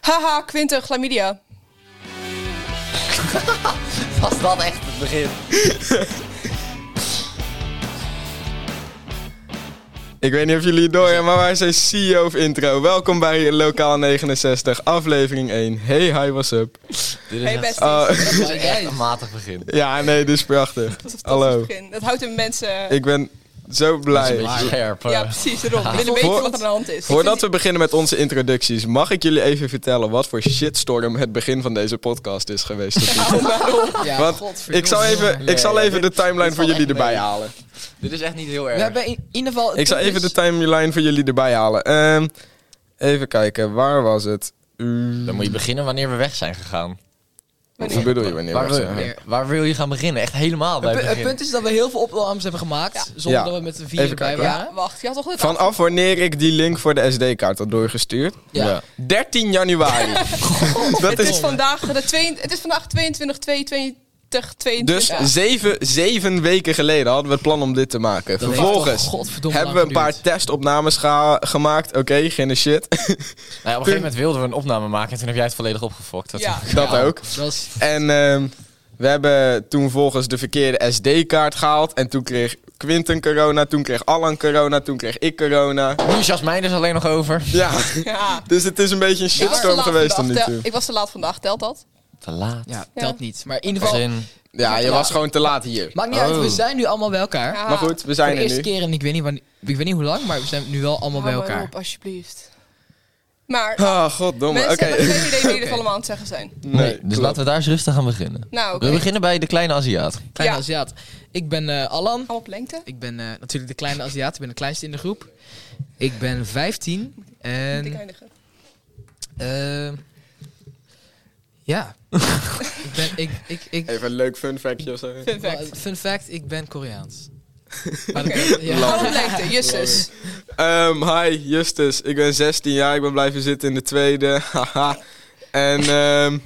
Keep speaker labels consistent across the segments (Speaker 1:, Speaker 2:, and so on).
Speaker 1: Haha, Quinten, chlamydia.
Speaker 2: Was dat echt het begin?
Speaker 3: Ik weet niet of jullie het door hebben, maar wij zijn CEO of Intro. Welkom bij Lokaal 69, aflevering 1. Hey, hi, what's up?
Speaker 2: Dit
Speaker 1: Hey besties.
Speaker 3: Oh.
Speaker 1: Dat was
Speaker 2: dit is echt een matig begin.
Speaker 3: Ja, nee, dit is prachtig.
Speaker 1: een fantastisch
Speaker 3: Hallo.
Speaker 1: begin. Dat houdt de mensen...
Speaker 3: Ik ben zo
Speaker 2: Dat is
Speaker 3: blij.
Speaker 2: een beetje scherp. eh.
Speaker 1: Ja, precies, daarom. We willen weten
Speaker 3: Voor-
Speaker 1: wat er aan de hand is.
Speaker 3: Voordat we beginnen met onze introducties, mag ik jullie even vertellen wat voor shitstorm het begin van deze podcast is geweest? tot nu toe?
Speaker 4: Ja,
Speaker 3: Want
Speaker 4: godverdomme.
Speaker 3: ik zal even, ik zal even de timeline
Speaker 2: dit
Speaker 3: voor
Speaker 2: valt
Speaker 3: jullie
Speaker 2: echt
Speaker 3: erbij
Speaker 2: mee.
Speaker 3: halen.
Speaker 2: Dit is echt niet heel erg.
Speaker 4: We hebben in, in ieder geval...
Speaker 3: Ik zal
Speaker 4: het
Speaker 3: even
Speaker 4: is-
Speaker 3: de timeline voor jullie erbij halen. Ehm, even kijken, waar was het? Mm,
Speaker 2: Dan moet je beginnen wanneer we weg zijn gegaan.
Speaker 3: Wat bedoel je wanneer?
Speaker 2: Waar,
Speaker 3: was
Speaker 2: wil-
Speaker 3: het?
Speaker 2: waar wil je gaan beginnen? Echt helemaal bij
Speaker 4: het,
Speaker 2: het
Speaker 4: pu- het
Speaker 2: begin.
Speaker 4: punt is dat we heel veel opnames hebben gemaakt, zonder
Speaker 3: Ja.
Speaker 4: dat we met z'n
Speaker 3: Even
Speaker 4: vieren bij
Speaker 3: kijken,
Speaker 4: waren.
Speaker 1: Wacht, je had toch goed
Speaker 3: Vanaf wanneer ik die link voor de SD-kaart had doorgestuurd?
Speaker 4: Ja.
Speaker 2: Ja.
Speaker 3: 13 januari. dat
Speaker 1: Het is
Speaker 3: is
Speaker 1: vandaag de twee- het is vandaag 22, 22, 22.
Speaker 3: dus zeven, zeven weken geleden hadden we het plan om dit te maken.
Speaker 4: Dat heeft toch
Speaker 3: Vervolgens
Speaker 4: godverdomme
Speaker 3: hebben we
Speaker 4: lang
Speaker 3: een paar
Speaker 4: geduurd.
Speaker 3: testopnames geha- gemaakt. Oké, geen shit.
Speaker 2: Nou ja, op een gegeven moment wilden we een opname maken en toen heb jij het volledig opgefokt. Dat
Speaker 1: Ja.
Speaker 3: dat ook.
Speaker 4: Dat is-
Speaker 3: En ehm, we hebben toen volgens de verkeerde SD-kaart gehaald. En toen kreeg Quinten corona, toen kreeg Allan corona, toen kreeg ik corona.
Speaker 2: Nu is Jasmijn dus alleen nog over.
Speaker 3: Ja,
Speaker 1: Ja.
Speaker 3: dus het is een beetje een
Speaker 1: Ik was te
Speaker 3: shitstorm
Speaker 1: laat
Speaker 3: geweest tot
Speaker 1: vandaag.
Speaker 3: nu
Speaker 1: Tel-
Speaker 3: toe.
Speaker 1: Ik was te laat vandaag, telt dat?
Speaker 2: Te laat.
Speaker 4: ja,
Speaker 1: Ja.
Speaker 4: telt niet. Maar in ieder
Speaker 2: Als
Speaker 4: geval...
Speaker 2: in,
Speaker 3: Ja, je was gewoon te laat hier.
Speaker 4: Maakt niet uit, we zijn nu allemaal bij elkaar.
Speaker 1: Ja.
Speaker 3: Maar goed, we
Speaker 4: Voor
Speaker 3: Oh. zijn
Speaker 4: de
Speaker 3: er
Speaker 4: eerste
Speaker 3: nu.
Speaker 4: keer en ik weet, niet wanneer, ik weet niet hoe lang, maar we zijn nu wel allemaal bij
Speaker 1: Hou maar
Speaker 4: elkaar.
Speaker 1: op, alsjeblieft. Maar
Speaker 3: Ah, goddomme.
Speaker 1: mensen
Speaker 3: Oké.
Speaker 1: hebben geen idee wie dit
Speaker 4: Oké.
Speaker 1: allemaal aan het zeggen zijn.
Speaker 2: nee, dus laten we daar eens rustig aan beginnen.
Speaker 1: Nou, oké.
Speaker 2: We beginnen bij de kleine Aziat.
Speaker 4: Kleine
Speaker 1: Ja.
Speaker 4: Aziat. Ik ben eh, Alan.
Speaker 1: Allemaal op lengte.
Speaker 4: Ik ben eh, natuurlijk de kleine Aziat. Ik ben de kleinste in de groep. Ik ben 15.
Speaker 1: Dik
Speaker 4: En...
Speaker 1: eindigen.
Speaker 4: eh, ja. ik ben... Ik, ik, ik,
Speaker 3: Even een leuk fun factje of zo.
Speaker 1: Fun fact.
Speaker 4: Well, fun fact, ik ben Koreaans. Maar
Speaker 1: Oké.
Speaker 4: dat- ja.
Speaker 1: Allemaal op lengte, justus.
Speaker 3: Ehm, hi, Justus. Ik ben 16 jaar. Ik ben blijven zitten in de tweede. Haha. en ehm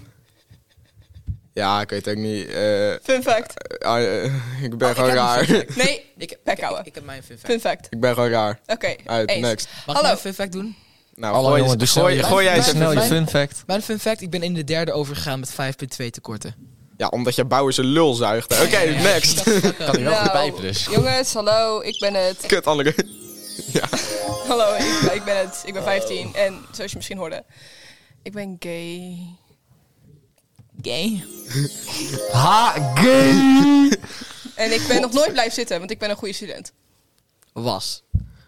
Speaker 3: ja, ik weet ook niet. eh,
Speaker 1: Fun fact.
Speaker 3: ah, eh, ik ben
Speaker 4: Oh, ik
Speaker 3: gewoon
Speaker 4: heb een
Speaker 3: raar.
Speaker 4: fun fact.
Speaker 1: Nee,
Speaker 4: Ik,
Speaker 1: bek houden.
Speaker 4: ik heb mijn fun fact.
Speaker 1: Fun fact.
Speaker 3: ik ben gewoon raar.
Speaker 1: Oké,
Speaker 3: Uit,
Speaker 1: eens.
Speaker 3: next.
Speaker 4: Mag
Speaker 1: Hallo.
Speaker 4: ik mijn fun fact doen?
Speaker 3: Nou,
Speaker 2: Hallo
Speaker 3: gooi,
Speaker 2: jongen, doe snel
Speaker 3: gooi,
Speaker 2: je,
Speaker 3: gooi jij
Speaker 2: doe
Speaker 3: eens
Speaker 4: fun
Speaker 2: snel
Speaker 3: even.
Speaker 2: je
Speaker 4: fact.
Speaker 2: fun fact.
Speaker 4: Mijn fun fact, ik ben in de derde overgegaan met 5.2 tekorten.
Speaker 3: Ja, omdat je Bouwers een lul zuigt. hè. Oké, next.
Speaker 2: Kan
Speaker 1: Nou.
Speaker 2: hij wel goed pijpen dus.
Speaker 1: jongens, hallo, ik ben het.
Speaker 3: Kut, andere.
Speaker 1: Hallo, ik, ik ben het. Ik ben 15 en zoals je misschien hoorde, ik ben gay.
Speaker 4: Gay.
Speaker 2: Ha, gay!
Speaker 1: En ik ben nog nooit blijven zitten, want ik ben een goede student.
Speaker 4: Was.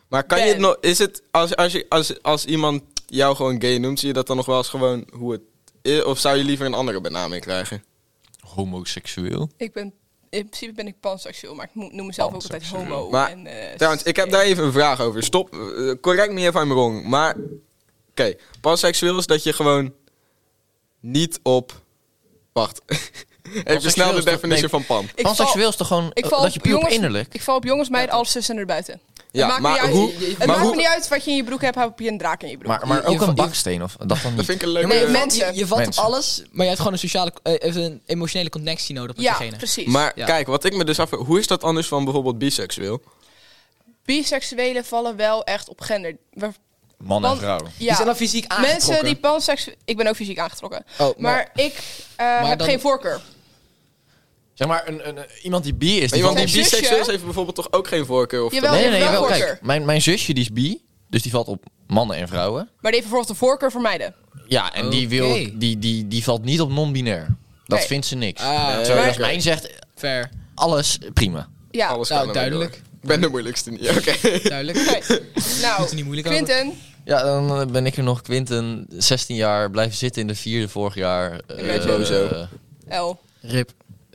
Speaker 3: Maar kan je
Speaker 1: Ben.
Speaker 3: het nog... Is het... Als, als, je, als, als iemand jou gewoon gay noemt, zie je dat dan nog wel eens gewoon hoe het... is? Of zou je liever een andere benaming krijgen?
Speaker 2: Homoseksueel.
Speaker 1: Ik ben, in principe ben ik panseksueel, maar ik mo- noem mezelf ook altijd homo.
Speaker 3: Maar,
Speaker 1: en, eh,
Speaker 3: Trouwens, ik heb daar even een vraag over. Stop, eh, correct me if I'm wrong. Maar, oké, panseksueel is dat je gewoon niet op... Wacht, even snel
Speaker 2: Panseksueel
Speaker 3: de
Speaker 2: is dat-
Speaker 3: definitie
Speaker 2: nee.
Speaker 3: van pan.
Speaker 1: Ik
Speaker 2: Panseksueel
Speaker 1: val-
Speaker 2: is toch gewoon
Speaker 1: ik
Speaker 2: eh,
Speaker 1: val
Speaker 2: dat je puur op
Speaker 1: jongens,
Speaker 2: innerlijk...
Speaker 1: Ik val op jongens, meiden, alle zussen en erbuiten.
Speaker 3: Ja,
Speaker 1: het maakt,
Speaker 3: maar
Speaker 1: niet, uit,
Speaker 3: hoe-
Speaker 1: het
Speaker 3: maar
Speaker 1: maakt
Speaker 3: hoe-
Speaker 1: niet uit wat je in je broek hebt, heb je een draak in je broek.
Speaker 2: Maar, maar
Speaker 4: je-
Speaker 2: ook
Speaker 4: je-
Speaker 2: een
Speaker 4: je-
Speaker 2: baksteen of dat dan
Speaker 3: Dat
Speaker 2: niet.
Speaker 3: vind ik een leuke...
Speaker 1: Nee,
Speaker 3: eh,
Speaker 1: mensen.
Speaker 4: Je, je valt
Speaker 2: Mensen.
Speaker 4: op alles, maar je hebt gewoon een, sociale, eh, even een emotionele connectie nodig met
Speaker 1: ja,
Speaker 4: diegene.
Speaker 1: precies.
Speaker 3: Maar
Speaker 4: Ja.
Speaker 3: kijk, wat ik me dus af... Hoe is dat anders van bijvoorbeeld biseksueel?
Speaker 1: Biseksuelen vallen wel echt op gender. Waar-
Speaker 2: Man
Speaker 1: want-
Speaker 4: Die
Speaker 1: Ja.
Speaker 4: zijn dan fysiek aangetrokken.
Speaker 1: Mensen die panseksueel... Ik ben ook fysiek aangetrokken.
Speaker 4: Oh,
Speaker 1: Maar,
Speaker 4: maar-
Speaker 1: ik eh, heb
Speaker 4: dan-
Speaker 1: geen voorkeur.
Speaker 2: Zeg maar, een, een, een- iemand die bi is...
Speaker 3: Maar
Speaker 2: Die
Speaker 3: iemand die
Speaker 2: valt
Speaker 1: Zijn zusje-
Speaker 3: biseksueel is heeft bijvoorbeeld toch ook geen voorkeur? Of
Speaker 1: Jawel.
Speaker 2: op...
Speaker 1: die-
Speaker 2: Nee, nee,
Speaker 1: wel
Speaker 2: nee. wel,
Speaker 1: voorkeur.
Speaker 2: Kijk, mijn, mijn zusje die is bi, dus die valt op mannen en vrouwen.
Speaker 1: Maar die heeft bijvoorbeeld de voorkeur voor meiden.
Speaker 2: Ja, en die, wil,
Speaker 4: Oké.
Speaker 2: die, die, die valt niet op non-binair. Dat
Speaker 1: Nee.
Speaker 2: vindt ze niks.
Speaker 4: Ah,
Speaker 2: Terwijl
Speaker 1: maar-
Speaker 2: Jasmijn zegt, eh,
Speaker 4: Fair.
Speaker 2: alles prima.
Speaker 1: Ja.
Speaker 3: alles kan
Speaker 4: Nou,
Speaker 3: ermee door.
Speaker 4: duidelijk.
Speaker 3: Ik ben de moeilijkste niet, oké.
Speaker 2: Nou,
Speaker 4: Duidelijk.
Speaker 1: Oké.
Speaker 4: Doet er
Speaker 1: Nou,
Speaker 4: niet moeilijk over.
Speaker 1: Quinten,
Speaker 2: Ja, dan eh, ben ik er nog. Quinten, 16 jaar, blijven zitten in de vierde vorig jaar. Eh,
Speaker 1: ben sowieso.
Speaker 2: eh,
Speaker 1: L.
Speaker 4: Rip.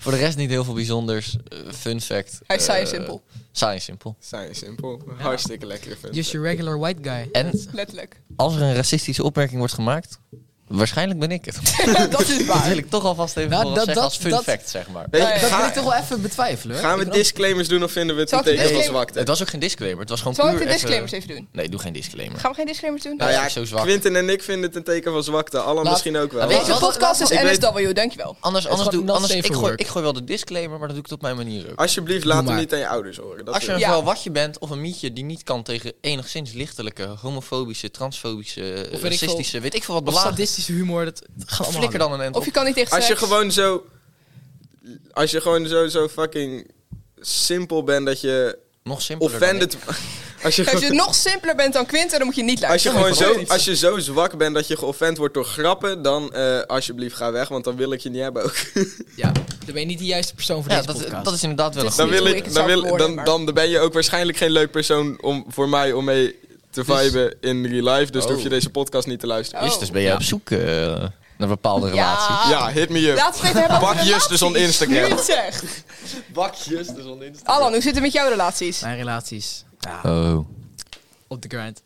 Speaker 2: voor de rest niet heel veel bijzonders. Eh, fun fact.
Speaker 1: Hij is saai en
Speaker 2: eh,
Speaker 1: simpel.
Speaker 2: Saai en simpel.
Speaker 3: Saai en simpel. Hartstikke lekker.
Speaker 4: Just your regular white guy.
Speaker 2: En
Speaker 1: Letterlijk.
Speaker 2: als er een racistische opmerking wordt gemaakt, Waarschijnlijk ben ik het.
Speaker 1: dat is
Speaker 2: Dat wil
Speaker 1: waar.
Speaker 2: ik toch alvast even
Speaker 4: Nou,
Speaker 2: vooraf
Speaker 4: dat-
Speaker 2: zeggen
Speaker 4: dat-
Speaker 2: als fun
Speaker 4: dat-
Speaker 2: fact, zeg maar.
Speaker 3: Weet je,
Speaker 1: Nee,
Speaker 4: Dat wil
Speaker 3: ga-
Speaker 4: ik toch wel even betwijfelen. hoor.
Speaker 3: gaan
Speaker 4: Ik
Speaker 3: we
Speaker 4: ben ook-
Speaker 3: disclaimers doen of vinden we het
Speaker 1: Zal
Speaker 3: een
Speaker 1: ik de
Speaker 3: teken van
Speaker 1: disclaimer-
Speaker 3: zwakte?
Speaker 2: Het was ook geen disclaimer. Het was gewoon
Speaker 1: Zal ik
Speaker 2: puur
Speaker 1: de
Speaker 2: even-
Speaker 1: disclaimers even doen?
Speaker 2: Nee, doe geen disclaimer.
Speaker 1: Gaan we geen disclaimers doen?
Speaker 2: Nou
Speaker 3: Nou
Speaker 2: ja,
Speaker 3: ja,
Speaker 2: zo zwak.
Speaker 3: Quinten en ik vinden het een teken van zwakte. Alan
Speaker 4: Laat-
Speaker 3: misschien ook wel.
Speaker 2: Weet je
Speaker 1: Deze
Speaker 2: wat-
Speaker 1: podcast is
Speaker 3: Ik weet-
Speaker 1: NSW, dankjewel.
Speaker 2: Anders,
Speaker 4: is
Speaker 2: anders
Speaker 4: gewoon
Speaker 2: doe
Speaker 4: not
Speaker 2: anders,
Speaker 4: safe
Speaker 2: ik
Speaker 4: for
Speaker 2: gooi,
Speaker 4: work.
Speaker 2: ik gooi wel de disclaimer, maar dat doe ik het op mijn manier ook.
Speaker 3: Alsjeblieft, laat hem
Speaker 4: maar.
Speaker 3: niet aan je ouders horen. Dat
Speaker 2: Als je
Speaker 3: wil
Speaker 2: een
Speaker 3: ik.
Speaker 1: Ja.
Speaker 2: vrouwatje bent of een mietje die niet kan tegen enigszins lichtelijke, homofobische, transfobische,
Speaker 4: Of weet ik
Speaker 2: racistische, weet ik veel wat
Speaker 4: Of
Speaker 2: belaagd.
Speaker 4: sadistische humor, dat dat gaat allemaal
Speaker 2: Flikker dan een end
Speaker 1: Of je
Speaker 2: op.
Speaker 1: kan niet tegen
Speaker 3: als je
Speaker 1: seks.
Speaker 3: gewoon zo... Als je gewoon zo, zo fucking simpel bent dat je
Speaker 2: Nog simpeler dan
Speaker 3: offended... Als je,
Speaker 1: Als je nog simpeler bent dan Quinten, dan moet je niet
Speaker 3: als je
Speaker 1: luisteren.
Speaker 3: gewoon
Speaker 1: Dat
Speaker 3: zo,
Speaker 1: is
Speaker 3: als je zo zwak bent dat je geoffend wordt door grappen, dan eh, alsjeblieft ga weg, want dan wil ik je niet hebben ook.
Speaker 4: hangen. Ja, dan ben je niet de juiste persoon voor
Speaker 2: Ja,
Speaker 4: deze
Speaker 2: dat,
Speaker 4: podcast.
Speaker 2: dat is inderdaad wel een
Speaker 1: Het
Speaker 2: goede.
Speaker 3: Dan,
Speaker 1: niet hoe
Speaker 3: wil ik,
Speaker 1: ik het
Speaker 3: dan,
Speaker 1: zou
Speaker 3: wil,
Speaker 1: verwoorden,
Speaker 3: dan,
Speaker 1: maar-
Speaker 3: dan ben je ook waarschijnlijk geen leuk persoon om, voor mij om mee te
Speaker 4: Dus-
Speaker 3: viben in real life, dus dan hoef je
Speaker 2: Oh.
Speaker 3: deze podcast niet te luisteren.
Speaker 1: Oh. Ah.
Speaker 2: Justus, ben jij op zoek eh, naar bepaalde relaties?
Speaker 1: Ja.
Speaker 3: Ja, hit me up.
Speaker 1: Laten we het even hebben over
Speaker 3: Bak Justus on
Speaker 1: relaties.
Speaker 3: Instagram.
Speaker 1: Nu het zegt.
Speaker 3: Bak Justus on Instagram.
Speaker 1: Alan, hoe zit het met jouw relaties?
Speaker 4: Mijn relaties. Ja,
Speaker 2: Oh.
Speaker 4: op de grind.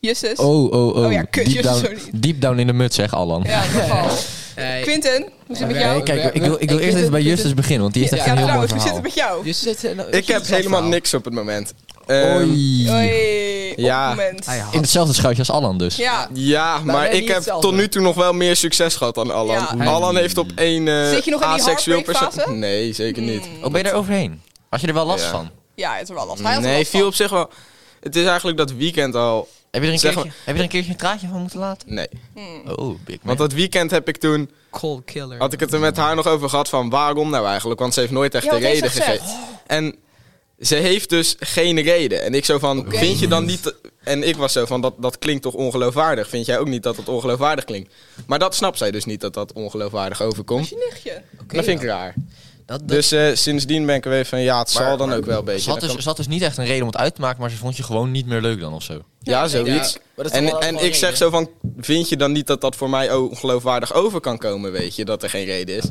Speaker 1: Justus?
Speaker 2: Oh, oh,
Speaker 1: Oh ja, kut, Justus, sorry.
Speaker 2: deep down in de mut, zeg Alan.
Speaker 1: Ja, in ieder geval.
Speaker 4: Eh,
Speaker 1: Quinten, hoe zit het met
Speaker 4: Nee,
Speaker 1: jou?
Speaker 2: Hey, kijk, ik wil, ik wil
Speaker 4: Hey,
Speaker 2: eerst even bij
Speaker 4: Quinten,
Speaker 2: Justus beginnen, want die heeft echt
Speaker 1: Ja,
Speaker 2: een heel mooi
Speaker 1: trouwens, hoe zit
Speaker 2: verhaal.
Speaker 1: het met jou?
Speaker 4: Justus heeft, eh, nou,
Speaker 3: Ik
Speaker 4: Justus
Speaker 3: heb
Speaker 4: heeft zelf
Speaker 3: helemaal
Speaker 4: verhaal.
Speaker 3: niks op het moment. Ehm,
Speaker 1: Oei, op
Speaker 3: Ja.
Speaker 1: het moment.
Speaker 4: Hij
Speaker 2: In
Speaker 4: had-
Speaker 2: hetzelfde schuitje als Alan dus.
Speaker 1: Ja,
Speaker 3: Ja, maar
Speaker 4: ben je
Speaker 3: ik
Speaker 4: niet
Speaker 3: heb
Speaker 4: hetzelfde.
Speaker 3: tot nu toe nog wel meer succes gehad dan Alan.
Speaker 1: Ja.
Speaker 3: Oei. Alan heeft op één eh
Speaker 1: Zit je nog in die
Speaker 3: asexueel
Speaker 1: heartbreak fase?
Speaker 3: persoon. Nee, zeker niet.
Speaker 2: Oh, ben je daar overheen? Had je er wel last
Speaker 3: Ja.
Speaker 2: van?
Speaker 1: ja, het is er wel last. Hij had er
Speaker 3: Nee,
Speaker 1: last van.
Speaker 3: viel op zich wel. Het is eigenlijk dat weekend al.
Speaker 2: Heb je er een
Speaker 3: Zeg
Speaker 2: keertje, heb je er een, keertje een traantje van moeten laten?
Speaker 3: Nee.
Speaker 1: Mm.
Speaker 2: Oh, big man.
Speaker 3: Want dat weekend heb ik toen.
Speaker 4: Cold killer.
Speaker 3: Had ik het er met haar nog over gehad van waarom nou eigenlijk? Want ze heeft nooit echt
Speaker 1: Ja,
Speaker 3: een
Speaker 1: want
Speaker 3: reden
Speaker 1: heeft ze
Speaker 3: gegeven. En ze heeft dus geen reden. En ik zo van, vind je dan niet... En ik was zo van, dat, dat klinkt toch ongeloofwaardig? Vind jij ook niet dat dat ongeloofwaardig klinkt? Maar dat snapt zij dus niet, dat dat ongeloofwaardig overkomt.
Speaker 1: Je nichtje.
Speaker 3: dat vind ik raar.
Speaker 4: Dat- dat-
Speaker 3: Dus eh, sindsdien ben ik er weer van, ja, het zal dan ook wel een beetje.
Speaker 2: Ze had,
Speaker 3: Dan
Speaker 2: dus,
Speaker 3: kan-
Speaker 2: ze had dus niet echt een reden om het uit te maken, maar ze vond je gewoon niet meer leuk dan of zo.
Speaker 3: ja, zoiets.
Speaker 4: ja, maar dat is toch
Speaker 3: en
Speaker 4: wel
Speaker 3: en
Speaker 4: gewoon
Speaker 3: ik zeg
Speaker 4: reden.
Speaker 3: zo van, vind je dan niet dat dat voor mij ongeloofwaardig over kan komen, weet je? Dat er geen reden is.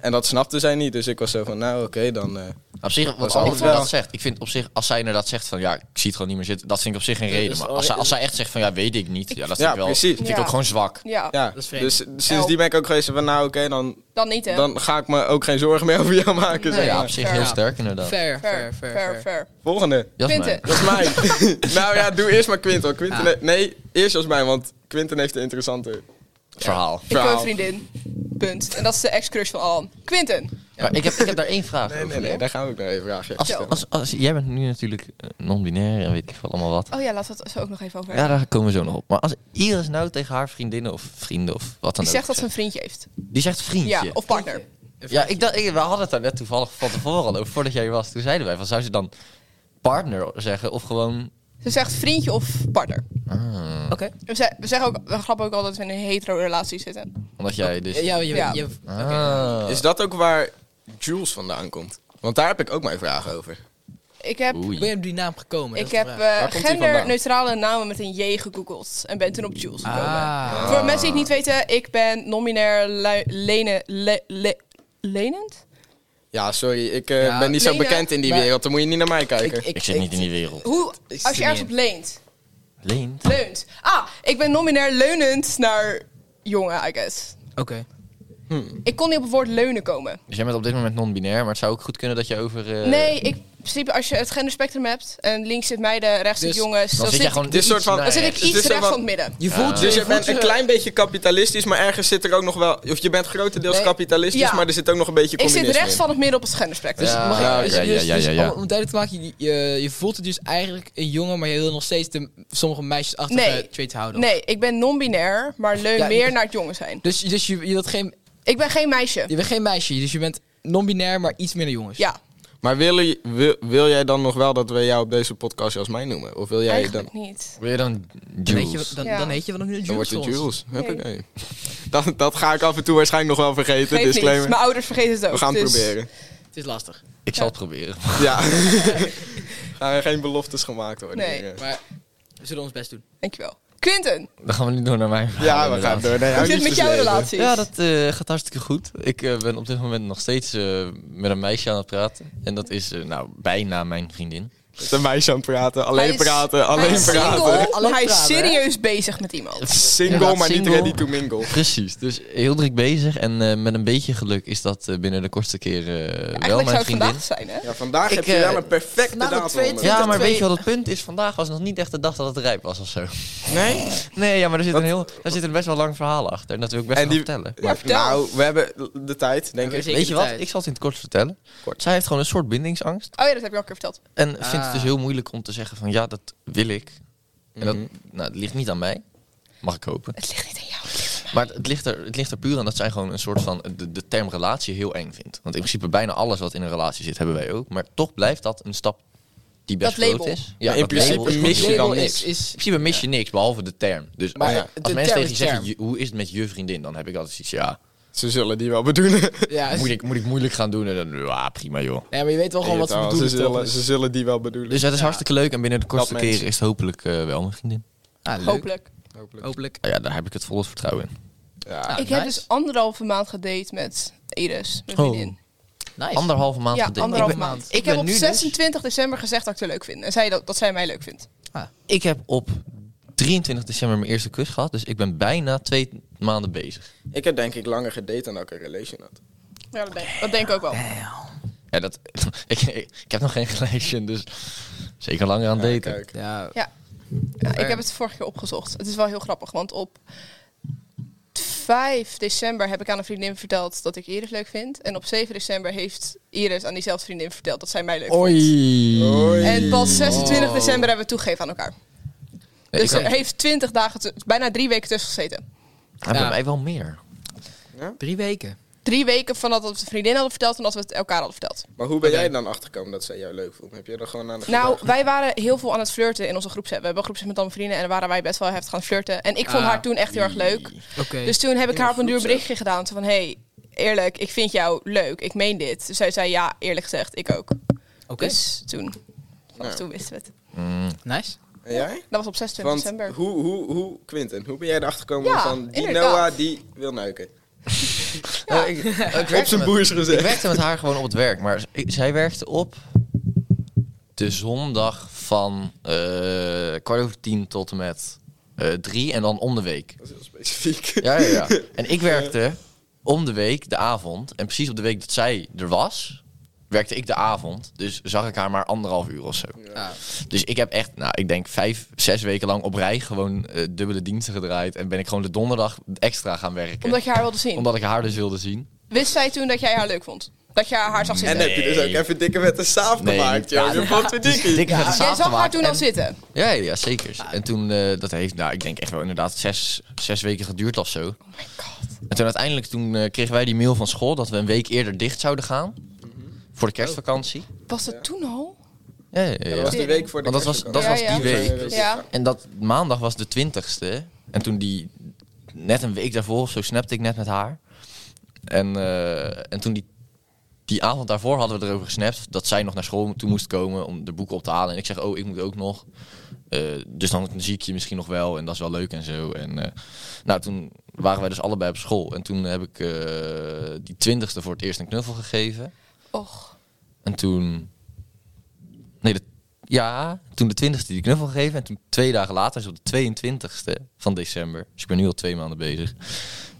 Speaker 3: En dat snapte zij niet, dus ik was zo van, nou oké, dan... eh,
Speaker 2: Op zich, wat
Speaker 3: is
Speaker 2: Alan
Speaker 3: altijd wel-
Speaker 2: inderdaad zegt. Ik vind op zich, als zij inderdaad zegt van ja, ik zie het gewoon niet meer zitten, dat vind ik op zich geen
Speaker 4: dat
Speaker 2: reden.
Speaker 4: is
Speaker 2: Maar
Speaker 4: wel-
Speaker 2: als zij, als zij echt zegt van ja, weet ik niet, ja, dat vind
Speaker 3: dus Ja,
Speaker 2: ik wel.
Speaker 3: precies.
Speaker 2: vind ik
Speaker 1: Ja.
Speaker 2: ook gewoon zwak.
Speaker 1: Ja,
Speaker 3: Ja,
Speaker 4: Dat is vreemd.
Speaker 3: dus sindsdien ben ik ook geweest van, nou oké, dan,
Speaker 1: dan niet hè?
Speaker 3: dan ga ik me ook geen zorgen meer over jou maken.
Speaker 2: Ja,
Speaker 3: zeg maar.
Speaker 2: op zich
Speaker 1: fair.
Speaker 2: heel
Speaker 1: Ja.
Speaker 2: sterk inderdaad.
Speaker 4: Fair, fair, fair. fair.
Speaker 1: fair.
Speaker 3: Volgende.
Speaker 2: Jasmijn.
Speaker 1: Quinten.
Speaker 3: Dat is mijn. nou ja, doe eerst maar Quinten. Quinten
Speaker 4: Ah.
Speaker 3: Nee, eerst als mij, want Quinten heeft een interessante
Speaker 2: Verhaal.
Speaker 1: Ik heb een
Speaker 3: verhaal.
Speaker 1: vriendin. Punt. En dat is de ex-crush van Alan. Quinten.
Speaker 2: Maar ik heb, ik heb daar één vraag
Speaker 3: Nee,
Speaker 2: over.
Speaker 3: nee, nee, daar gaan we ook nog even vragen.
Speaker 2: Als, als, als, jij bent nu natuurlijk eh, non-binair en weet ik veel allemaal wat.
Speaker 1: Oh ja, laten we het zo ook nog even over
Speaker 2: Ja,
Speaker 1: hebben.
Speaker 2: daar komen we zo nog op. Maar als Iris nou tegen haar vriendinnen of vrienden of wat dan
Speaker 1: Die
Speaker 2: ook...
Speaker 1: zegt dat ze een vriendje heeft.
Speaker 2: Die zegt vriendje.
Speaker 1: Ja, of partner.
Speaker 2: Ja, ik dacht, ik- we hadden het daar net toevallig van tevoren al over, voordat jij hier was. Toen zeiden wij, van, zou ze dan partner zeggen of gewoon...
Speaker 1: Ze zegt vriendje of partner.
Speaker 2: Ah,
Speaker 4: Oké.
Speaker 1: We, ze- we zeggen ook, we grappen ook altijd dat we in een hetero relatie zitten.
Speaker 2: omdat jij dus...
Speaker 4: Ja, je,
Speaker 1: Ja.
Speaker 4: je-
Speaker 2: Ah.
Speaker 3: Is dat ook waar Jules vandaan komt? Want daar heb ik ook mijn vragen over.
Speaker 1: Ik heb,
Speaker 4: Hoe
Speaker 2: Oei.
Speaker 4: ben je op die naam gekomen?
Speaker 1: ik
Speaker 4: Dat is
Speaker 1: heb
Speaker 4: de
Speaker 1: eh,
Speaker 3: komt die
Speaker 1: genderneutrale namen met een J gegoogeld. En ben toen op Jules
Speaker 4: vraag.
Speaker 1: gekomen.
Speaker 4: Ah.
Speaker 1: Voor mensen die het niet weten, ik ben nominair lui- lene, le, le- lenend?
Speaker 3: Ja, sorry, ik eh,
Speaker 4: Ja.
Speaker 3: ben niet zo
Speaker 1: Lena,
Speaker 3: bekend in die
Speaker 4: maar-
Speaker 3: wereld. Dan moet je niet naar mij kijken.
Speaker 2: Ik zit niet in die wereld.
Speaker 1: Hoe,
Speaker 4: Ik
Speaker 1: als
Speaker 4: zie
Speaker 1: je ergens
Speaker 4: niet.
Speaker 1: op leent,
Speaker 2: Leent.
Speaker 1: leunt. Ah, ik ben nominair leunend naar jongen, I guess.
Speaker 4: Oké.
Speaker 1: Ik kon niet op het woord leunen komen.
Speaker 2: Dus jij bent op dit moment non-binair, maar het zou ook goed kunnen dat je over... eh,
Speaker 1: Nee, ik, in principe als je het genderspectrum hebt en links zit meiden, rechts zit
Speaker 4: Dus
Speaker 1: jongens,
Speaker 2: Dan
Speaker 1: dan,
Speaker 2: zit jij
Speaker 1: zit,
Speaker 2: gewoon...
Speaker 1: ik-
Speaker 3: Dit is soort van-
Speaker 1: dan
Speaker 2: iets
Speaker 1: zit
Speaker 2: naar
Speaker 1: ik
Speaker 2: rechts.
Speaker 1: iets
Speaker 3: Dus er
Speaker 1: rechts
Speaker 3: wa-
Speaker 1: van het midden.
Speaker 4: Je voelt je,
Speaker 3: Dus je
Speaker 4: voelt
Speaker 3: bent
Speaker 4: je-
Speaker 3: een
Speaker 2: eh,
Speaker 3: klein beetje kapitalistisch, maar ergens zit er ook nog wel... Of je bent grotendeels
Speaker 4: Nee.
Speaker 3: kapitalistisch,
Speaker 1: Ja.
Speaker 3: maar er zit ook nog een beetje
Speaker 1: Ik
Speaker 3: communisme
Speaker 1: zit rechts
Speaker 3: in.
Speaker 1: van het midden op het genderspectrum.
Speaker 4: Dus
Speaker 2: Ja,
Speaker 4: mag ik-
Speaker 3: ja,
Speaker 4: dus-
Speaker 2: ja,
Speaker 4: dus-
Speaker 2: ja, ja,
Speaker 4: dus
Speaker 2: ja.
Speaker 4: Om, om duidelijk te maken, je, je, je voelt het dus eigenlijk een jongen, maar je wil nog steeds de, sommige meisjes achter
Speaker 1: Nee.
Speaker 4: trait houden.
Speaker 1: Nee, ik ben non-binair, maar leun
Speaker 4: Ja,
Speaker 1: meer
Speaker 4: ik-
Speaker 1: naar het jongen zijn.
Speaker 4: Dus, dus je, je, wilt geen,
Speaker 1: Ik ben geen meisje.
Speaker 4: je bent geen meisje, dus je bent non-binair, maar iets minder jongens.
Speaker 1: Ja,
Speaker 3: Maar wil, je- wil, wil jij dan nog wel dat we jou op deze podcast als mij noemen? Of wil jij dan...
Speaker 1: eigenlijk niet.
Speaker 2: Wil je dan
Speaker 4: Dan heet je,
Speaker 2: Jules?
Speaker 4: wat- dan,
Speaker 1: Ja.
Speaker 4: dan heet je wel nog niet
Speaker 3: Dan wordt
Speaker 4: Jules.
Speaker 3: het
Speaker 4: voor ons.
Speaker 3: Jules. Huppakee. Dat, dat ga ik af en toe waarschijnlijk nog wel vergeten.
Speaker 1: Geeft niet.
Speaker 3: disclaimer.
Speaker 1: Mijn ouders vergeten het ook.
Speaker 3: We gaan het
Speaker 1: dus-
Speaker 3: proberen.
Speaker 4: Het is lastig.
Speaker 2: Ik zal het proberen.
Speaker 3: Ja. Gaan er geen beloftes gemaakt worden.
Speaker 1: Nee.
Speaker 3: hier. eh.
Speaker 4: Maar we zullen ons best doen.
Speaker 1: Dankjewel. Quinten,
Speaker 2: Dan gaan we nu door naar mijn verhaal,
Speaker 3: Ja, we
Speaker 2: inderdaad.
Speaker 3: gaan door. Nee,
Speaker 1: hoe
Speaker 3: hou
Speaker 1: zit het
Speaker 3: niet
Speaker 1: met
Speaker 3: te
Speaker 1: jouw
Speaker 3: slepen.
Speaker 1: relaties?
Speaker 2: Ja, dat eh, gaat hartstikke goed. Ik eh, ben op dit moment nog steeds eh, met een meisje aan het praten. En dat is eh, nou, bijna mijn vriendin.
Speaker 3: Met een meisje aan het praten. Alleen
Speaker 1: Hij is-
Speaker 3: praten,
Speaker 1: hij
Speaker 3: alleen
Speaker 1: is
Speaker 3: praten.
Speaker 1: single,
Speaker 2: Alleen
Speaker 1: maar hij is
Speaker 2: praten, hè?
Speaker 1: serieus bezig met iemand.
Speaker 3: Single,
Speaker 2: Inderdaad,
Speaker 3: maar niet
Speaker 2: single.
Speaker 3: ready to mingle.
Speaker 2: Precies, dus heel druk bezig en eh, met een beetje geluk is dat eh, binnen de kortste keer eh, wel
Speaker 1: Eigenlijk zou
Speaker 2: mijn
Speaker 1: het
Speaker 2: vriendin.
Speaker 1: vandaag zijn, hè?
Speaker 3: Ja, vandaag
Speaker 2: Ik,
Speaker 3: heb je
Speaker 2: eh,
Speaker 3: wel een perfecte
Speaker 4: vandaag op
Speaker 3: datum.
Speaker 4: twee-
Speaker 3: man.
Speaker 2: Ja, maar
Speaker 4: Twee-
Speaker 2: weet je wat het punt is? Vandaag was nog niet echt de dag dat het rijp was of zo.
Speaker 3: Nee?
Speaker 2: Nee, ja, maar er zit,
Speaker 3: Wat-
Speaker 2: een heel, daar zit een best wel lang verhaal achter en dat wil ik best
Speaker 3: En
Speaker 2: wel
Speaker 3: die-
Speaker 2: vertellen.
Speaker 1: Ja, vertel.
Speaker 3: Nou, we hebben de tijd, denk
Speaker 4: We
Speaker 3: ik.
Speaker 4: hebben
Speaker 2: Weet je wat?
Speaker 4: tijd.
Speaker 2: Ik zal het in het kort vertellen. Zij heeft gewoon een soort bindingsangst.
Speaker 1: Oh ja, dat heb je al een keer verteld.
Speaker 2: En vindt het
Speaker 4: Ah.
Speaker 2: dus heel moeilijk om te zeggen van ja, dat wil ik. En dat,
Speaker 3: Mhm.
Speaker 2: nou, dat ligt niet aan mij. Mag ik hopen.
Speaker 1: Het ligt niet aan jou.
Speaker 2: Maar het ligt, er, het ligt er puur aan dat zij gewoon een soort van de, de term relatie heel eng vindt. Want in principe bijna alles wat in een relatie zit hebben wij ook. Maar toch blijft dat een stap die best
Speaker 1: Dat
Speaker 2: groot
Speaker 1: label.
Speaker 2: is.
Speaker 3: Maar in
Speaker 2: dat
Speaker 3: principe
Speaker 2: label is
Speaker 3: mis
Speaker 2: gewoon
Speaker 3: je
Speaker 2: heel-
Speaker 3: dan
Speaker 4: Label
Speaker 3: niks.
Speaker 4: Is, is,
Speaker 2: In principe mis je niks, behalve de term. Dus
Speaker 4: Maar
Speaker 2: als,
Speaker 4: ja,
Speaker 2: als
Speaker 4: de
Speaker 2: mensen
Speaker 4: term
Speaker 2: tegen je
Speaker 4: is
Speaker 2: zeggen,
Speaker 4: term.
Speaker 2: "Je- hoe is het met je vriendin? Dan heb ik altijd zoiets, ja,
Speaker 3: Ze zullen die wel bedoelen.
Speaker 4: ja,
Speaker 2: moet
Speaker 4: is-
Speaker 2: ik, moet ik moeilijk gaan doen? En dan, ja, prima joh.
Speaker 4: Nee, maar je weet wel gewoon wat ze
Speaker 3: Ja,
Speaker 4: bedoelen.
Speaker 3: ze,
Speaker 4: toch?
Speaker 3: zullen, ze zullen die wel bedoelen.
Speaker 2: Dus het is hartstikke leuk en binnen de kortste
Speaker 3: mensen.
Speaker 2: keer is het hopelijk eh, wel mijn vriendin.
Speaker 4: Ah, leuk.
Speaker 1: Hopelijk.
Speaker 3: Hopelijk.
Speaker 4: Hopelijk.
Speaker 2: Nou ja, daar heb ik het volle vertrouwen in.
Speaker 3: Ja.
Speaker 4: Ah,
Speaker 1: ik heb
Speaker 4: nice.
Speaker 1: dus anderhalve maand gedate met Iris, mijn
Speaker 2: Oh.
Speaker 1: vriendin.
Speaker 4: Nice.
Speaker 2: Anderhalve maand
Speaker 1: Ja,
Speaker 2: gedate.
Speaker 1: anderhalve
Speaker 2: ik, ben-
Speaker 1: maand.
Speaker 2: ik
Speaker 1: Ik, heb
Speaker 2: ben
Speaker 1: op
Speaker 2: nu dus-
Speaker 1: 26 december gezegd dat ik ze leuk vind. En zij dat, dat zij mij leuk vindt.
Speaker 2: ik heb op 23 december mijn eerste kus gehad, dus ik ben bijna twee maanden bezig.
Speaker 3: Ik heb denk ik langer gedate dan dat ik een relation had.
Speaker 1: Ja, dat denk, dat denk ik ook wel.
Speaker 2: Ja, dat, ik, ik heb nog geen relation, dus zeker langer aan
Speaker 3: Ja,
Speaker 2: daten.
Speaker 3: kijk.
Speaker 4: Ja,
Speaker 1: Ja, ik heb het vorige keer opgezocht. Het is wel heel grappig, want op 5 december heb ik aan een vriendin verteld dat ik Iris leuk vind. En op 7 december heeft Iris aan diezelfde vriendin verteld dat zij mij leuk vindt.
Speaker 2: Oh.
Speaker 3: Oei.
Speaker 1: En pas 26 december hebben we toegegeven aan elkaar.
Speaker 2: Nee, ik
Speaker 1: Dus
Speaker 2: had-
Speaker 1: er heeft 20 dagen, tu- bijna drie weken tussen gezeten.
Speaker 2: ja, bij
Speaker 4: Ja.
Speaker 2: mij wel meer.
Speaker 4: drie weken.
Speaker 1: Drie weken van dat we het de vriendin hadden verteld en dat we het elkaar hadden verteld.
Speaker 3: Maar hoe ben jij dan achtergekomen dat zij jou leuk vond? Heb jij dat gewoon aan de
Speaker 1: Nou,
Speaker 3: gedacht?
Speaker 1: wij waren heel veel aan het flirten in onze groepsapp. We hebben een groepsapp met allemaal vrienden en daar waren wij best wel heftig aan het flirten. En ik vond
Speaker 4: Ah,
Speaker 1: haar toen echt heel erg leuk.
Speaker 4: Oké.
Speaker 1: Dus toen heb ik haar op een duur
Speaker 3: groepsapp.
Speaker 1: berichtje gedaan. Zo van, hey, eerlijk, ik vind jou leuk. Ik meen dit. Dus zij zei, ja, eerlijk gezegd, ik ook.
Speaker 4: Oké.
Speaker 1: Dus toen, vanaf
Speaker 3: Ja.
Speaker 1: toen wisten we het.
Speaker 4: Nice.
Speaker 3: En jij?
Speaker 1: Dat was op 26
Speaker 3: Want
Speaker 1: december.
Speaker 3: hoe, hoe, hoe, Quinten, hoe ben jij erachter gekomen
Speaker 1: Ja,
Speaker 3: van die
Speaker 1: inderdaad.
Speaker 3: Noah die wil neuken?
Speaker 2: Ja, Oh, ik, ik werkte
Speaker 3: Op zijn
Speaker 2: met-
Speaker 3: boers
Speaker 2: Ik
Speaker 3: gezegd.
Speaker 2: werkte met haar gewoon op het werk, maar z- ik- zij werkte op de zondag van eh, kwart over tien tot en met eh, drie en dan om de week.
Speaker 3: Dat is heel specifiek.
Speaker 2: Ja, ja, ja. En ik werkte om de week, de avond. En precies op de week dat zij er was, werkte ik de avond. Dus zag ik haar maar anderhalf uur of zo.
Speaker 4: Ah,
Speaker 2: Dus ik heb echt, nou, ik denk vijf, zes weken lang op rij gewoon eh, dubbele diensten gedraaid. En ben ik gewoon de donderdag extra gaan werken.
Speaker 1: Omdat je haar wilde zien.
Speaker 2: Omdat ik haar dus wilde zien.
Speaker 1: Wist zij toen dat jij haar leuk vond? Dat je haar zag
Speaker 3: En
Speaker 1: zitten?
Speaker 3: heb je dus ook even dikke met de saaf
Speaker 2: Nee,
Speaker 3: gemaakt,
Speaker 2: ja,
Speaker 3: joh. Je
Speaker 2: ja.
Speaker 3: vond het dikkie.
Speaker 2: Dikke vette
Speaker 1: Jij
Speaker 2: zaad
Speaker 1: zag haar
Speaker 2: gemaakt
Speaker 1: toen
Speaker 2: en-
Speaker 1: al zitten.
Speaker 3: Oh
Speaker 2: Ja, ja, ja, zeker. En toen, eh, dat heeft, nou, ik denk echt wel inderdaad zes, zes weken geduurd of zo.
Speaker 1: Oh my god.
Speaker 2: En toen uiteindelijk toen, eh, kregen wij die mail van school dat we een week eerder dicht zouden gaan.
Speaker 3: Mhm.
Speaker 2: Voor de kerstvakantie.
Speaker 1: Was dat toen al?
Speaker 2: Ja, ja, ja,
Speaker 3: Oh. Ja,
Speaker 2: ja.
Speaker 3: dat was de week voor de
Speaker 2: Want dat was-
Speaker 3: kerstvakantie.
Speaker 1: dat was Ja, die
Speaker 2: ja. week.
Speaker 3: Dat was-
Speaker 1: Ja.
Speaker 2: En dat maandag was de twintigste. En toen die, net een week daarvoor, of zo snapte ik net met haar. En, eh, en toen die, die avond daarvoor hadden we erover gesnapt dat zij nog naar school toe moest komen om de boeken op te halen. En ik zeg, oh, ik moet ook nog. Eh, dus dan zie ik je misschien nog wel en dat is wel leuk en zo. En eh, nou, toen waren wij dus allebei op school. En toen heb ik eh, die twintigste voor het eerst een knuffel gegeven.
Speaker 1: Och.
Speaker 2: En toen. Nee, de- ja, toen de 20ste die knuffel gegeven. En toen twee dagen later, dus op de 22ste van december. Dus ik ben nu al twee maanden bezig.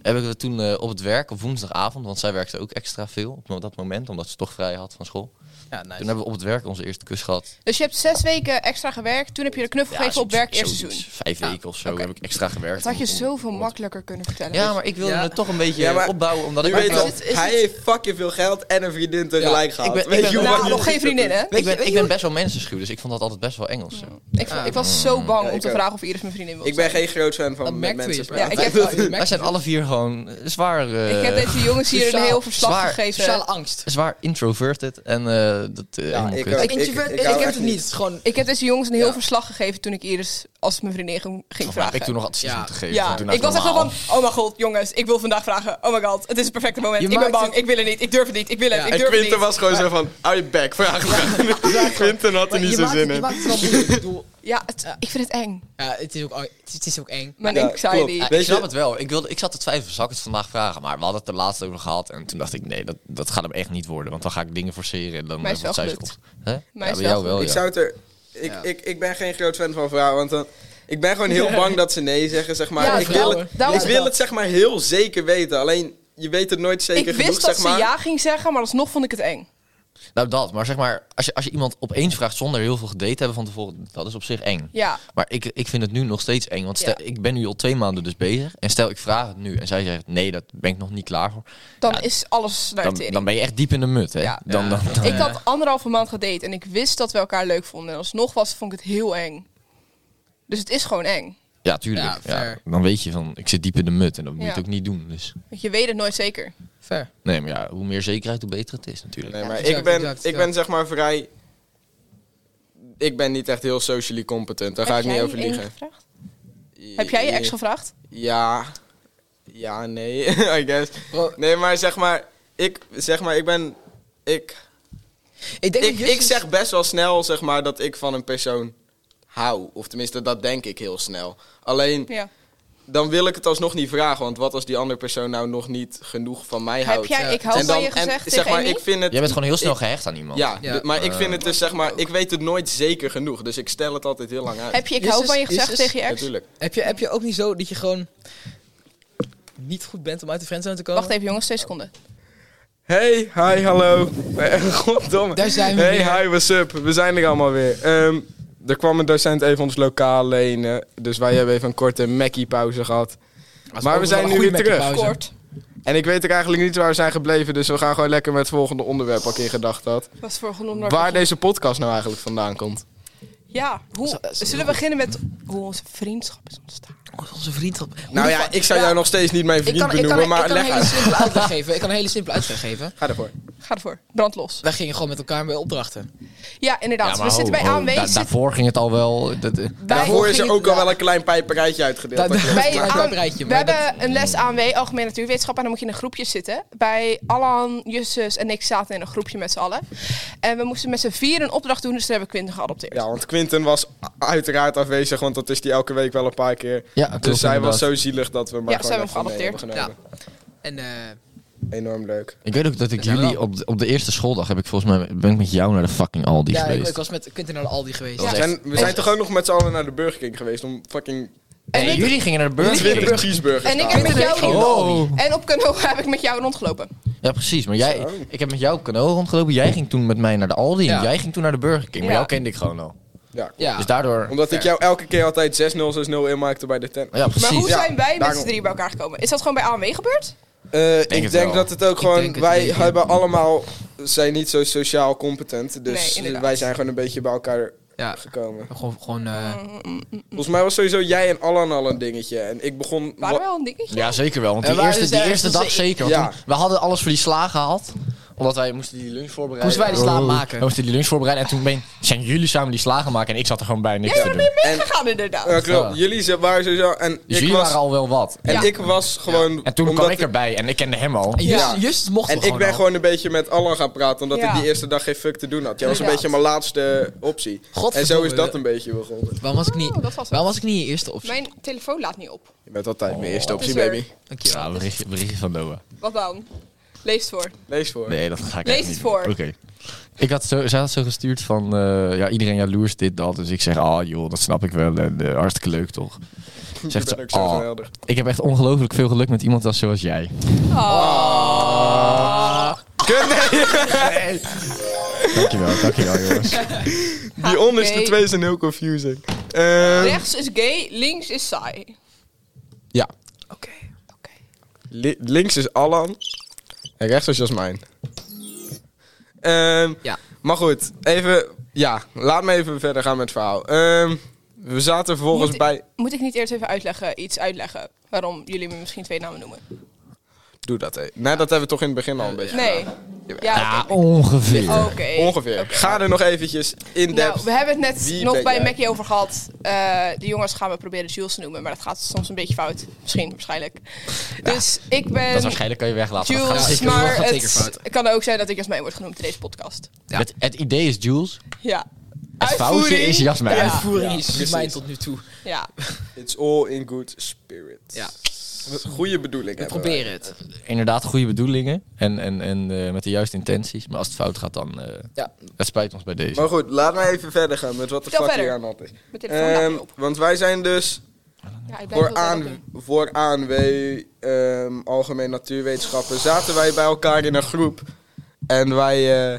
Speaker 2: Heb ik het toen eh, op het werk op woensdagavond. Want zij werkte ook extra veel op dat moment. Omdat ze toch vrij had van school.
Speaker 4: ja, nice.
Speaker 2: Toen hebben we op het werk onze eerste kus gehad.
Speaker 1: Dus je hebt zes weken extra gewerkt. Toen heb je de knuffel gegeven op
Speaker 2: zoiets-
Speaker 1: werk eerste
Speaker 2: zoiets.
Speaker 1: seizoen.
Speaker 2: Vijf
Speaker 1: Ja,
Speaker 2: weken of zo
Speaker 1: oké.
Speaker 2: heb ik extra gewerkt.
Speaker 1: Dat had je
Speaker 2: om- om-
Speaker 1: zoveel
Speaker 2: om-
Speaker 1: makkelijker kunnen vertellen.
Speaker 2: Ja, maar ik wilde
Speaker 4: Ja.
Speaker 2: het toch een beetje
Speaker 3: Ja, maar-
Speaker 2: opbouwen. Omdat
Speaker 3: Je
Speaker 2: ik ook
Speaker 3: weet
Speaker 2: wel-
Speaker 3: al,
Speaker 1: is het-
Speaker 3: hij heeft fucking veel geld en een vriendin tegelijk
Speaker 2: Ja,
Speaker 3: gehad.
Speaker 2: ik ben-
Speaker 3: Weet
Speaker 2: ik ben-
Speaker 3: je hoe
Speaker 1: Nou,
Speaker 3: wat je
Speaker 1: nog geen
Speaker 3: doet?
Speaker 1: vriendin, hè?
Speaker 2: ik, ben, ik ben best wel mensenschuw, dus ik vond dat altijd best wel Engels. zo.
Speaker 1: Ik, vo- ik was zo bang
Speaker 3: Ja,
Speaker 1: om
Speaker 3: ik
Speaker 1: te
Speaker 3: ook.
Speaker 1: vragen of Iris mijn vriendin wil
Speaker 3: Ik ben geen groot fan van
Speaker 4: Dat
Speaker 3: met
Speaker 4: merkte je
Speaker 3: mensen
Speaker 4: eens,
Speaker 1: Ja,
Speaker 3: praten.
Speaker 1: ik heb, wel-
Speaker 2: Wij zijn alle vier gewoon eh, zwaar... eh,
Speaker 1: ik heb deze jongens hier
Speaker 4: Sociaal-
Speaker 1: een heel verslag
Speaker 2: zwaar-
Speaker 1: gegeven.
Speaker 4: Sociale angst.
Speaker 2: zwaar introverted en eh, dat eh, helemaal
Speaker 3: ik
Speaker 2: kut.
Speaker 3: ook.
Speaker 4: Ik, introvert,
Speaker 3: ik
Speaker 4: ik,
Speaker 3: hou
Speaker 4: heb
Speaker 3: echt
Speaker 4: het
Speaker 3: niet.
Speaker 4: niet. Het is gewoon...
Speaker 1: Ik heb deze jongens een heel
Speaker 4: Ja.
Speaker 1: verslag gegeven toen ik Iris als mijn vriendin ging, ging
Speaker 2: Of
Speaker 1: vragen.
Speaker 2: Heb ik toen nog advies
Speaker 4: Ja.
Speaker 2: moeten geven?
Speaker 1: ja,
Speaker 2: Toen
Speaker 1: ik was echt wel
Speaker 2: normaal.
Speaker 1: van, oh mijn god, jongens, ik wil vandaag vragen. Oh my god, het is het perfecte moment.
Speaker 4: Je
Speaker 1: ik ben
Speaker 4: maakt
Speaker 1: bang,
Speaker 4: het-
Speaker 1: ik wil het niet, ik durf het niet, ik wil het,
Speaker 4: Ja.
Speaker 1: ik
Speaker 3: En
Speaker 1: durf het
Speaker 3: Quinten
Speaker 1: niet.
Speaker 3: was gewoon zo van, hou je bek, vraag maar. Quinten had er
Speaker 4: Maar
Speaker 3: niet
Speaker 4: je
Speaker 3: zo
Speaker 4: maakt-
Speaker 3: zin
Speaker 4: Je
Speaker 3: in.
Speaker 4: maakt het wel moeilijk. Ik bedoel,
Speaker 1: Ja, het-
Speaker 4: Ja.
Speaker 1: ik vind het eng.
Speaker 4: Ja, het is ook, het is, het is ook eng.
Speaker 1: Mijn
Speaker 3: Ja,
Speaker 1: anxiety.
Speaker 3: klopt.
Speaker 2: Ja,
Speaker 3: Weet
Speaker 2: ik snap
Speaker 3: je-
Speaker 2: het wel. Ik, wilde, ik zat te twijfelen, zal ik het vandaag vragen? Maar we hadden het er laatst over gehad. En toen dacht ik, nee, dat, dat gaat hem echt niet worden. Want dan ga ik dingen forceren en dan
Speaker 1: Mij is
Speaker 2: eh, wordt
Speaker 1: wel
Speaker 2: zij
Speaker 1: gelukt.
Speaker 2: schot. Hè?
Speaker 1: Mij
Speaker 2: ja,
Speaker 1: is
Speaker 2: bij
Speaker 1: wel
Speaker 2: jou wel,
Speaker 1: gelukt.
Speaker 2: Oh, ja.
Speaker 3: Ik zou het er... Ik,
Speaker 4: Ja.
Speaker 3: ik, ik ben geen groot fan van vrouwen, want dan... Ik ben gewoon heel bang dat ze nee zeggen, zeg maar.
Speaker 1: Ja,
Speaker 3: ik wil
Speaker 1: vrouwen.
Speaker 3: het,
Speaker 1: Daarom
Speaker 3: ik
Speaker 1: is
Speaker 3: wil
Speaker 1: dat.
Speaker 3: het zeg maar heel zeker weten. Alleen, je weet het nooit zeker
Speaker 1: ik wist
Speaker 3: genoeg,
Speaker 1: dat
Speaker 3: zeg maar.
Speaker 1: ze ja ging zeggen, maar alsnog vond ik het eng.
Speaker 2: Nou, dat. Maar zeg maar, als je, als je iemand opeens vraagt zonder heel veel gedate hebben van tevoren, dat is op zich eng.
Speaker 1: Ja,
Speaker 2: Maar ik, ik vind het nu nog steeds eng. Want stel,
Speaker 1: Ja.
Speaker 2: ik ben nu al twee maanden dus bezig. En stel, ik vraag het nu en zij zegt, nee, dat ben ik nog niet klaar voor.
Speaker 1: dan
Speaker 2: Ja,
Speaker 1: is alles naar de
Speaker 2: Dan,
Speaker 1: tering.
Speaker 2: dan ben je echt diep in de mut, hè?
Speaker 1: Ja.
Speaker 2: Dan, dan, dan-
Speaker 1: ik had anderhalve maand gedate en ik wist dat we elkaar leuk vonden. En alsnog was, vond ik het heel eng. Dus het is gewoon eng.
Speaker 2: ja, tuurlijk.
Speaker 4: Ja,
Speaker 2: Ja,
Speaker 4: fair.
Speaker 2: dan weet je van, ik zit diep in de mut. En dat moet je
Speaker 1: Ja.
Speaker 2: het ook niet doen. Dus.
Speaker 1: Want je weet het nooit zeker.
Speaker 4: Ver.
Speaker 2: Nee, maar ja, hoe meer zekerheid, hoe beter het is natuurlijk.
Speaker 3: Nee, maar
Speaker 4: exact,
Speaker 3: ik, ben,
Speaker 4: exact,
Speaker 3: ik ben zeg maar vrij... Ik ben niet echt heel socially competent, daar ga ik
Speaker 1: Heb
Speaker 3: niet
Speaker 1: jij
Speaker 3: over
Speaker 1: één
Speaker 3: liegen.
Speaker 1: gevraagd? Heb jij je ex gevraagd?
Speaker 3: Ja. Ja, nee, I guess. Nee, maar zeg maar, ik, zeg maar, ik ben... Ik,
Speaker 4: Ik denk
Speaker 3: ik,
Speaker 4: dat Justus-
Speaker 3: ik zeg best wel snel, zeg maar, dat ik van een persoon hou. Of tenminste, dat denk ik heel snel. Alleen,
Speaker 1: Ja.
Speaker 3: dan wil ik het alsnog niet vragen. Want wat als die andere persoon nou nog niet genoeg van mij houdt?
Speaker 1: Heb jij ik hou
Speaker 3: en
Speaker 1: van
Speaker 3: dan,
Speaker 1: je gezegd
Speaker 3: en,
Speaker 1: tegen
Speaker 3: zeg maar,
Speaker 1: Amy?
Speaker 3: ik vind het...
Speaker 2: Jij bent gewoon heel snel
Speaker 3: ik-
Speaker 2: gehecht aan iemand.
Speaker 3: Ja,
Speaker 4: Ja.
Speaker 3: d- maar ik vind het dus, zeg maar, ik weet het nooit zeker genoeg. Dus ik stel het altijd heel lang uit.
Speaker 1: Heb je ik
Speaker 4: Justus-
Speaker 1: hou van je gezegd
Speaker 4: Justus-
Speaker 1: tegen je ex?
Speaker 3: Natuurlijk.
Speaker 4: Heb je, heb je ook niet zo dat je gewoon niet goed bent om uit de friendzone te komen?
Speaker 1: Wacht even jongens, twee seconden.
Speaker 3: Hey, hi, hallo. Eh, Goddomme.
Speaker 4: Daar zijn we
Speaker 3: Hey,
Speaker 4: weer.
Speaker 3: hi, what's up? We zijn er allemaal weer. Ehm, er kwam een docent even ons lokaal lenen. Dus wij hebben even een korte Mackie-pauze gehad. Maar we zijn nu weer terug.
Speaker 1: Kort.
Speaker 3: En ik weet ook eigenlijk niet waar we zijn gebleven. Dus we gaan gewoon lekker met het volgende onderwerp wat ik in gedachten had.
Speaker 1: Was voor genoemd
Speaker 3: Waar deze podcast nou eigenlijk vandaan komt.
Speaker 1: Ja, hoe, zullen we beginnen met hoe onze vriendschap is ontstaan?
Speaker 4: Onze vriendschap.
Speaker 3: Nou ja, ik zou jou nog steeds niet mijn
Speaker 4: Ik
Speaker 3: vriend
Speaker 4: kan, ik kan,
Speaker 3: benoemen,
Speaker 4: ik kan
Speaker 3: maar
Speaker 4: een
Speaker 3: leg
Speaker 4: hele
Speaker 3: uit.
Speaker 4: simpele uitleg geven. Ik kan een hele simpele uitleg geven.
Speaker 3: Ga ervoor.
Speaker 1: Ga ervoor. Brand los.
Speaker 4: Wij gingen gewoon met elkaar bij opdrachten.
Speaker 1: Ja, inderdaad. dus we zitten bij AMW.
Speaker 2: aanwezig.
Speaker 1: zit-
Speaker 2: daarvoor ging het al wel. Dat, eh,
Speaker 1: bij-
Speaker 3: Daarvoor is er
Speaker 4: gingen-
Speaker 3: ook al
Speaker 4: ja.
Speaker 3: wel een klein pijperijtje uitgedeeld.
Speaker 4: Dat- dat-
Speaker 1: bij
Speaker 4: Maar
Speaker 1: aan-
Speaker 4: dat rijtje,
Speaker 1: we
Speaker 4: maar dat-
Speaker 1: hebben een les AMW, Algemene Natuurwetenschap, en dan moet je in een groepje zitten. Bij Alan, Justus en ik zaten in een groepje met z'n allen. En we moesten met z'n vier een opdracht doen, dus daar hebben we Quinten geadopteerd.
Speaker 3: Ja, want Quinten was uiteraard afwezig, want dat is die elke week wel een paar keer.
Speaker 2: Ja, klopt,
Speaker 3: dus zij was
Speaker 2: Ah, inderdaad.
Speaker 3: zo zielig dat we maar
Speaker 1: Ja,
Speaker 3: gewoon
Speaker 1: zij hebben
Speaker 3: even
Speaker 1: hem
Speaker 3: mee hebben genomen.
Speaker 4: En eh,
Speaker 3: Enorm leuk.
Speaker 2: Ik weet ook dat ik
Speaker 4: zijn
Speaker 2: jullie
Speaker 4: wel.
Speaker 2: op de, op de eerste schooldag heb ik volgens mij ben ik met jou naar de fucking Aldi
Speaker 4: ja, ik,
Speaker 2: geweest.
Speaker 4: ik was met Quinten naar de Aldi geweest.
Speaker 2: Dat was
Speaker 3: We
Speaker 2: echt-
Speaker 3: zijn, we zijn toch ook nog met z'n allen naar de Burger King geweest om fucking
Speaker 1: En
Speaker 2: Nee,
Speaker 1: ik-
Speaker 2: jullie gingen naar de Burger
Speaker 3: 20
Speaker 2: King.
Speaker 3: cheeseburgers
Speaker 1: En
Speaker 3: te
Speaker 1: ik heb
Speaker 3: halen.
Speaker 1: met
Speaker 4: Quinten en ik
Speaker 1: jou Oh.
Speaker 4: gingen naar de Aldi.
Speaker 1: En op Canoa heb ik met jou rondgelopen.
Speaker 2: Ja, precies. Maar jij,
Speaker 3: Zo.
Speaker 2: ik heb met jou op kanaal rondgelopen. Jij ging toen met mij naar de Aldi en
Speaker 4: Ja.
Speaker 2: jij ging toen naar de Burger King. Maar
Speaker 1: Ja.
Speaker 2: jou kende ik gewoon al.
Speaker 3: Ja.
Speaker 4: Ja.
Speaker 2: Dus daardoor.
Speaker 3: Omdat ik jou elke keer altijd 6-0, 6-0 inmaakte bij de tent.
Speaker 2: Ja, precies.
Speaker 1: Maar hoe
Speaker 3: Ja,
Speaker 1: zijn wij met
Speaker 3: daarom.
Speaker 1: z'n drie bij elkaar gekomen? Is dat gewoon bij AMW gebeurd?
Speaker 3: Eh,
Speaker 2: denk
Speaker 3: ik
Speaker 2: het
Speaker 3: denk
Speaker 2: wel.
Speaker 3: dat het ook
Speaker 4: Ik
Speaker 3: gewoon...
Speaker 4: denk het
Speaker 3: wij
Speaker 4: zeker.
Speaker 3: hebben allemaal... zijn niet zo sociaal competent.
Speaker 1: Nee,
Speaker 3: Dus
Speaker 1: inderdaad.
Speaker 3: wij zijn gewoon een beetje bij elkaar
Speaker 4: Ja.
Speaker 3: gekomen.
Speaker 4: Gewoon, gewoon eh,
Speaker 1: Mm.
Speaker 3: Volgens mij was sowieso jij en Alan al een dingetje. En ik begon...
Speaker 1: Waren we wel een dingetje?
Speaker 2: Ja, zeker wel. Want
Speaker 4: En
Speaker 2: die
Speaker 4: waar
Speaker 2: eerste,
Speaker 4: is
Speaker 2: die
Speaker 4: ergens
Speaker 2: eerste
Speaker 4: tussen-
Speaker 2: dag zeker. want
Speaker 3: Ja.
Speaker 2: toen- we hadden alles voor die sla gehaald. Omdat wij moesten die lunch voorbereiden.
Speaker 4: Moesten wij die sla
Speaker 2: Oh.
Speaker 4: maken.
Speaker 2: We moesten die lunch voorbereiden. En toen ben, zijn jullie samen die slagen maken. En ik zat er gewoon bij niks
Speaker 1: Jij
Speaker 2: te
Speaker 1: bent
Speaker 2: doen.
Speaker 1: mee meegegaan inderdaad.
Speaker 3: Ja, klopt.
Speaker 2: Ja.
Speaker 3: Jullie ze- waren sowieso... En
Speaker 2: Dus
Speaker 3: ik
Speaker 2: jullie
Speaker 3: was,
Speaker 2: waren al wel wat.
Speaker 3: en
Speaker 1: Ja.
Speaker 3: ik was gewoon...
Speaker 2: En toen
Speaker 3: omdat
Speaker 2: kwam ik erbij. En ik kende hem al.
Speaker 4: en Justus,
Speaker 3: Ja.
Speaker 4: Justus mocht
Speaker 3: En
Speaker 4: er
Speaker 3: ik ben
Speaker 4: al.
Speaker 3: gewoon een beetje met Alan gaan praten, omdat
Speaker 1: Ja.
Speaker 3: ik die eerste dag geen fuck te doen had. Jij was een
Speaker 1: Inderdaad.
Speaker 3: beetje mijn laatste optie. En zo
Speaker 4: Godverdomme.
Speaker 3: is dat een beetje begonnen.
Speaker 4: Waarom was ik niet,
Speaker 1: Oh, dat was het.
Speaker 4: waarom was ik niet in je eerste optie?
Speaker 1: Mijn telefoon laat niet op.
Speaker 3: Je bent altijd mijn eerste
Speaker 1: optie,
Speaker 3: optie,
Speaker 1: Het is baby.
Speaker 3: baby.
Speaker 4: Dankjewel.
Speaker 2: Ja, berichtje, berichtje van Noah.
Speaker 1: Wat dan? Lees het voor.
Speaker 3: Lees voor.
Speaker 2: Nee, dat ga ik
Speaker 1: Lees
Speaker 2: echt
Speaker 1: het
Speaker 2: niet
Speaker 1: voor.
Speaker 2: doen. Oké. Ik had zo, zij had zo gestuurd van, eh, ja, iedereen jaloers dit, dat. Dus ik zeg, ah joh, dat snap ik wel. En, eh, hartstikke leuk toch. Zegt
Speaker 3: je
Speaker 2: ze,
Speaker 3: bent ook zo
Speaker 2: "Ah,
Speaker 3: geweldig.
Speaker 2: ik heb echt ongelooflijk veel geluk met iemand als zoals jij.
Speaker 1: Ah.
Speaker 3: Kut, nee.
Speaker 2: Dankjewel, dankjewel jongens.
Speaker 1: Ah,
Speaker 3: Die onderste
Speaker 1: Oké.
Speaker 3: twee zijn heel confusing. Ehm,
Speaker 1: Rechts is gay, links is saai.
Speaker 3: ja.
Speaker 1: Oké. Oké.
Speaker 3: Li- links is Alan. En rechts is Jasmijn. Ehm,
Speaker 4: Ja.
Speaker 3: Maar goed, even... Ja, laat me even verder gaan met het verhaal. Ehm, we zaten vervolgens
Speaker 1: Moet-
Speaker 3: bij...
Speaker 1: Moet ik niet eerst even uitleggen, iets uitleggen waarom jullie me misschien twee namen noemen?
Speaker 3: Doe dat, hè. Nee, dat hebben we toch in het begin al een beetje
Speaker 1: Nee. Ja,
Speaker 2: Ja,
Speaker 1: oké.
Speaker 2: ongeveer.
Speaker 1: Oké.
Speaker 3: Ongeveer.
Speaker 1: Oké.
Speaker 3: Ga er nog eventjes in depth.
Speaker 1: Nou, we hebben het net
Speaker 3: Wie
Speaker 1: nog
Speaker 3: ben
Speaker 1: bij
Speaker 3: jij?
Speaker 1: Mackie over gehad. Eh, de jongens gaan we proberen Jules te noemen, maar dat gaat soms een beetje fout. Misschien, waarschijnlijk. Dus ik
Speaker 2: Dat is
Speaker 1: ben
Speaker 2: waarschijnlijk kan je weglaten. dat gaat
Speaker 1: Jules,
Speaker 2: zeker-
Speaker 4: dat
Speaker 1: maar
Speaker 4: gaat zeker
Speaker 1: het
Speaker 4: fout.
Speaker 1: kan ook zijn dat ik Jasmijn word genoemd in deze podcast.
Speaker 2: Het, het idee is Jules.
Speaker 1: Ja.
Speaker 2: Het foutje
Speaker 1: Uitvoering.
Speaker 2: is Jasmijn.
Speaker 1: Ja.
Speaker 4: Uitvoering
Speaker 3: Ja,
Speaker 4: is
Speaker 3: precies.
Speaker 4: mijn tot nu toe.
Speaker 1: Ja.
Speaker 3: It's all in good spirit.
Speaker 4: Ja.
Speaker 3: Goede bedoeling
Speaker 4: We
Speaker 3: hebben
Speaker 4: proberen het.
Speaker 2: Inderdaad, goede bedoelingen. En, en, en eh, met de juiste intenties. Maar als het fout gaat, dan... eh
Speaker 4: Ja.
Speaker 2: Het spijt ons bij deze.
Speaker 3: wij. Maar goed, laat mij even verder gaan met wat de
Speaker 1: Vertel
Speaker 3: fuck hier
Speaker 1: verder.
Speaker 3: aan de hand is.
Speaker 1: Mijn telefoon laat
Speaker 3: Ehm,
Speaker 1: niet op.
Speaker 3: want wij zijn dus
Speaker 1: Ja, ik blijf
Speaker 3: voor,
Speaker 1: wel
Speaker 3: aan,
Speaker 1: werken.
Speaker 3: voor ANW, ehm, Algemeen Natuurwetenschappen, zaten wij bij elkaar in een groep. En wij... eh,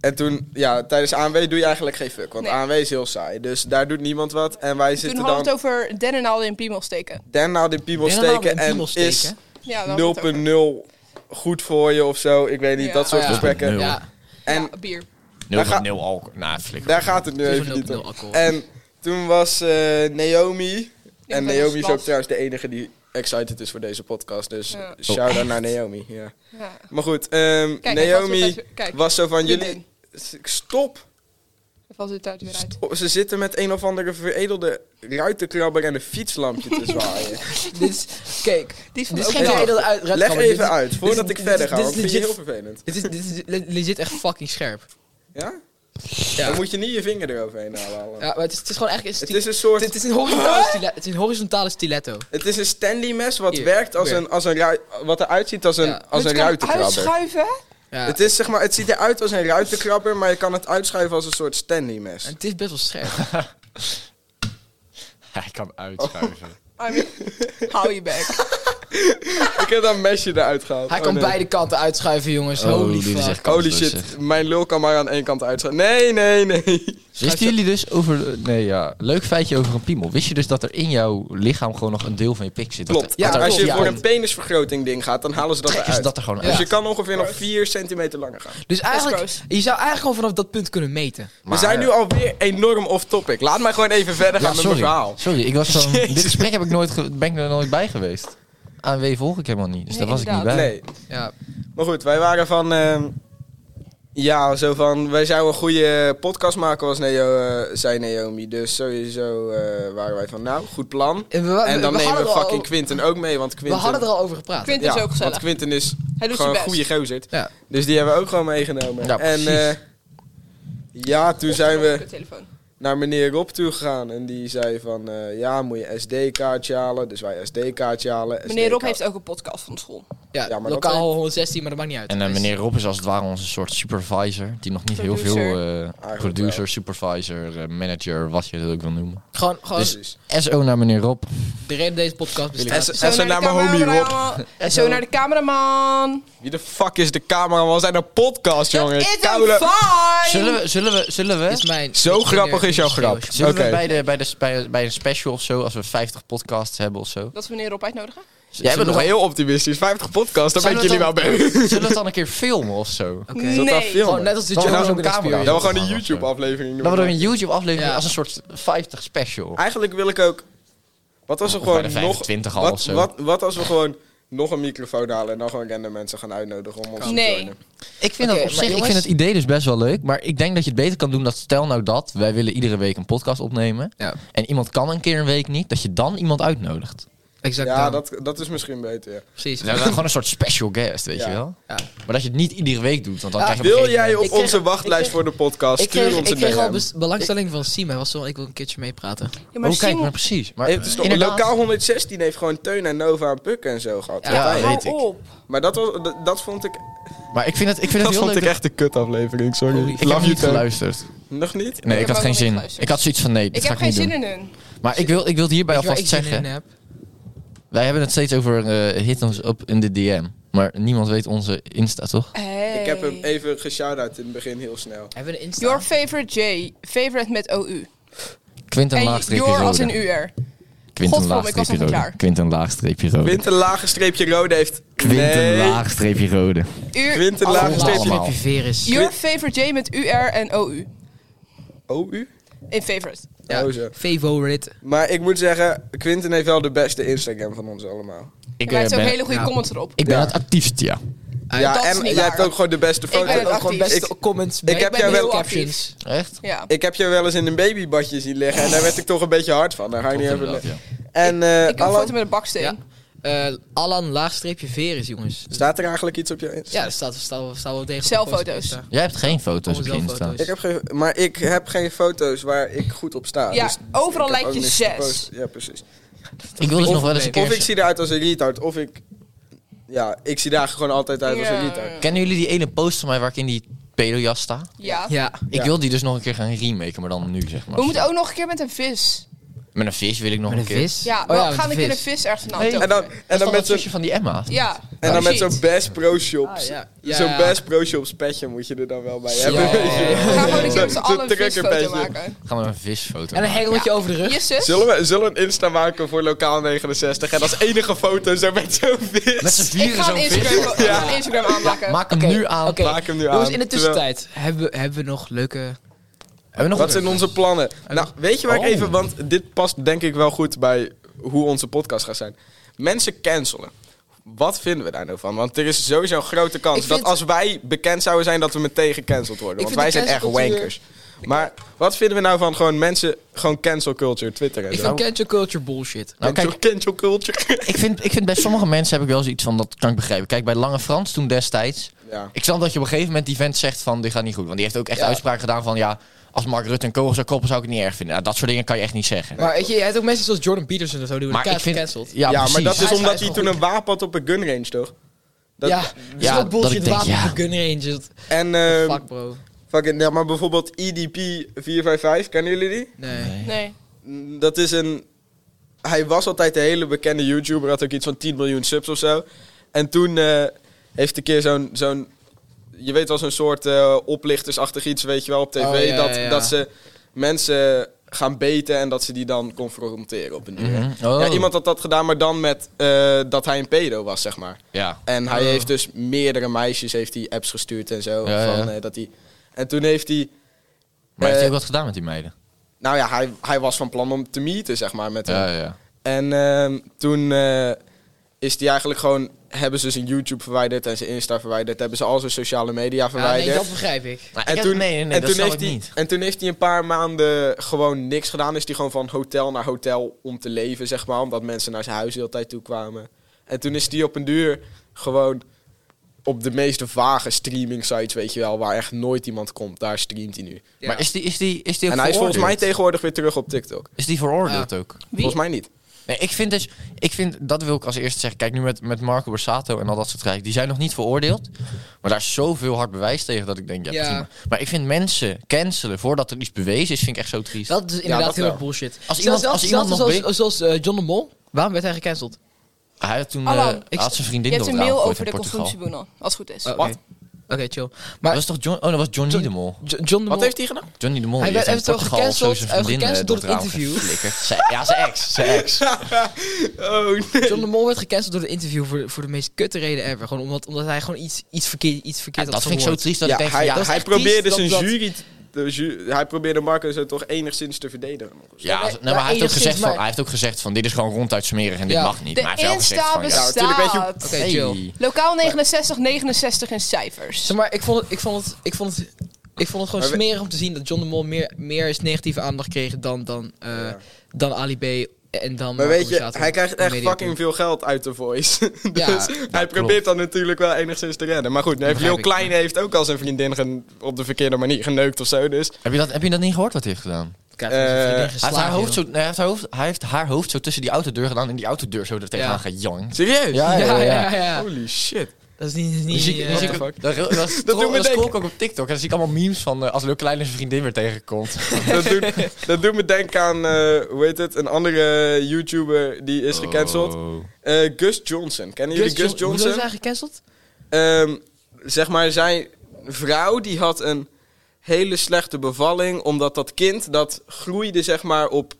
Speaker 3: en toen, ja, tijdens ANW doe je eigenlijk geen fuck, want
Speaker 1: Nee.
Speaker 3: ANW is heel saai. Dus daar doet niemand wat. En wij
Speaker 1: Toen
Speaker 3: zitten
Speaker 1: hadden we het
Speaker 3: dan
Speaker 1: over Den en al in piemel steken.
Speaker 3: dan nou de piemel
Speaker 4: Den en Al in
Speaker 3: steken en
Speaker 4: piemel
Speaker 3: is
Speaker 4: steken?
Speaker 1: Ja, dan
Speaker 3: 0.0 goed voor je of zo. Ik weet niet,
Speaker 1: Ja.
Speaker 3: dat soort
Speaker 4: Oh ja.
Speaker 3: gesprekken.
Speaker 2: Nul.
Speaker 4: Ja.
Speaker 1: En
Speaker 3: En
Speaker 1: bier.
Speaker 3: daar
Speaker 2: 0,0
Speaker 3: ga-
Speaker 2: alcohol. Nou, flikker.
Speaker 3: daar gaat het nu
Speaker 4: Zoveel
Speaker 3: even niet
Speaker 4: nul
Speaker 3: om.
Speaker 4: alcohol.
Speaker 3: En toen was eh, Naomi.
Speaker 1: Ja,
Speaker 3: en
Speaker 1: dat
Speaker 3: Naomi is
Speaker 1: Bas.
Speaker 3: ook trouwens de enige die excited is voor deze podcast. Dus
Speaker 1: Ja.
Speaker 3: shout-out naar Naomi. Ja.
Speaker 1: Ja.
Speaker 3: Maar goed, ehm,
Speaker 1: Kijk, hij valt weer
Speaker 3: Naomi
Speaker 1: thuis- kijk,
Speaker 3: was zo van
Speaker 1: dit
Speaker 3: jullie...
Speaker 1: ding.
Speaker 3: Stop!
Speaker 1: Dan valt het uit weer uit.
Speaker 3: Stop. Ze zitten met een of andere veredelde ruitenkrabber en een fietslampje te zwaaien.
Speaker 4: Dit is, kijk,
Speaker 1: Die is van
Speaker 4: dit
Speaker 1: de
Speaker 4: is geen
Speaker 1: Oké.
Speaker 4: veredelde uit.
Speaker 3: Leg
Speaker 4: raadkamer. Dit
Speaker 3: even
Speaker 4: is-
Speaker 3: uit, voordat
Speaker 4: dit
Speaker 3: ik
Speaker 4: is-
Speaker 3: verder
Speaker 4: dit
Speaker 3: ga,
Speaker 4: is
Speaker 3: want ik vind je
Speaker 4: legit-
Speaker 3: heel vervelend.
Speaker 4: Dit is, dit is le- legit echt fucking scherp.
Speaker 3: Ja?
Speaker 4: Ja,
Speaker 3: Dan moet je niet je vinger eroverheen halen.
Speaker 4: ja maar het is, het is gewoon echt...
Speaker 3: Het is een soort...
Speaker 4: het is een horizontale stile- het is een horizontale stiletto.
Speaker 3: Het is een Stanley mes wat
Speaker 4: Hier,
Speaker 3: werkt als
Speaker 4: weer.
Speaker 3: een, als een rui- wat eruit ziet als een,
Speaker 4: Ja.
Speaker 1: Dus
Speaker 3: als een
Speaker 1: het kan
Speaker 3: ruitenkrabber.
Speaker 1: uitschuiven.
Speaker 4: Ja.
Speaker 3: Het, is, zeg maar, het ziet eruit als een ruitenkrabber, maar je kan het uitschuiven als een soort Stanley
Speaker 4: En
Speaker 3: mes.
Speaker 4: het is best wel
Speaker 3: Oh,
Speaker 4: scherp.
Speaker 2: Hij kan uitschuiven.
Speaker 1: I mean, hou je bek.
Speaker 3: Ik heb dat mesje eruit gehaald.
Speaker 4: Hij
Speaker 3: Oh,
Speaker 4: kan
Speaker 3: nee.
Speaker 4: beide kanten uitschuiven, jongens.
Speaker 2: Oh,
Speaker 4: Holy
Speaker 2: dit is
Speaker 4: fuck.
Speaker 2: echt
Speaker 3: Holy
Speaker 2: kansloos,
Speaker 3: shit, mijn lul kan maar aan één kant uitschuiven. Nee, nee, nee.
Speaker 2: Wisten jullie dus over... Nee, ja. Leuk feitje over een piemel. Wist je dus dat er in jouw lichaam gewoon nog een deel van je pik zit?
Speaker 3: Klopt.
Speaker 2: Dat,
Speaker 4: Ja,
Speaker 2: dat er-
Speaker 3: als je
Speaker 4: ja.
Speaker 3: voor een penisvergroting ding gaat, dan halen ze dat
Speaker 2: trekken ze
Speaker 3: eruit.
Speaker 2: dat er gewoon
Speaker 4: Ja.
Speaker 2: uit.
Speaker 3: Dus je kan ongeveer nog 4 centimeter langer gaan.
Speaker 4: Dus eigenlijk,
Speaker 1: gross.
Speaker 4: je zou eigenlijk gewoon vanaf dat punt kunnen meten.
Speaker 2: Maar-
Speaker 3: We zijn nu alweer enorm off-topic. Laat mij gewoon even verder gaan
Speaker 2: Ja,
Speaker 3: met mijn
Speaker 2: sorry.
Speaker 3: verhaal.
Speaker 2: Sorry, ik was van...
Speaker 3: Jezus.
Speaker 2: Dit gesprek heb ik nooit ge- ben ik er nooit bij geweest. ANW volg ik helemaal niet. Dus
Speaker 1: Nee,
Speaker 2: daar was ik niet bij.
Speaker 1: inderdaad.
Speaker 3: Nee,
Speaker 4: Ja,
Speaker 3: Maar goed, wij waren van. ehm, ja, zo van. Wij zouden een goede podcast maken, was Neo, eh, zei Naomi. Dus sowieso eh, waren wij van. Nou, goed plan.
Speaker 4: En we- we-
Speaker 3: en dan
Speaker 4: we
Speaker 3: nemen we
Speaker 4: hadden er al
Speaker 3: fucking
Speaker 4: over-
Speaker 3: Quinten ook mee. Want
Speaker 4: we
Speaker 3: Quinten,
Speaker 4: hadden er al over gepraat.
Speaker 1: Quint is
Speaker 3: ja,
Speaker 1: ook
Speaker 3: Want
Speaker 1: gezellig.
Speaker 3: Quinten is
Speaker 1: Hij doet zijn
Speaker 3: gewoon een
Speaker 1: best.
Speaker 3: goede gozerd.
Speaker 4: Ja.
Speaker 3: Dus die hebben we ook gewoon meegenomen.
Speaker 2: Ja,
Speaker 3: en
Speaker 2: precies.
Speaker 3: eh, ja, toen zijn
Speaker 1: Op
Speaker 3: we
Speaker 1: de telefoon.
Speaker 3: naar meneer Rob toe gegaan. En die zei van. eh, ja, moet je SD-kaartje halen. Dus wij SD-kaartje halen.
Speaker 1: Meneer Rob
Speaker 3: SD-kaart.
Speaker 1: heeft ook een podcast van school.
Speaker 4: Ja,
Speaker 3: Ja, maar dat-
Speaker 4: lokaal 116, maar dat maakt niet uit. Dus
Speaker 2: En eh, meneer Rob is als het ware onze soort supervisor. Die nog niet heel veel...
Speaker 1: Producer.
Speaker 2: eh, producer, supervisor, eh, manager, wat je het ook wil noemen.
Speaker 4: Gewoon, gewoon
Speaker 3: Precies.
Speaker 2: SO naar meneer Rob.
Speaker 4: de reden dat deze podcast
Speaker 3: En
Speaker 4: bestaat.
Speaker 3: zo en zo naar mijn
Speaker 1: de
Speaker 3: homie Rob.
Speaker 1: cameraman. En zo naar de cameraman.
Speaker 3: Wie de fuck is de cameraman? We zijn een podcast,
Speaker 1: Dat
Speaker 3: jongen.
Speaker 1: is
Speaker 3: Koude-
Speaker 1: een fine.
Speaker 2: Zullen we, zullen we, zullen
Speaker 4: Is
Speaker 2: we,
Speaker 4: mijn
Speaker 3: Zo grappig is jouw grap.
Speaker 2: zullen
Speaker 3: Oké.
Speaker 2: we bij, de, bij, de, bij, bij een special of zo, als we 50 podcasts hebben of zo?
Speaker 1: Dat we meneer Rob uitnodigen?
Speaker 3: Jij bent nog heel optimistisch. 50 podcasts, daar ben
Speaker 2: Zijn
Speaker 3: ik
Speaker 2: we
Speaker 3: jullie wel
Speaker 2: dan-
Speaker 3: bij.
Speaker 2: Zullen we het dan een keer filmen of zo?
Speaker 4: Oké.
Speaker 3: Zult daar filmen?
Speaker 4: Gewoon net als de
Speaker 2: Dan
Speaker 4: Joe
Speaker 2: gaan we
Speaker 4: Rogan
Speaker 2: zo'n camera.
Speaker 4: experience.
Speaker 3: Dan we gewoon
Speaker 2: Ja,
Speaker 3: een
Speaker 2: dat is
Speaker 3: YouTube-aflevering
Speaker 2: Dan worden we
Speaker 3: doen.
Speaker 2: een YouTube-aflevering
Speaker 4: Ja.
Speaker 2: als een soort 50 special.
Speaker 3: Eigenlijk wil ik ook... Wat als we
Speaker 2: Of
Speaker 3: gewoon
Speaker 2: bij de
Speaker 3: nog...
Speaker 2: 25 al of
Speaker 3: wat,
Speaker 2: zo.
Speaker 3: wat, wat als we gewoon nog een microfoon halen en dan gewoon random mensen gaan uitnodigen om ons
Speaker 1: Nee.
Speaker 3: te joinen?
Speaker 2: Ik vind,
Speaker 4: Oké,
Speaker 2: dat op
Speaker 4: maar
Speaker 2: zich, ik
Speaker 4: jongens-
Speaker 2: vind het idee dus best wel leuk, maar ik denk dat je het beter kan doen dat stel nou dat wij willen iedere week een podcast opnemen
Speaker 4: Ja,
Speaker 2: en iemand kan een keer een week niet, dat je dan iemand uitnodigt.
Speaker 4: exact.
Speaker 3: Ja,
Speaker 4: dan.
Speaker 3: dat, dat is misschien beter, ja.
Speaker 4: Precies.
Speaker 2: Dus gewoon een soort special guest, weet
Speaker 3: Ja.
Speaker 2: je wel?
Speaker 4: Ja.
Speaker 2: Maar dat je het niet iedere week doet, want dan
Speaker 4: Ja,
Speaker 2: krijg je op
Speaker 3: Wil
Speaker 2: een gegeven
Speaker 3: jij op
Speaker 4: Ik kreeg-
Speaker 3: onze wachtlijst
Speaker 4: ik kreeg-
Speaker 3: voor de podcast?
Speaker 4: Ik kreeg,
Speaker 3: Stuur ons
Speaker 4: ik
Speaker 3: een
Speaker 4: kreeg al
Speaker 3: DM.
Speaker 4: bes- belangstelling van Siem. Hij was zo, ik wil een keertje meepraten.
Speaker 1: Ja,
Speaker 2: moment...
Speaker 1: maar
Speaker 2: Oh, kijk,
Speaker 1: Simon-
Speaker 2: maar precies. Maar
Speaker 3: Eh, Het is toch-
Speaker 2: inderdaad-
Speaker 3: Lokaal 116 heeft gewoon Teun en Nova en Puk en zo gehad.
Speaker 4: Ja.
Speaker 1: Ja,
Speaker 2: Ja,
Speaker 1: hou
Speaker 2: weet ik.
Speaker 1: op.
Speaker 3: Maar dat, was, dat, dat vond ik,
Speaker 2: Maar ik vind het, ik vind
Speaker 3: dat
Speaker 2: het heel
Speaker 3: vond
Speaker 2: leuk.
Speaker 3: ik echt een kutaflevering, sorry.
Speaker 4: Holy-
Speaker 2: dat- Ik heb
Speaker 3: Love you,
Speaker 2: niet
Speaker 3: Teun.
Speaker 2: geluisterd.
Speaker 3: Nog niet?
Speaker 2: Nee,
Speaker 1: heb
Speaker 2: ik, had
Speaker 1: ook
Speaker 2: geen
Speaker 1: nog niet
Speaker 2: zin.
Speaker 1: geluisterd.
Speaker 2: Ik had zoiets van nee, dit
Speaker 1: Ik
Speaker 2: ga
Speaker 1: heb
Speaker 2: ik
Speaker 1: geen
Speaker 2: niet
Speaker 1: zin
Speaker 2: doen.
Speaker 1: in hun.
Speaker 2: Maar ik wil, ik wil het hierbij
Speaker 4: Weet je waar
Speaker 2: alvast
Speaker 4: ik zin in
Speaker 2: zeggen.
Speaker 4: heb?
Speaker 2: Wij hebben het steeds over eh hit ons op in de DM. Maar niemand weet onze Insta, toch?
Speaker 1: Hey.
Speaker 3: Ik heb hem even geshout in het begin heel snel.
Speaker 4: Hebben we een Insta?
Speaker 1: Your favorite J. Favorite met OU.
Speaker 2: Quinten
Speaker 1: En
Speaker 2: laagstreepje
Speaker 1: your als een
Speaker 2: rode.
Speaker 1: UR.
Speaker 2: Quinten
Speaker 1: Godverdomme, ik was
Speaker 2: laagstreepje
Speaker 1: nog niet
Speaker 2: rode.
Speaker 1: klaar.
Speaker 2: Quinten laagstreepje rode.
Speaker 3: Quinten laagstreepje rode heeft...
Speaker 2: Quinten
Speaker 3: nee.
Speaker 2: laagstreepje rode.
Speaker 1: Uur.
Speaker 3: Quinten
Speaker 1: Allemaal.
Speaker 3: laagstreepje...
Speaker 2: Allemaal.
Speaker 4: Laagstreepje virus.
Speaker 1: oh. Your favorite J met UR en OU.
Speaker 3: Oh, u?
Speaker 1: In favorite.
Speaker 4: Ja,
Speaker 3: Oh, zo.
Speaker 4: favorite.
Speaker 3: Maar ik moet zeggen, Quinten heeft wel de beste Instagram van ons allemaal.
Speaker 2: Ik,
Speaker 1: Hij
Speaker 2: eh,
Speaker 1: heeft ook
Speaker 2: ben,
Speaker 1: hele goede
Speaker 4: ja.
Speaker 1: comments erop.
Speaker 2: ik ben
Speaker 3: Ja.
Speaker 2: het actiefst, ja.
Speaker 3: ja,
Speaker 1: dat is
Speaker 3: en
Speaker 1: niet
Speaker 3: jij
Speaker 1: waar.
Speaker 3: hebt ook gewoon de beste
Speaker 1: ben
Speaker 3: foto's.
Speaker 1: het
Speaker 4: Ook
Speaker 1: actief.
Speaker 4: gewoon beste
Speaker 3: Ik-
Speaker 4: comments.
Speaker 3: ik heb
Speaker 4: bij
Speaker 3: jou
Speaker 4: de
Speaker 3: wel-
Speaker 4: captions.
Speaker 2: Echt?
Speaker 1: Ja.
Speaker 3: Ik heb jou wel eens in een babybadje zien liggen en daar werd ik toch een beetje hard van. Daar ga ik niet over.
Speaker 2: Inderdaad, ja.
Speaker 3: En eh,
Speaker 1: Ik heb een
Speaker 3: Alan,
Speaker 1: foto met een baksteen.
Speaker 4: Ja. eh, Alan laagstreepje Veris, jongens.
Speaker 3: Staat er eigenlijk iets op je Insta?
Speaker 4: Ja, dat staat, staat, staat wel degelijk.
Speaker 1: Zelffoto's.
Speaker 4: op onze
Speaker 2: Jij hebt geen foto's op je
Speaker 4: Allemaal
Speaker 2: Insta.
Speaker 4: zelffoto's.
Speaker 3: Ik heb geen, maar ik heb geen foto's waar ik goed op sta.
Speaker 1: Ja,
Speaker 3: dus
Speaker 1: overal
Speaker 3: ik heb
Speaker 1: lijkt
Speaker 3: ook
Speaker 1: je
Speaker 3: niks
Speaker 1: zes.
Speaker 3: gepost. Ja, precies.
Speaker 2: Ik wil dus
Speaker 4: Of-
Speaker 2: nog wel eens een
Speaker 4: nee.
Speaker 2: keer...
Speaker 3: Of ik zie eruit als een retard, of ik... Ja, ik zie daar gewoon altijd uit als
Speaker 1: Ja.
Speaker 3: een retard.
Speaker 2: Kennen jullie die ene post van mij waar ik in die pedojas sta?
Speaker 1: Ja.
Speaker 4: Insta. Ja,
Speaker 2: Ik wil die dus nog een keer gaan remaken, maar dan nu zeg maar.
Speaker 1: We moeten ook nog een keer met een vis.
Speaker 2: Met een vis wil ik nog
Speaker 4: met een
Speaker 2: een keer.
Speaker 4: vis.
Speaker 1: Ja,
Speaker 4: Oh
Speaker 1: we
Speaker 4: met
Speaker 1: gaan een keer een
Speaker 4: vis.
Speaker 1: vis ergens
Speaker 2: Nee.
Speaker 1: naar
Speaker 3: En dan, en dan met zo'n
Speaker 2: zusje van die Emma.
Speaker 1: Ja. Oh,
Speaker 3: en dan met
Speaker 1: Shit.
Speaker 3: zo'n Best Pro Shops.
Speaker 4: Ah, ja. Ja,
Speaker 3: zo'n
Speaker 4: ja.
Speaker 3: Best Pro Shops petje moet je er dan wel bij
Speaker 4: Ja.
Speaker 3: hebben. weet je.
Speaker 1: We gaan gewoon een keer met z'n
Speaker 3: Zo'n
Speaker 1: allen een visfoto
Speaker 3: truckerpetje.
Speaker 1: maken.
Speaker 2: Gaan we een visfoto
Speaker 4: En een
Speaker 2: maken.
Speaker 4: hengeltje over de rug.
Speaker 1: Je zus?
Speaker 3: Zullen we, zullen we een Insta maken voor Lokaal 69 en als enige foto zo met zo'n vis?
Speaker 2: Met z'n
Speaker 1: Ik ga
Speaker 2: vieren zo'n
Speaker 1: een
Speaker 2: vis.
Speaker 1: Instagram, ik ga een Instagram aanmaken.
Speaker 2: Maak hem
Speaker 4: Oké,
Speaker 2: nu aan.
Speaker 4: oké.
Speaker 3: Maak hem nu
Speaker 4: Jongens,
Speaker 3: aan.
Speaker 4: in de tussentijd hebben, we, hebben we nog leuke...
Speaker 2: Hebben we nog
Speaker 3: Wat zijn onze plannen? Nou, weet je waar
Speaker 2: Oh.
Speaker 3: ik even... Want dit past denk ik wel goed bij hoe onze podcast gaat zijn. Mensen cancelen. Wat vinden we daar nou van? Want er is sowieso een grote kans
Speaker 1: Ik vind-
Speaker 3: dat als wij bekend zouden zijn... dat we meteen gecanceld worden.
Speaker 1: Ik
Speaker 3: Want wij
Speaker 1: vind
Speaker 3: zijn
Speaker 1: de
Speaker 3: echt
Speaker 1: cancelcultuur-
Speaker 3: wankers. Maar wat vinden we nou van gewoon mensen... gewoon cancel culture, Twitter en
Speaker 4: Ik
Speaker 3: zo?
Speaker 4: vind cancel culture bullshit.
Speaker 2: Nou,
Speaker 3: Cancel- cancel culture.
Speaker 2: Ik vind, ik vind bij sommige mensen heb ik wel eens iets van, dat kan ik begrijpen. Kijk, bij Lange Frans toen destijds.
Speaker 3: ja.
Speaker 2: Ik snap dat je op een gegeven moment die vent zegt van, dit gaat niet goed. Want die heeft ook echt
Speaker 3: Ja.
Speaker 2: uitspraken gedaan van, ja, als Mark Rutte een kogel zou koppen zou ik het niet erg vinden. Nou, dat soort dingen kan je echt niet zeggen.
Speaker 4: Maar weet je, je hebt ook mensen zoals Jordan Peterson en zo, die
Speaker 2: Maar
Speaker 4: worden
Speaker 2: ik
Speaker 4: keihard
Speaker 2: vind...
Speaker 4: gecanceld.
Speaker 2: Ja,
Speaker 3: Ja, maar
Speaker 2: precies.
Speaker 3: dat is
Speaker 4: Hij is-
Speaker 3: omdat
Speaker 4: hij
Speaker 3: hij
Speaker 4: is
Speaker 3: toen
Speaker 4: goed.
Speaker 3: een wapen had op een gunrange, toch? Dat-
Speaker 4: ja, dat is
Speaker 2: ja,
Speaker 4: ook bullshit
Speaker 2: dat ik denk,
Speaker 4: wapen
Speaker 2: ja.
Speaker 4: voor Gun Rangers.
Speaker 3: En ehm,
Speaker 4: Fuck bro.
Speaker 3: fucking, ja, maar bijvoorbeeld E EDP 455, kennen jullie die?
Speaker 4: Nee.
Speaker 1: Nee.
Speaker 3: Mm, Dat is een. Hij was altijd een hele bekende YouTuber, had ook iets van 10 miljoen subs of zo. En toen eh, heeft een keer zo'n. zo'n je weet wel, zo'n soort eh, oplichtersachtig iets, weet je wel, op tv.
Speaker 4: Oh, ja,
Speaker 3: dat,
Speaker 4: ja, ja.
Speaker 3: dat ze mensen gaan beten en dat ze die dan confronteren op een duur.
Speaker 2: Mhm. Oh.
Speaker 3: ja, iemand had dat gedaan, maar dan met eh, dat hij een pedo was, zeg maar.
Speaker 2: Ja.
Speaker 3: En hij
Speaker 4: Oh.
Speaker 3: heeft dus meerdere meisjes heeft hij apps gestuurd en zo.
Speaker 2: Ja, ja.
Speaker 3: van, eh, dat hij, en toen heeft hij...
Speaker 2: Maar heeft
Speaker 3: Eh,
Speaker 2: hij ook wat gedaan met die meiden?
Speaker 3: Nou ja, hij, hij was van plan om te meeten, zeg maar, met hem.
Speaker 2: Ja, ja.
Speaker 3: En ehm, toen eh, is hij eigenlijk gewoon... Hebben ze zijn YouTube verwijderd en zijn Insta verwijderd. Hebben ze al zijn sociale media
Speaker 4: Ja,
Speaker 3: verwijderd.
Speaker 4: nee, dat begrijp ik.
Speaker 3: en toen,
Speaker 2: nee, nee, nee,
Speaker 3: en
Speaker 2: dat
Speaker 3: toen
Speaker 2: snap
Speaker 3: heeft
Speaker 2: ik
Speaker 3: hij,
Speaker 2: niet.
Speaker 3: En toen heeft hij een paar maanden gewoon niks gedaan. Is hij gewoon van hotel naar hotel om te leven, zeg maar. Omdat mensen naar zijn huis de hele tijd toe kwamen. En toen is hij op een duur gewoon op de meeste vage streaming sites, weet je wel. Waar echt nooit iemand komt. Daar streamt hij nu.
Speaker 4: Ja.
Speaker 2: Maar is die, is die, is die ook
Speaker 3: en hij is volgens mij
Speaker 2: veroordeeld?
Speaker 3: tegenwoordig weer terug op TikTok.
Speaker 2: Is die veroordeeld ook?
Speaker 3: Volgens mij niet.
Speaker 2: Nee, ik vind dus, ik vind, dat wil ik als eerste zeggen. Kijk, nu met, met Marco Borsato en al dat soort gekken, die zijn nog niet veroordeeld. Maar daar is zoveel hard bewijs tegen dat ik denk, ja,
Speaker 4: Ja.
Speaker 2: prima. Maar ik vind mensen cancelen voordat er iets bewezen is, vind ik echt zo triest.
Speaker 4: Dat is inderdaad
Speaker 3: dat
Speaker 4: heel
Speaker 3: wel.
Speaker 4: erg bullshit.
Speaker 2: Als
Speaker 4: Zelfs-
Speaker 2: iemand-
Speaker 4: zelfs-
Speaker 2: als iemand
Speaker 4: zelfs
Speaker 2: nog
Speaker 4: zoals, zoals eh, John de Mol, waarom werd hij gecanceld?
Speaker 2: Hij had toen,
Speaker 1: Alan,
Speaker 2: eh,
Speaker 4: ik-
Speaker 2: had zijn
Speaker 1: Je
Speaker 2: vriendin
Speaker 1: hebt
Speaker 2: door
Speaker 1: een
Speaker 2: het
Speaker 1: mail
Speaker 2: raam gegooid
Speaker 1: over de
Speaker 2: in Portugal.
Speaker 1: consumptiebunal, als het goed is.
Speaker 4: Oh, Oké,
Speaker 3: Wat?
Speaker 4: Oké, chill.
Speaker 2: Dat
Speaker 4: Maar
Speaker 2: was toch John, oh, dat was Johnny
Speaker 4: John-
Speaker 2: de Mol.
Speaker 4: Jo- John de Mol...
Speaker 3: Wat heeft hij gedaan?
Speaker 2: Johnny de Mol,
Speaker 4: Hij
Speaker 2: die
Speaker 4: werd
Speaker 2: heeft in
Speaker 4: eventueel
Speaker 2: Portugal of zo zijn
Speaker 4: gecanceld, eh,
Speaker 2: vriendin eh,
Speaker 4: gecanceld
Speaker 2: door het
Speaker 4: door het
Speaker 2: raam
Speaker 4: interview.
Speaker 2: geflikkerd. Zij- Ja, zijn ex, zijn ex.
Speaker 3: oh nee.
Speaker 4: John de Mol werd gecanceld door het interview voor, voor de meest kutte reden ever. Gewoon omdat, omdat hij gewoon iets, iets verkeerd, iets
Speaker 2: Ja,
Speaker 4: verkeerd
Speaker 2: dat
Speaker 4: had
Speaker 2: vind ik zo
Speaker 4: verwoord.
Speaker 2: triest dat ik denk, van,
Speaker 3: hij,
Speaker 2: ja,
Speaker 4: dat is
Speaker 3: hij
Speaker 4: echt
Speaker 3: probeerde
Speaker 4: triest
Speaker 3: zijn
Speaker 4: dat dat-
Speaker 3: jury... t- De ju- hij probeerde Marco zo toch enigszins te verdedigen.
Speaker 2: Ja,
Speaker 4: maar-
Speaker 2: nee, maar, hij, heeft ook
Speaker 4: enigszins,
Speaker 2: gezegd van,
Speaker 4: maar-
Speaker 2: hij heeft ook gezegd van dit is gewoon ronduit smerig en dit
Speaker 4: Ja.
Speaker 2: mag niet.
Speaker 1: De
Speaker 2: maar hij heeft wel
Speaker 1: Insta
Speaker 2: gezegd van ja,
Speaker 3: natuurlijk weet je hoe-
Speaker 1: bestaat.
Speaker 4: Oké, chill.
Speaker 2: hey.
Speaker 1: Lokaal 69, 69 in cijfers.
Speaker 4: Zeg maar, ik vond het, ik vond het, ik vond het, ik vond het gewoon
Speaker 3: Maar we-
Speaker 4: smerig om te zien dat John de Mol meer, meer is negatieve aandacht kreeg dan, dan, eh,
Speaker 3: Ja.
Speaker 4: dan Ali B. En dan
Speaker 3: Maar
Speaker 4: Marco
Speaker 3: weet je,
Speaker 4: Borsato.
Speaker 3: hij krijgt echt
Speaker 4: Media
Speaker 3: fucking veel geld uit The Voice. dus
Speaker 4: Ja,
Speaker 3: hij
Speaker 4: dat
Speaker 3: probeert dan natuurlijk wel enigszins te redden. Maar goed, nu heeft
Speaker 4: Begrijp
Speaker 3: Lil
Speaker 4: ik,
Speaker 3: Kleine heeft ook al zijn vriendin gen- op de verkeerde manier geneukt of zo. Dus
Speaker 2: Heb je, dat, heb je dat niet gehoord wat hij heeft gedaan?
Speaker 4: Krijgt hij zijn
Speaker 3: Eh,
Speaker 4: vriendin
Speaker 3: hij
Speaker 2: Hij
Speaker 4: geslagen,
Speaker 2: heeft, haar hoofd
Speaker 4: joh.
Speaker 2: zo, nee, hij, heeft haar hoofd, hij heeft haar hoofd zo tussen die autodeur gedaan en die autodeur zo er tegenaan
Speaker 4: Ja.
Speaker 2: gejankt.
Speaker 3: serieus?
Speaker 2: Ja,
Speaker 4: Ja, ja, ja.
Speaker 3: Holy shit.
Speaker 4: Dat is niet...
Speaker 2: Dan
Speaker 4: niet
Speaker 2: zie ik- dan
Speaker 4: eh,
Speaker 2: zie ik-
Speaker 3: what the
Speaker 2: Dat, dat, dat,
Speaker 3: doen we
Speaker 2: dat
Speaker 3: denken.
Speaker 2: scroll ik ook op TikTok. En dan zie ik allemaal memes van eh, als Lil Kleine zijn vriendin weer tegenkomt.
Speaker 3: dat, doet, dat doet me denken aan, eh, hoe heet het, een andere YouTuber die is gecanceld.
Speaker 2: Oh.
Speaker 3: Eh, Gus Johnson. Kennen jullie Gus,
Speaker 4: Hoezo
Speaker 3: Johnson?
Speaker 4: is hij gecanceld?
Speaker 3: Ehm, zeg maar, zijn vrouw die had een hele slechte bevalling. Omdat dat kind dat groeide, zeg maar, op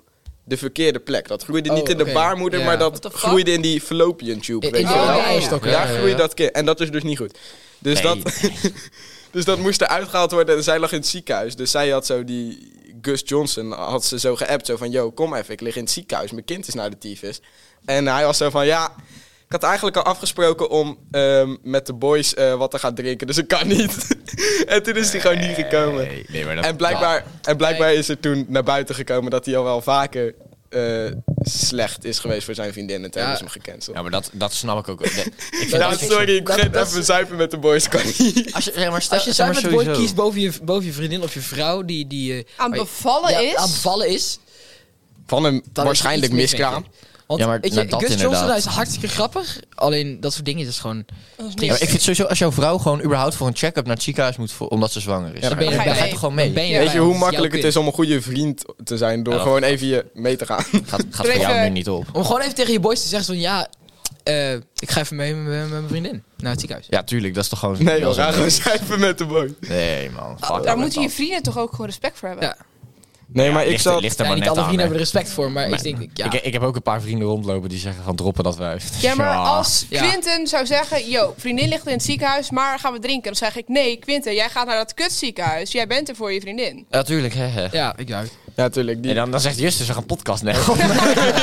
Speaker 3: de verkeerde plek. Dat groeide
Speaker 4: Oh,
Speaker 3: niet in
Speaker 4: oké.
Speaker 3: de baarmoeder,
Speaker 4: Ja.
Speaker 3: maar
Speaker 1: What
Speaker 3: dat
Speaker 1: the fuck?
Speaker 3: groeide in die fallopian tube.
Speaker 4: In-
Speaker 3: weet
Speaker 4: in
Speaker 3: je
Speaker 1: die
Speaker 3: wel.
Speaker 1: oude
Speaker 4: eierstok,
Speaker 3: Daar
Speaker 4: ja, ja,
Speaker 3: groeide
Speaker 4: ja.
Speaker 3: dat kind. En dat is dus niet goed.
Speaker 2: Nee.
Speaker 3: Dus, dat, dus dat moest eruit gehaald worden. En zij lag in het ziekenhuis. Dus zij had zo die. Gus Johnson had ze zo geappt. Zo van, yo, kom even. Ik lig in het ziekenhuis. Mijn kind is naar de tyfus. En hij was zo van, ja... Ik had eigenlijk al afgesproken om ehm, met de boys eh, wat te gaan drinken. Dus ik kan niet. en toen is hij gewoon niet gekomen.
Speaker 2: Nee, nee, maar dat-
Speaker 3: En blijkbaar, en blijkbaar is er toen naar buiten gekomen dat hij al wel vaker eh, slecht is geweest voor zijn vriendin. En toen
Speaker 4: Ja.
Speaker 3: hebben ze hem gecanceld.
Speaker 2: Ja, maar dat, dat snap ik ook. wel. Nee, ik vind
Speaker 3: Ja,
Speaker 2: dat-
Speaker 3: sorry, ik
Speaker 4: dat-
Speaker 3: begin
Speaker 4: dat-
Speaker 3: even zuipen met de boys. Kan niet.
Speaker 2: als je, zeg maar, stel,
Speaker 4: Als je
Speaker 2: zeg
Speaker 4: samen
Speaker 2: maar
Speaker 4: met boy
Speaker 2: sowieso.
Speaker 4: kiest boven je, boven je vriendin of je vrouw die... die eh,
Speaker 1: Aan
Speaker 4: waar je-
Speaker 1: bevallen
Speaker 4: ja,
Speaker 1: is.
Speaker 4: aan bevallen is...
Speaker 3: Van een
Speaker 4: dan is
Speaker 3: waarschijnlijk
Speaker 4: er iets mis,
Speaker 3: miskraam.
Speaker 4: denk ik. Want,
Speaker 2: Ja, maar
Speaker 4: weet
Speaker 2: nou,
Speaker 4: je,
Speaker 2: dat
Speaker 4: Gus Johnson
Speaker 2: inderdaad.
Speaker 4: hij is hartstikke grappig. Alleen dat soort dingen is gewoon...
Speaker 1: Dat is
Speaker 2: Ja, maar
Speaker 1: niks.
Speaker 2: ik vind sowieso als jouw vrouw gewoon überhaupt voor een check-up naar het ziekenhuis moet voor, omdat ze zwanger is.
Speaker 3: Ja,
Speaker 2: dan
Speaker 3: dan
Speaker 2: ben
Speaker 4: ben
Speaker 2: je,
Speaker 4: je
Speaker 2: dan
Speaker 4: erbij.
Speaker 2: ga je toch gewoon
Speaker 4: Dan ben
Speaker 2: mee.
Speaker 4: je
Speaker 3: Weet je
Speaker 4: erbij,
Speaker 3: hoe
Speaker 4: want is
Speaker 3: makkelijk
Speaker 4: jouw
Speaker 3: het is
Speaker 4: kind.
Speaker 3: om een goede vriend te zijn door
Speaker 2: Ja, dat-
Speaker 3: gewoon even je mee te gaan?
Speaker 2: Gaat, gaat voor jou
Speaker 1: Even-
Speaker 2: nu niet op.
Speaker 4: Om gewoon even tegen je boys te zeggen van... Ja, eh, ik ga even mee met, met mijn vriendin naar het ziekenhuis.
Speaker 2: Ja, tuurlijk, dat is toch gewoon.
Speaker 3: Nee, we
Speaker 2: wel zo-
Speaker 3: gaan gewoon zuipen met de boys.
Speaker 2: Nee, man. fuck
Speaker 1: Daar
Speaker 2: dat
Speaker 1: moeten je
Speaker 2: met
Speaker 1: vrienden toch ook gewoon respect voor hebben.
Speaker 4: Ja.
Speaker 3: Nee,
Speaker 2: dat.
Speaker 3: maar ik
Speaker 2: Ligt er-
Speaker 3: zat...
Speaker 2: Ligt er
Speaker 4: Ja,
Speaker 2: maar
Speaker 4: niet
Speaker 2: net
Speaker 4: alle vrienden
Speaker 2: aan,
Speaker 4: hebben er respect voor, maar
Speaker 2: Maar
Speaker 4: ik denk...
Speaker 2: hè.
Speaker 4: Ja,
Speaker 2: Ik, ik heb ook een paar vrienden rondlopen die zeggen van droppen dat wijf.
Speaker 1: Ja, maar
Speaker 2: Tja.
Speaker 1: als
Speaker 4: Ja.
Speaker 1: Quinten zou zeggen... Yo, vriendin ligt in het ziekenhuis, maar gaan we drinken? Dan zeg ik, nee, Quinten, jij gaat naar dat kutziekenhuis. Jij bent er voor je vriendin.
Speaker 2: Ja, tuurlijk, hè. hè.
Speaker 4: ja, ik duik.
Speaker 3: Ja, tuurlijk.
Speaker 2: En
Speaker 3: Die...
Speaker 2: dan, dan zegt Justus, we gaan podcast nemen.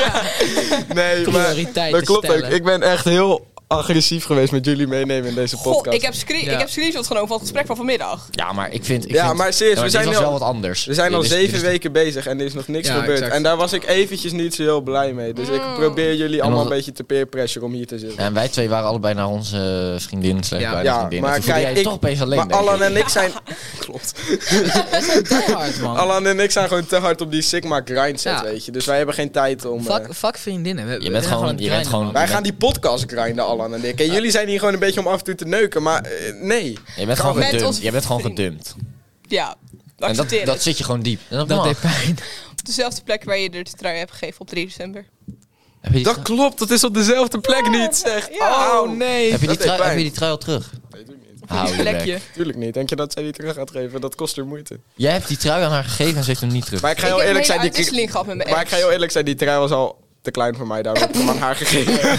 Speaker 3: Nee, maar
Speaker 4: Prioriteiten
Speaker 3: dat klopt ook.
Speaker 4: stellen.
Speaker 3: Ik ben echt heel agressief geweest met jullie meenemen in deze podcast.
Speaker 1: Goh, ik heb, screen,
Speaker 4: Ja.
Speaker 1: ik heb screenshots genomen van het gesprek van vanmiddag.
Speaker 2: Ja, maar ik vind... Ik
Speaker 3: Ja,
Speaker 2: vind-
Speaker 3: maar serieus, we
Speaker 2: dit
Speaker 3: zijn
Speaker 2: was
Speaker 3: nu al-
Speaker 2: wel wat anders.
Speaker 3: We zijn al
Speaker 2: Dit is-
Speaker 3: zeven
Speaker 2: dit is-
Speaker 3: weken bezig en er is nog niks
Speaker 4: Ja,
Speaker 3: gebeurd.
Speaker 4: exact. Mm.
Speaker 3: En daar was ik eventjes niet zo heel blij mee. Dus ik probeer jullie allemaal een beetje te peer pressure om hier te zitten.
Speaker 2: En wij twee waren allebei naar onze eh, vriendin, slecht
Speaker 4: Ja.
Speaker 2: bij
Speaker 3: Ja,
Speaker 2: vriendin.
Speaker 3: maar
Speaker 2: Maar
Speaker 3: kijk,
Speaker 2: jij
Speaker 3: ik-
Speaker 2: toch opeens alleen,
Speaker 3: maar
Speaker 2: denk ik.
Speaker 3: Alan en ik zijn... Klopt.
Speaker 4: Wij zijn die hard, man.
Speaker 3: Alan en ik zijn gewoon te hard op die Sigma grindset,
Speaker 4: Ja.
Speaker 3: weet je. Dus wij hebben geen tijd om... eh,
Speaker 4: Fuck, fuck vriendinnen. We- we
Speaker 2: Je
Speaker 4: zijn
Speaker 2: bent gewoon... Je bent
Speaker 4: grinden,
Speaker 2: gewoon...
Speaker 4: man.
Speaker 3: wij gaan die podcast grinden, Alan en ik. En jullie zijn hier gewoon een beetje om af en toe te neuken, maar eh, nee.
Speaker 2: Je bent gewoon
Speaker 1: Met
Speaker 2: gedumpt.
Speaker 1: onze
Speaker 2: Je bent gewoon
Speaker 1: vriend.
Speaker 2: gedumpt.
Speaker 1: Ja,
Speaker 2: En dat,
Speaker 1: accepteer het.
Speaker 2: dat zit je gewoon diep. En Oh, dat
Speaker 4: Dat
Speaker 2: mag.
Speaker 4: deed pijn.
Speaker 1: Op dezelfde plek waar je de trui hebt gegeven op 3 december.
Speaker 2: Heb je die
Speaker 3: Dat
Speaker 2: trui-
Speaker 3: klopt, dat is op dezelfde plek niet, zeg.
Speaker 1: Ja.
Speaker 3: Oh, nee.
Speaker 2: heb je die
Speaker 3: dat deed
Speaker 2: trui- heb
Speaker 3: pijn.
Speaker 2: je die trui al terug?
Speaker 3: Nee, doe ik niet.
Speaker 2: Hou je bek.
Speaker 1: Plekje.
Speaker 3: Tuurlijk niet. Denk je dat zij die terug gaat geven? Dat kost er moeite.
Speaker 2: Jij hebt die trui aan haar gegeven en ze heeft hem niet terug.
Speaker 3: Maar ik ga
Speaker 1: Ik
Speaker 3: heel
Speaker 1: heb
Speaker 3: eerlijk
Speaker 1: een
Speaker 3: zijn,
Speaker 1: hele
Speaker 3: die,
Speaker 1: uitwisseling gehad met mijn
Speaker 3: Maar ik
Speaker 1: ex.
Speaker 3: ga heel eerlijk zijn, die trui was al te klein voor mij. Daarom heb ik hem aan haar gegeven.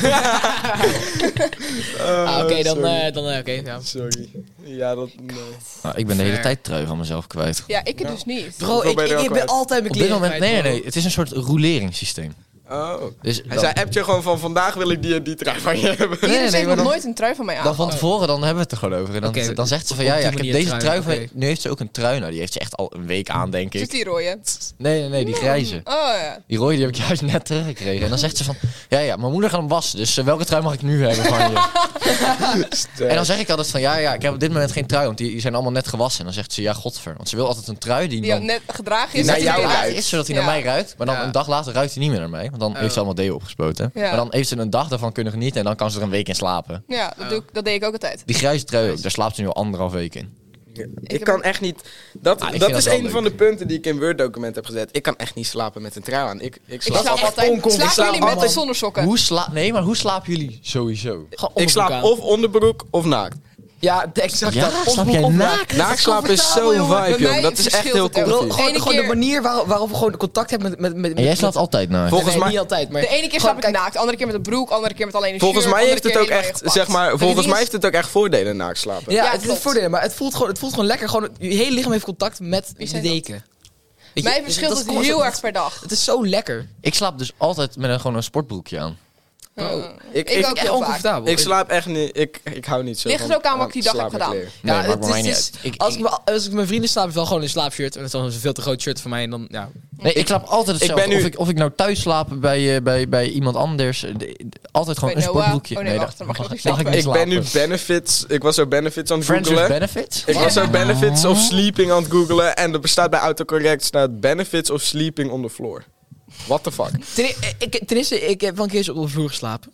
Speaker 3: Eh,
Speaker 4: Ah, oké, dan...
Speaker 3: sorry.
Speaker 4: eh, dan eh, Oké, ja.
Speaker 3: Sorry. Ja, dat... Nee.
Speaker 2: Nou, ik ben de hele
Speaker 4: Fair.
Speaker 2: tijd trui van mezelf kwijt.
Speaker 1: Ja, ik het
Speaker 3: Ja.
Speaker 1: dus niet.
Speaker 4: Bro,
Speaker 3: Hoeveel
Speaker 4: ik,
Speaker 3: ben je er al
Speaker 4: ik, ik ben
Speaker 3: kwijt?
Speaker 4: altijd mijn
Speaker 2: Op dit
Speaker 4: kleren
Speaker 2: moment,
Speaker 4: kwijt,
Speaker 2: nee,
Speaker 4: bro.
Speaker 2: nee, het is een soort roleringssysteem.
Speaker 3: Oh.
Speaker 2: Dus
Speaker 3: Hij
Speaker 2: dan-
Speaker 3: zei, appt je gewoon van vandaag wil ik die en die trui van je hebben.
Speaker 1: Iedereen
Speaker 4: nee,
Speaker 1: heeft
Speaker 4: maar
Speaker 1: nog
Speaker 4: dan-
Speaker 1: nooit een trui van mij aan.
Speaker 2: dan van tevoren dan hebben we het er gewoon over. En dan,
Speaker 4: Oké,
Speaker 2: dan zegt ze van
Speaker 4: op
Speaker 2: ja,
Speaker 4: die
Speaker 2: ja ik heb
Speaker 4: manier
Speaker 2: deze
Speaker 4: trui,
Speaker 2: trui. van-
Speaker 4: oké.
Speaker 2: Nu heeft ze ook een trui. Nou, die heeft ze echt al een week aan, denk
Speaker 1: Zit
Speaker 2: ik.
Speaker 1: die rode?
Speaker 2: Nee, nee, nee, die grijze.
Speaker 1: Oh ja.
Speaker 2: Die rode die heb ik juist net teruggekregen. En dan zegt ze van ja, ja, mijn moeder gaat hem wassen. Dus eh, welke trui mag ik nu hebben van je? En dan zeg ik altijd van ja, ja, ik heb op dit moment geen trui, want die, die zijn allemaal net gewassen. En dan zegt ze ja, godver. Want ze wil altijd een trui die,
Speaker 1: Die
Speaker 2: dan
Speaker 1: had net gedragen
Speaker 3: Die
Speaker 1: is.
Speaker 3: naar
Speaker 1: dat
Speaker 3: jou
Speaker 1: die-
Speaker 2: Hij
Speaker 3: ruikt.
Speaker 2: is zodat hij
Speaker 1: Ja.
Speaker 2: naar mij ruikt. Maar dan
Speaker 4: Ja.
Speaker 2: een dag later ruikt hij niet meer naar mij. Want dan heeft ze allemaal deo opgespoten.
Speaker 1: Ja.
Speaker 2: Maar dan heeft ze een dag daarvan kunnen genieten. En dan kan ze er een week in slapen.
Speaker 1: Ja, dat, doe ik, dat deed ik ook altijd.
Speaker 2: Die grijze trui ook. Daar slaapt ze nu al anderhalf week in.
Speaker 3: Ik kan echt niet... Dat,
Speaker 2: Ah, ik
Speaker 3: dat
Speaker 2: vind
Speaker 3: is
Speaker 2: dat wel
Speaker 3: een
Speaker 2: leuk.
Speaker 3: van de punten die ik in Word document heb gezet. Ik kan echt niet slapen met een trui aan. Ik, ik
Speaker 1: Ik
Speaker 3: slaap,
Speaker 1: slaap
Speaker 3: altijd
Speaker 1: altijd.
Speaker 3: oncom- ik
Speaker 1: Slaap
Speaker 3: slaap
Speaker 1: jullie met
Speaker 3: altijd-
Speaker 1: de zonder sokken?
Speaker 2: Hoe sla nee, maar hoe slapen jullie sowieso?
Speaker 4: Gewoon
Speaker 3: Ik
Speaker 4: onderbroek
Speaker 3: slaap
Speaker 4: aan.
Speaker 3: of onderbroek of naakt.
Speaker 4: Ja, de- exact
Speaker 2: Ja,
Speaker 4: dat.
Speaker 2: slaap
Speaker 4: Onderbroek
Speaker 2: jij
Speaker 4: of
Speaker 2: naakt?
Speaker 3: Naakt slapen is zo'n
Speaker 1: jongen.
Speaker 3: vibe,
Speaker 1: Bij
Speaker 3: joh.
Speaker 1: mij
Speaker 3: Dat is echt
Speaker 1: verschilt
Speaker 3: heel
Speaker 1: het ook.
Speaker 4: Bro,
Speaker 1: De
Speaker 3: comfy.
Speaker 4: gewoon,
Speaker 1: ene
Speaker 4: gewoon de
Speaker 1: keer-
Speaker 4: manier waar- waarop we gewoon contact hebben met... met, met
Speaker 2: En jij slaapt
Speaker 4: altijd.
Speaker 2: altijd naar.
Speaker 3: Volgens mij-
Speaker 4: niet altijd, maar...
Speaker 1: De ene keer slaap ik naakt, de andere keer met een broek, de andere keer met alleen een
Speaker 3: Volgens
Speaker 1: shirt,
Speaker 3: mij
Speaker 1: de
Speaker 3: heeft het
Speaker 1: andere
Speaker 3: ook
Speaker 1: keer helemaal
Speaker 3: echt,
Speaker 1: in je
Speaker 3: zeg
Speaker 1: gepakt.
Speaker 3: maar, volgens
Speaker 1: die
Speaker 3: mij
Speaker 1: is-
Speaker 3: heeft het ook echt voordelen naakt slapen.
Speaker 4: Ja,
Speaker 1: Ja,
Speaker 4: het is
Speaker 1: klopt.
Speaker 4: voordelen, maar het voelt, gewoon, het voelt gewoon lekker. Gewoon, je hele lichaam heeft contact met
Speaker 1: Wie
Speaker 4: de
Speaker 1: zei dat?
Speaker 4: deken. Weet je,
Speaker 1: Mij
Speaker 4: dat-
Speaker 1: verschilt
Speaker 4: dat
Speaker 1: het
Speaker 4: komt-
Speaker 1: heel erg per dag.
Speaker 4: Het is zo lekker.
Speaker 2: Ik slaap dus altijd met een, gewoon een sportbroekje aan.
Speaker 4: Bro,
Speaker 1: Ja.
Speaker 3: Ik-
Speaker 1: Ik,
Speaker 3: ik-
Speaker 1: ook
Speaker 4: Echt
Speaker 1: heel vaak.
Speaker 4: oncomfortabel.
Speaker 3: Ik slaap echt niet. Ik, ik hou niet zo.
Speaker 1: Ligt
Speaker 3: van-
Speaker 1: er ook aan wat ik die dag heb
Speaker 3: slaap met
Speaker 1: gedaan.
Speaker 3: kleren.
Speaker 2: Nee,
Speaker 4: Ja,
Speaker 2: maar
Speaker 4: het
Speaker 2: bij
Speaker 4: is-
Speaker 2: mij niet
Speaker 4: het is-
Speaker 2: uit. Ik-
Speaker 4: als,
Speaker 2: ik-
Speaker 4: ik, me- als ik met mijn vrienden slaap, is wel gewoon een slaapshirt. En dat is dan een veel te groot shirt voor mij. En dan, ja.
Speaker 2: Nee, ik slaap altijd
Speaker 3: ben
Speaker 2: hetzelfde.
Speaker 3: nu-
Speaker 2: Of, ik, of ik nou thuis slaap bij, eh, bij, bij iemand anders. eh, de- altijd gewoon
Speaker 1: Bij
Speaker 2: een
Speaker 1: Noah.
Speaker 2: sportbroekje.
Speaker 1: Oh, nee, wacht, dan mag ik niet
Speaker 2: ik
Speaker 1: slapen.
Speaker 2: niet
Speaker 3: Ik ben nu
Speaker 2: slapen.
Speaker 3: benefits. Ik was zo benefits aan het
Speaker 2: Friends with
Speaker 3: googelen.
Speaker 2: benefits?
Speaker 3: Ik was zo benefits of sleeping aan het googelen. En er bestaat bij autocorrect staat benefits of sleeping on the floor. What the fuck?
Speaker 4: Ten, ik, ten eerste, ik heb wel een keer eens op de vloer geslapen.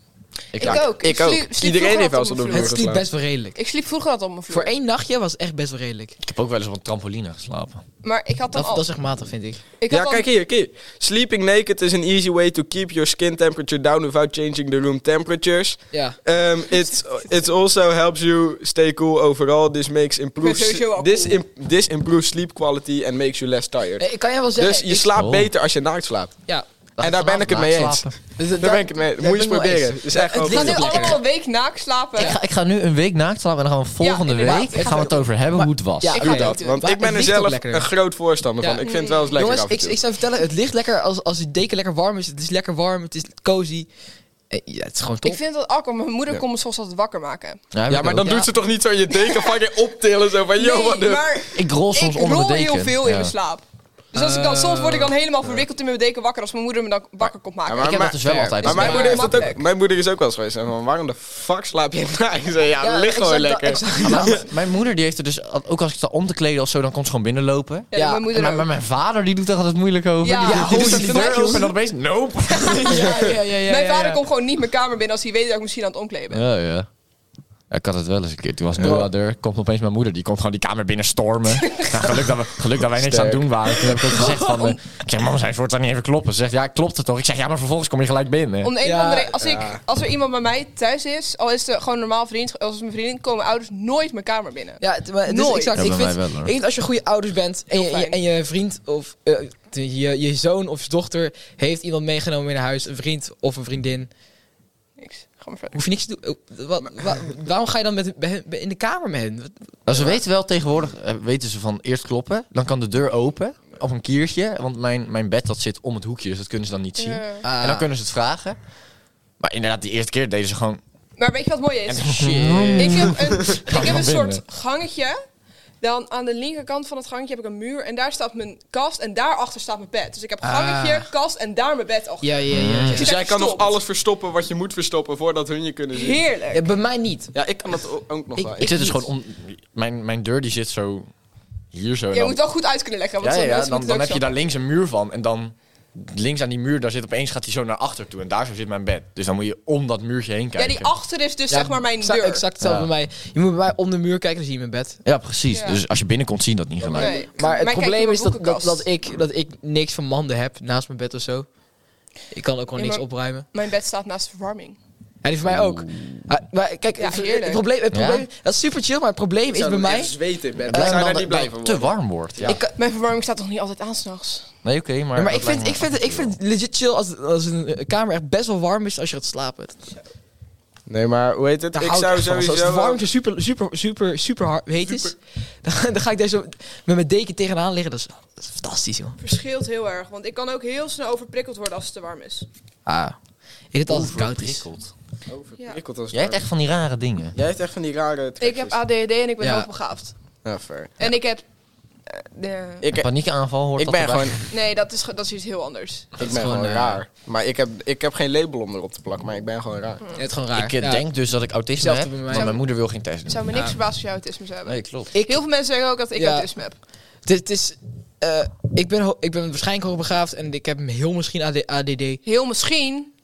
Speaker 1: Ik
Speaker 2: Ja,
Speaker 1: ook.
Speaker 3: ik ook.
Speaker 1: sliep- sliep
Speaker 3: Iedereen
Speaker 1: vroeger
Speaker 3: heeft
Speaker 1: altijd
Speaker 3: wel eens
Speaker 1: op
Speaker 3: op
Speaker 1: mijn
Speaker 3: de
Speaker 1: vloer.
Speaker 4: Het
Speaker 3: vloer.
Speaker 4: sliep best wel redelijk.
Speaker 1: Ik sliep vroeger altijd op mijn
Speaker 4: Voor
Speaker 1: vloer.
Speaker 4: één nachtje was het echt best wel redelijk.
Speaker 2: Ik heb ook wel eens op een trampoline geslapen.
Speaker 1: Maar ik had dan
Speaker 4: Dat,
Speaker 1: al...
Speaker 4: dat is echt matig, vind ik.
Speaker 1: ik had
Speaker 3: Ja,
Speaker 1: dan-
Speaker 3: kijk hier, kijk. Sleeping naked is an easy way to keep your skin temperature down without changing the room temperatures.
Speaker 4: Ja.
Speaker 3: Um, it it also helps you stay cool overall. This makes improve
Speaker 1: Ik ben sowieso al
Speaker 3: this,
Speaker 1: cool. Eh,
Speaker 3: im- this improves sleep quality and makes you less tired.
Speaker 4: Eh, Ik kan jij wel zeggen...
Speaker 3: Dus je
Speaker 4: ik-
Speaker 3: slaapt
Speaker 2: Oh.
Speaker 3: beter als je naakt slaapt.
Speaker 4: Ja.
Speaker 3: En daar ben ik het mee eens.
Speaker 2: Slapen.
Speaker 4: Dus
Speaker 3: Daar ben ik het mee. Moet je eens
Speaker 4: ben ik wel
Speaker 3: proberen.
Speaker 4: eens.
Speaker 3: Is echt
Speaker 4: het
Speaker 3: wel
Speaker 1: We gaan
Speaker 4: ligt
Speaker 1: nu
Speaker 4: ook lekker.
Speaker 1: allemaal een week naakt slapen.
Speaker 2: Ik ga, ik ga nu een week naakt slapen en dan gaan we volgende
Speaker 1: inderdaad.
Speaker 2: week
Speaker 1: Ik ga
Speaker 2: gaan we het over hebben hoe het was.
Speaker 4: Ja,
Speaker 1: Ik ga
Speaker 3: Doe
Speaker 1: het ook
Speaker 3: dat,
Speaker 1: doen.
Speaker 3: want
Speaker 4: Maar
Speaker 3: ik ben
Speaker 4: het
Speaker 3: er
Speaker 4: ligt ook
Speaker 3: zelf
Speaker 4: lekker.
Speaker 3: een groot voorstander
Speaker 4: Ja.
Speaker 3: van. Ik vind het wel eens lekker
Speaker 4: Jongens,
Speaker 3: af en
Speaker 4: ik,
Speaker 3: toe.
Speaker 4: ik zou vertellen, het ligt lekker als, als die deken lekker warm is. Het is lekker warm, het is cozy. Eh, Ja, het is gewoon top.
Speaker 1: Ik vind dat alcohol. Mijn moeder
Speaker 3: Ja.
Speaker 1: kon me soms altijd wakker maken.
Speaker 2: Nou, heb
Speaker 3: Ja,
Speaker 2: ik
Speaker 3: maar
Speaker 2: ook.
Speaker 3: dan
Speaker 4: Ja.
Speaker 3: doet ze toch niet zo je deken fucking optillen zo van, yo,
Speaker 1: Nee,
Speaker 3: wat de...
Speaker 1: maar
Speaker 2: Ik rol soms
Speaker 1: ik
Speaker 2: onder
Speaker 1: rol
Speaker 2: de deken.
Speaker 1: heel veel in
Speaker 2: Ja.
Speaker 1: mijn slaap. Dus als ik dan, soms word ik dan
Speaker 4: Eh,
Speaker 1: helemaal verwikkeld in mijn deken wakker als mijn moeder me dan wakker komt maken.
Speaker 3: Ja, maar-
Speaker 2: ik heb dat dus wel
Speaker 4: fair.
Speaker 2: altijd.
Speaker 3: Maar
Speaker 4: Maar
Speaker 3: mijn
Speaker 1: maar
Speaker 3: moeder, heeft dat ook,
Speaker 1: makkelijk.
Speaker 3: mijn moeder is ook wel eens geweest. En van, waarom de fuck slaap je na? Ik zei, ja, ligt gewoon
Speaker 4: exact
Speaker 3: lekker.
Speaker 4: dat- exact
Speaker 2: Maar
Speaker 4: dat.
Speaker 2: mijn- mijn moeder die heeft er dus, al- ook als ik sta om te kleden of zo, dan komt ze gewoon binnenlopen.
Speaker 1: Ja,
Speaker 4: ja,
Speaker 1: mijn moeder
Speaker 2: Maar, maar
Speaker 1: ook.
Speaker 2: mijn vader die doet daar altijd moeilijk over.
Speaker 1: Ja.
Speaker 2: die,
Speaker 1: Ja,
Speaker 2: die doet
Speaker 4: holy
Speaker 2: dan de deur
Speaker 4: fuck,
Speaker 2: open en dan opeens, nope.
Speaker 4: Ja, ja, ja, ja,
Speaker 1: Mijn
Speaker 4: ja,
Speaker 1: vader
Speaker 4: ja.
Speaker 1: komt gewoon niet mijn kamer binnen als hij weet dat ik misschien aan het omkleden ben.
Speaker 2: Ja, ja. Ja, ik had het wel eens een keer. Toen was
Speaker 3: Ja.
Speaker 2: Noah er, komt opeens mijn moeder. Die komt gewoon die kamer binnen stormen. Nou, geluk, dat we, geluk dat wij niks aan
Speaker 3: Sterk.
Speaker 2: het doen waren. Toen heb ik ook gezegd van... eh, ik zeg, mama, zij wordt daar niet even kloppen. Ze zegt, ja, klopt het toch? Ik zeg, ja, maar vervolgens kom je gelijk binnen.
Speaker 1: Om de een
Speaker 4: Ja,
Speaker 1: of andere reden- als,
Speaker 3: ja.
Speaker 1: ik, als er iemand bij mij thuis is, al is het gewoon normaal vriend, als het mijn vriendin, komen mijn ouders nooit mijn kamer binnen.
Speaker 4: Ja, het- maar het is
Speaker 1: Nooit.
Speaker 4: exact.
Speaker 2: Ja,
Speaker 4: ik,
Speaker 2: bij
Speaker 4: vind,
Speaker 2: mij wel, hoor.
Speaker 4: ik vind als je goede ouders bent en, je,
Speaker 1: Heel fijn.
Speaker 4: en je vriend of eh, de- je, je zoon of je dochter heeft iemand meegenomen in huis, een vriend of een vriendin,
Speaker 1: Niks. Ga maar verder.
Speaker 4: hoef je niks te doen. Eh, wa- wa- waarom ga je dan met, bij hen- in de kamer met hen? Wat-
Speaker 2: Nou, ze weten wel tegenwoordig, eh, weten ze van eerst kloppen. Dan kan de deur open op een kiertje. Want mijn, mijn bed dat zit om het hoekje, dus dat kunnen ze dan niet zien.
Speaker 1: Ja.
Speaker 2: En dan kunnen ze het vragen. Maar inderdaad, die eerste keer deden ze gewoon...
Speaker 1: Maar weet je wat mooi
Speaker 2: En
Speaker 1: is?
Speaker 2: shit.
Speaker 1: Ik heb een, ik heb
Speaker 2: maar
Speaker 1: een soort
Speaker 2: binnen.
Speaker 1: gangetje. Dan aan de linkerkant van het gangetje heb ik een muur. En daar staat mijn kast. En daarachter staat mijn bed. Dus ik heb
Speaker 4: Ah.
Speaker 1: gangetje, kast en daar mijn bed achter.
Speaker 4: ja, ja, ja. ja.
Speaker 1: Dus
Speaker 3: Dus jij kan nog
Speaker 1: verstopt.
Speaker 3: alles verstoppen wat je moet verstoppen voordat hun je kunnen zien.
Speaker 1: Heerlijk.
Speaker 4: Ja, bij mij niet.
Speaker 3: Ja, ik kan dat o- ook nog
Speaker 4: Ik-
Speaker 3: wel.
Speaker 2: Ik zit dus gewoon... om mijn, mijn deur die zit zo... Hier zo. en
Speaker 1: Je
Speaker 2: dan-
Speaker 1: moet wel goed uit kunnen leggen. Want
Speaker 2: Ja, ja,
Speaker 1: zo
Speaker 2: ja,
Speaker 1: mensen
Speaker 2: dan,
Speaker 1: moeten
Speaker 2: dan heb
Speaker 1: het ook
Speaker 2: je daar links een muur van. En dan links aan die muur, daar zit opeens gaat hij zo naar achter toe. En daar zo zit mijn bed. Dus dan moet je om dat muurtje heen
Speaker 1: zo. Ja,
Speaker 2: kijken.
Speaker 1: die achter is dus
Speaker 4: Ja,
Speaker 1: zeg maar mijn
Speaker 4: exa-
Speaker 1: deur.
Speaker 4: Exact hetzelfde
Speaker 2: Ja.
Speaker 4: bij mij. Je moet bij mij om de muur kijken, dan zie je mijn bed.
Speaker 2: Ja, precies.
Speaker 1: Ja.
Speaker 2: Dus als je binnenkomt, zie je dat niet gelijk.
Speaker 1: Nee.
Speaker 4: Maar het
Speaker 1: Eh, Mij kijkt in
Speaker 4: probleem
Speaker 1: mijn
Speaker 4: is dat, dat,
Speaker 1: boekenkast.
Speaker 4: dat, ik, dat ik niks van manden heb naast mijn bed of zo. Ik kan ook gewoon
Speaker 1: Ja,
Speaker 4: niks
Speaker 1: maar-
Speaker 4: opruimen.
Speaker 1: Mijn bed staat naast verwarming.
Speaker 4: En die voor mij ook. Ah, maar kijk,
Speaker 1: Ja,
Speaker 4: het- het,
Speaker 1: heerlijk.
Speaker 4: probleem, het
Speaker 2: Ja?
Speaker 4: probleem, dat is super chill, maar het probleem is bij mij...
Speaker 3: Zweten in bed. Ik
Speaker 2: Blijf
Speaker 3: zou
Speaker 2: Eh, dan
Speaker 3: daar
Speaker 2: dat-
Speaker 3: niet blij van
Speaker 2: dat het te
Speaker 3: worden.
Speaker 2: warm wordt. Ja.
Speaker 4: Ik, kan-
Speaker 1: Mijn verwarming staat toch niet altijd aan s'nachts?
Speaker 2: nee, oké, maar...
Speaker 4: ja, maar
Speaker 2: dat
Speaker 4: ik vind, ik,
Speaker 2: lijkt me-
Speaker 4: vind, ik vind het legit chill als, als een eh, kamer echt best wel warm is als je gaat slapen.
Speaker 3: Nee, maar hoe heet het?
Speaker 4: Daar
Speaker 3: Ik
Speaker 4: hou
Speaker 3: zou
Speaker 4: echt van.
Speaker 3: sowieso...
Speaker 4: Als het
Speaker 3: wel-
Speaker 4: warm is, super, super, super, super hard, heet is, dan, dan ga ik daar zo met mijn deken tegenaan liggen. Dat is, dat is fantastisch, joh.
Speaker 1: Verschilt heel erg. Want ik kan ook heel snel overprikkeld worden als het te warm is.
Speaker 4: Ah. Ik het altijd koud is.
Speaker 2: Overprikkeld.
Speaker 3: Overprikkeld als het
Speaker 2: Jij hebt
Speaker 3: warm
Speaker 2: echt van die rare dingen.
Speaker 3: is. Jij hebt echt van die rare...
Speaker 1: Ik heb ADD en ik ben
Speaker 4: Ja.
Speaker 1: hoogbegaafd.
Speaker 3: Ja, fair.
Speaker 1: En ik heb... eh, de-
Speaker 3: Ik,
Speaker 2: Paniekaanval hoort
Speaker 3: ik
Speaker 2: dat
Speaker 3: ben
Speaker 2: erbij.
Speaker 3: gewoon,
Speaker 1: nee, dat is, ge- dat is iets heel anders.
Speaker 3: ik ben
Speaker 4: is gewoon,
Speaker 3: gewoon
Speaker 4: eh,
Speaker 3: raar. Maar ik heb, ik heb geen label om erop te plakken, maar ik ben gewoon raar.
Speaker 4: Ja, het is gewoon raar.
Speaker 2: Ik eh,
Speaker 4: Ja.
Speaker 2: denk dus dat ik autisme
Speaker 4: Hetzelfde
Speaker 2: heb,
Speaker 4: bij mij.
Speaker 2: want mijn moeder wil geen test
Speaker 1: Het
Speaker 2: doen.
Speaker 1: zou me niks
Speaker 4: Ja.
Speaker 1: verbazen als je autisme zou hebben.
Speaker 2: Nee, klopt.
Speaker 4: Ik-
Speaker 1: Heel veel mensen zeggen ook dat ik
Speaker 4: Ja.
Speaker 1: autisme heb.
Speaker 4: Het is... het is, eh, ik, ben, ho- ik ben waarschijnlijk hoogbegaafd en ik heb heel misschien AD, ADD.
Speaker 1: Heel misschien.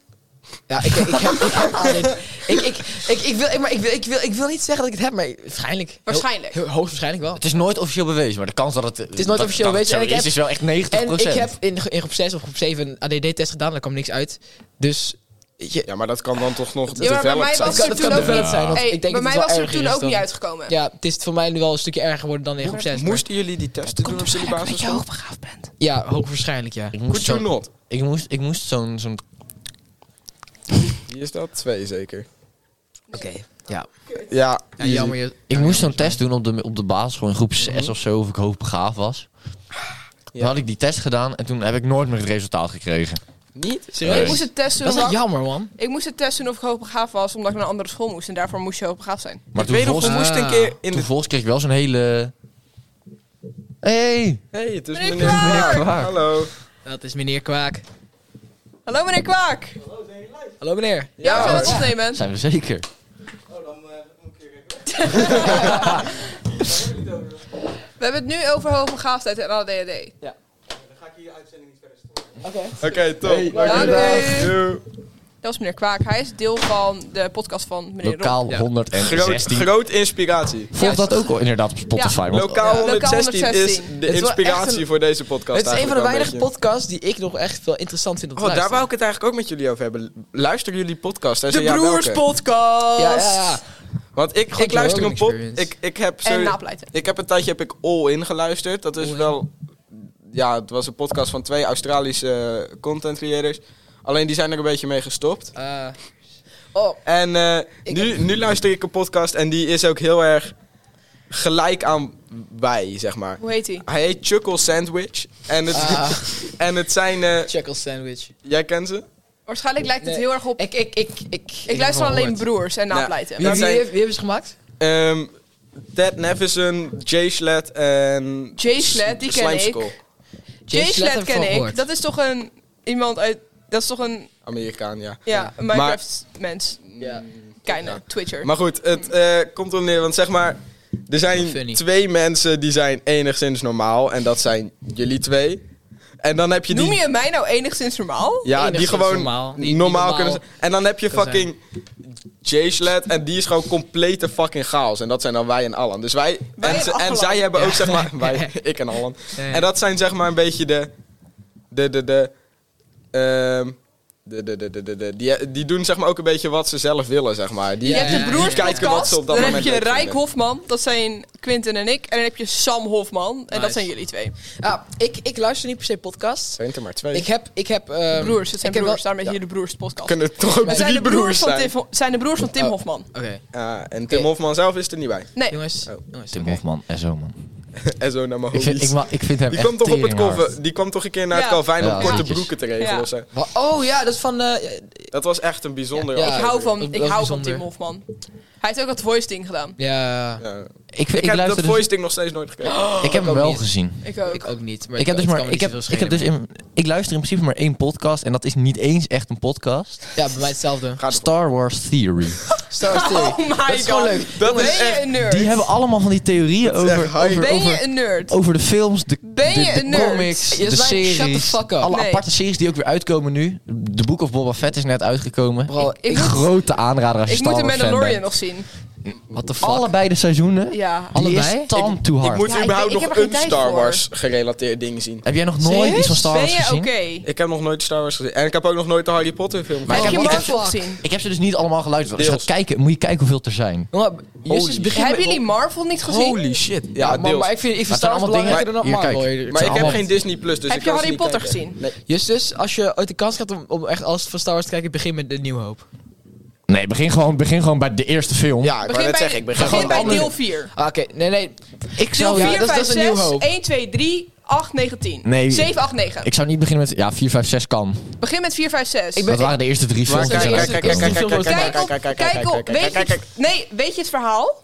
Speaker 4: Ja, ik, ik, heb, ik heb ADD. Ik, ik, ik, ik, wil, maar ik, wil, ik, wil, ik wil niet zeggen dat ik het heb, maar waarschijnlijk. Heel-
Speaker 1: Waarschijnlijk.
Speaker 4: heel- hoogstwaarschijnlijk wel.
Speaker 2: Het is nooit officieel bewezen, maar de kans dat het... Het
Speaker 4: is nooit officieel bewezen. En ik
Speaker 2: is,
Speaker 4: heb-
Speaker 2: is wel echt 90%.
Speaker 4: En ik heb in, in groep 6 of groep 7 een ADD-test gedaan, daar kwam niks uit. Dus je,
Speaker 3: Ja, maar dat kan dan toch nog
Speaker 1: Ja, maar bij mij
Speaker 3: developed zijn.
Speaker 1: was er
Speaker 4: dat kan, dat
Speaker 1: toen
Speaker 4: kan
Speaker 1: ook
Speaker 4: developed
Speaker 1: niet...
Speaker 4: zijn. Want
Speaker 1: Hey,
Speaker 4: ik
Speaker 1: bij
Speaker 4: denk dat
Speaker 1: mij
Speaker 4: het
Speaker 1: was
Speaker 4: wel
Speaker 1: er
Speaker 4: erger
Speaker 1: toen
Speaker 4: is
Speaker 1: ook
Speaker 4: dan-
Speaker 1: niet uitgekomen.
Speaker 4: Ja, het is voor mij nu wel een stukje erger geworden dan in groep 6. maar-
Speaker 3: Moesten jullie die testen doen op jullie basisschool?
Speaker 1: hoogbegaafd bent.
Speaker 4: Ja, hoogwaarschijnlijk ja.
Speaker 2: Ik
Speaker 3: Could
Speaker 2: moest
Speaker 3: you
Speaker 2: zo'n
Speaker 3: not?
Speaker 2: ik moest, ik moest zo'n zo'n
Speaker 3: Hier is dat twee zeker.
Speaker 4: Oké, ja.
Speaker 3: Ja,
Speaker 4: ja. Jammer. Je,
Speaker 2: Ik moest zo'n test doen op de, op de basisschool in groep 6 of zo, of ik hoogbegaafd was. Toen had ik die test gedaan en toen heb ik nooit meer het resultaat gekregen.
Speaker 3: Niet?
Speaker 4: Serieus?
Speaker 1: Ik moest het testen
Speaker 4: dat is echt
Speaker 1: of
Speaker 4: jammer, man.
Speaker 1: ik moest het testen of ik hoogbegaafd was, omdat ik naar een andere school moest. En daarvoor moest je hoogbegaafd zijn.
Speaker 2: Maar
Speaker 3: ik
Speaker 2: toen
Speaker 3: weet nog, we
Speaker 2: volgens,
Speaker 3: moesten een
Speaker 4: Ah.
Speaker 3: keer in
Speaker 2: toen
Speaker 3: de...
Speaker 2: volgens kreeg ik wel zo'n hele... Hey!
Speaker 3: Hé, het is
Speaker 1: Meneer
Speaker 3: meneer
Speaker 1: Kwaak.
Speaker 3: Kwaak. Hallo.
Speaker 4: Dat is meneer Kwaak.
Speaker 1: Hallo meneer Kwaak.
Speaker 4: Hallo meneer.
Speaker 1: Ja, we
Speaker 3: hoor.
Speaker 1: gaan het opnemen.
Speaker 2: Zijn we zeker?
Speaker 1: We hebben het nu over hoogbegaafdheid en ADHD.
Speaker 3: Oké, top.
Speaker 1: Dankjewel.
Speaker 3: Doei.
Speaker 1: Dat is meneer Kwaak. Hij is deel van de podcast van meneer Rob.
Speaker 2: Lokaal
Speaker 4: Ja.
Speaker 3: Groot,
Speaker 2: 116.
Speaker 3: groot inspiratie.
Speaker 2: Volg dat ook al inderdaad op Spotify. want-
Speaker 3: Lokaal
Speaker 1: Ja.
Speaker 3: 116 is
Speaker 1: 116.
Speaker 3: de
Speaker 4: Het is wel
Speaker 3: inspiratie
Speaker 4: echt een-
Speaker 3: voor deze podcast.
Speaker 4: het is een
Speaker 3: eigenlijk
Speaker 4: van de
Speaker 3: wel
Speaker 4: weinige
Speaker 3: beetje.
Speaker 4: podcasts die ik nog echt wel interessant vind om te
Speaker 3: Oh, daar
Speaker 4: luisteren.
Speaker 3: wou ik het eigenlijk ook met jullie over hebben. Luisteren jullie podcast? Hij
Speaker 1: De
Speaker 3: zei, ja, welke?
Speaker 1: Broerspodcast.
Speaker 4: Ja, ja, ja.
Speaker 3: Want ik,
Speaker 4: Goed
Speaker 3: ik luister een
Speaker 4: learning
Speaker 3: pod...
Speaker 4: experience.
Speaker 3: Ik, ik heb
Speaker 1: En nou-
Speaker 3: zo...
Speaker 1: napleiten.
Speaker 3: Ik heb een tijdje heb ik All In geluisterd. Dat is
Speaker 4: All In.
Speaker 3: wel... Ja, het was een podcast van twee Australische eh, content creators. Alleen die zijn er een beetje mee gestopt.
Speaker 4: Eh,
Speaker 3: En eh,
Speaker 4: Ik
Speaker 3: nu, nu luister ik een podcast en die is ook heel erg gelijk aan wij, zeg maar.
Speaker 1: Hoe heet hij?
Speaker 3: Hij heet Chuckle Sandwich. En het,
Speaker 4: Ah.
Speaker 3: en het zijn... eh,
Speaker 4: Chuckle Sandwich.
Speaker 3: jij kent ze?
Speaker 1: Waarschijnlijk lijkt het
Speaker 4: Nee.
Speaker 1: heel erg op... Ik,
Speaker 4: Ik, ik, ik, ik, heb
Speaker 1: luister
Speaker 4: wel
Speaker 1: alleen
Speaker 4: gehoord.
Speaker 1: broers en
Speaker 3: Nou,
Speaker 1: napleiten.
Speaker 4: Wie,
Speaker 3: Dat
Speaker 4: wie,
Speaker 3: zijn-
Speaker 4: heeft- wie hebben ze gemaakt?
Speaker 3: Ehm, Ted Nevison, Jay Schlett en...
Speaker 1: Jay Schlett, die ken ik.
Speaker 3: Slimeschool.
Speaker 1: Jay
Speaker 4: Sled
Speaker 1: Sled
Speaker 4: heb ik van
Speaker 1: ken ik.
Speaker 4: gehoord.
Speaker 1: Dat is toch een iemand uit. Dat is toch een
Speaker 3: Amerikaan, ja.
Speaker 1: ja, een Minecraft-mens.
Speaker 4: Ja.
Speaker 1: Kinda, Twitcher.
Speaker 3: Maar goed, het eh, komt er neer, want zeg maar... Er zijn
Speaker 4: Funny.
Speaker 3: twee mensen die zijn enigszins normaal. En dat zijn jullie twee. En dan heb je die...
Speaker 1: Noem je mij nou enigszins normaal?
Speaker 3: Ja, die
Speaker 4: Enigszins
Speaker 3: gewoon
Speaker 4: normaal.
Speaker 3: normaal,
Speaker 4: Die- die normaal
Speaker 3: kunnen zijn. En dan heb je
Speaker 4: kan
Speaker 3: fucking J-Sled en die is gewoon complete fucking chaos. En dat zijn dan wij en Allan. Dus wij,
Speaker 1: Wij en
Speaker 3: en, ze-
Speaker 1: Allan.
Speaker 3: en zij hebben ook zeg maar, wij, ik en Allan. En dat zijn zeg maar een beetje de, de, de, de, ehm, de, de, de, de, de, de- die, die doen zeg maar ook een beetje wat ze zelf willen, zeg maar. Die,
Speaker 1: Je
Speaker 4: Ja,
Speaker 1: hebt
Speaker 4: ja,
Speaker 1: de
Speaker 4: ja.
Speaker 1: broers
Speaker 3: Kijken wat ze op
Speaker 1: dan
Speaker 3: dat
Speaker 1: heb
Speaker 3: moment
Speaker 1: je
Speaker 3: leuk
Speaker 1: Rijk
Speaker 3: vinden.
Speaker 1: Hofman, dat zijn Quinten en ik. En dan heb je Sam Hofman, en dat
Speaker 4: Nice.
Speaker 1: zijn jullie twee.
Speaker 4: Ja, Ah, ik, ik luister niet per se podcasts.
Speaker 3: zijn er maar twee.
Speaker 4: Ik heb... Ik heb ehm,
Speaker 1: Broers, het zijn
Speaker 4: ik heb
Speaker 1: broers,
Speaker 4: wel-
Speaker 1: daarmee je de broers podcast.
Speaker 3: kunnen het toch ook
Speaker 1: Het zijn
Speaker 3: drie
Speaker 1: de broers
Speaker 3: broers
Speaker 1: van
Speaker 3: zijn.
Speaker 1: Tim, Ho- zijn de broers van Tim
Speaker 4: Oh.
Speaker 1: Hofman.
Speaker 4: Oké,
Speaker 3: Ja, en Tim
Speaker 4: Oké.
Speaker 3: Hofman zelf is er niet bij.
Speaker 1: Nee,
Speaker 4: jongens.
Speaker 3: Oh.
Speaker 4: jongens
Speaker 2: Tim
Speaker 4: oké.
Speaker 2: Hofman, SO man.
Speaker 3: En zo naar mijn
Speaker 2: Ik vind, ik,
Speaker 3: homies.
Speaker 2: ma- ik vind hem
Speaker 3: Die
Speaker 2: echt
Speaker 3: kwam toch op het
Speaker 2: teringhard.
Speaker 3: koffer, die kwam toch een keer naar het
Speaker 1: Ja.
Speaker 3: Calvijn
Speaker 2: Ja,
Speaker 3: om korte
Speaker 2: zeker.
Speaker 3: broeken te regelen
Speaker 1: Ja.
Speaker 3: of zo.
Speaker 4: Wa- Oh ja, dat is van... eh,
Speaker 3: Dat was echt een bijzonder.
Speaker 4: Ja, ja.
Speaker 1: ik hou van,
Speaker 4: oh, Dat-
Speaker 1: ik
Speaker 4: dat is
Speaker 1: hou van
Speaker 4: bijzonder.
Speaker 1: Tim Hofman. Hij heeft ook dat voice ding gedaan.
Speaker 4: ja,
Speaker 3: Ja.
Speaker 2: Ik, vind-
Speaker 3: Ik,
Speaker 2: ik,
Speaker 3: heb dat
Speaker 2: luister dus-
Speaker 3: voice ding nog steeds nooit gekeken.
Speaker 2: ik heb
Speaker 4: ook
Speaker 2: hem wel
Speaker 4: niet.
Speaker 2: gezien.
Speaker 1: Ik ook.
Speaker 4: ik ook niet. Maar
Speaker 2: ik heb dus
Speaker 4: het
Speaker 2: maar,
Speaker 4: kan me
Speaker 2: ik
Speaker 4: niet
Speaker 2: heb,
Speaker 4: zoveel
Speaker 2: ik heb dus
Speaker 4: schelen.
Speaker 2: in, ik luister in principe maar één podcast en dat is niet eens echt een podcast.
Speaker 4: Ja, bij mij hetzelfde.
Speaker 3: Gaat ervoor.
Speaker 2: Star Wars Theory.
Speaker 4: Star Wars Theory.
Speaker 1: Oh my god.
Speaker 4: dat is gewoon leuk.
Speaker 3: Dat
Speaker 1: ben
Speaker 3: is
Speaker 1: je
Speaker 3: echt-
Speaker 1: een nerd?
Speaker 2: Die hebben allemaal van die theorieën
Speaker 3: Dat is
Speaker 2: over,
Speaker 3: echt hype.
Speaker 2: over,
Speaker 1: ben
Speaker 2: over, Oh,
Speaker 1: je een nerd?
Speaker 2: over de films, de,
Speaker 1: Ben je
Speaker 2: de- de
Speaker 1: een nerd?
Speaker 2: comics,
Speaker 4: Je
Speaker 2: de
Speaker 4: is mijn-
Speaker 2: series.
Speaker 4: shut the fuck up.
Speaker 2: Alle
Speaker 1: Nee.
Speaker 2: aparte series die ook weer uitkomen nu. De Book of Boba Fett is net uitgekomen.
Speaker 4: Bro,
Speaker 2: Een
Speaker 1: ik moet-
Speaker 2: grote aanrader als je
Speaker 1: Ik moet
Speaker 2: Star
Speaker 1: de
Speaker 2: Wars fan
Speaker 1: Mandalorian
Speaker 2: bent.
Speaker 1: nog zien.
Speaker 4: What the fuck?
Speaker 2: Allebei de seizoenen.
Speaker 1: Ja.
Speaker 2: Die is
Speaker 4: Allebei?
Speaker 2: tam to
Speaker 3: Ik
Speaker 2: hard.
Speaker 3: moet
Speaker 1: Ja, ik
Speaker 3: überhaupt
Speaker 1: weet- ik heb er
Speaker 3: nog een
Speaker 1: geen tijd
Speaker 3: Star
Speaker 1: voor.
Speaker 3: Wars gerelateerd ding zien.
Speaker 2: Heb jij nog nooit
Speaker 4: Serieus?
Speaker 2: iets van Star
Speaker 1: Ben
Speaker 2: Wars
Speaker 1: je
Speaker 2: gezien?
Speaker 1: oké?
Speaker 3: Ik heb nog nooit Star Wars gezien. En ik heb ook nog nooit de Harry Potter film
Speaker 2: Maar
Speaker 1: Heb
Speaker 3: gezien.
Speaker 1: je
Speaker 2: ik heb-
Speaker 1: Marvel
Speaker 4: ik heb-
Speaker 1: gezien?
Speaker 2: Ik heb ze dus niet allemaal geluisterd. Als je gaat
Speaker 3: Deels.
Speaker 2: kijken, moet je kijken hoeveel er zijn.
Speaker 4: Jongen, Justus
Speaker 3: Holy
Speaker 4: begint
Speaker 1: Hebben
Speaker 4: met-
Speaker 1: jullie Marvel niet gezien?
Speaker 4: Holy shit.
Speaker 3: Ja,
Speaker 4: maar,
Speaker 3: deels.
Speaker 4: maar ik vind, ik vind
Speaker 2: Maar
Speaker 4: Star Wars
Speaker 2: het zijn allemaal
Speaker 4: belangrijker dan
Speaker 2: dingen-
Speaker 4: Marvel.
Speaker 2: Hier, kijk.
Speaker 4: Het
Speaker 3: Maar
Speaker 4: zijn
Speaker 3: ik heb
Speaker 4: allemaal-
Speaker 3: geen Disney Plus, dus
Speaker 1: Heb
Speaker 3: ik
Speaker 1: je
Speaker 3: kan
Speaker 1: Harry
Speaker 3: ze niet
Speaker 1: Potter
Speaker 3: kijken.
Speaker 1: gezien?
Speaker 3: Nee.
Speaker 4: Justus, als je ooit de kans krijgt om, om echt alles van Star Wars te kijken, begin met de Nieuwe Hoop.
Speaker 2: Nee, begin gewoon, begin gewoon bij de eerste film.
Speaker 3: Ja, ik wou
Speaker 1: Begin
Speaker 3: net
Speaker 1: bij,
Speaker 3: zeggen, ik
Speaker 1: begin
Speaker 3: begin gewoon
Speaker 1: bij
Speaker 3: andere-
Speaker 1: deel 4.
Speaker 4: Ah, Oké, nee, nee.
Speaker 2: ik
Speaker 1: Deel
Speaker 2: zou,
Speaker 4: ja,
Speaker 1: 4,
Speaker 4: dat is-
Speaker 1: 5,
Speaker 4: dat is een nieuw
Speaker 1: 6,
Speaker 4: hoop.
Speaker 1: 1, 2, 3, 8, 9, 10.
Speaker 2: Nee.
Speaker 1: 7, 8, 9.
Speaker 2: ik zou niet beginnen met... Ja, 4, 5, 6 kan.
Speaker 1: Begin met 4, 5, 6.
Speaker 4: Ik ben-
Speaker 2: Dat waren de eerste drie
Speaker 3: Maar
Speaker 2: films die
Speaker 3: kijk,
Speaker 2: zijn
Speaker 4: kijk,
Speaker 3: kijk, kijk,
Speaker 2: uitgekomen.
Speaker 3: kijk, kijk, kijk,
Speaker 1: Kijk
Speaker 3: kijk,
Speaker 1: op,
Speaker 3: kijk, kijk,
Speaker 1: kijk op. Weet je
Speaker 3: kijk, kijk.
Speaker 1: het- Nee, weet je het verhaal?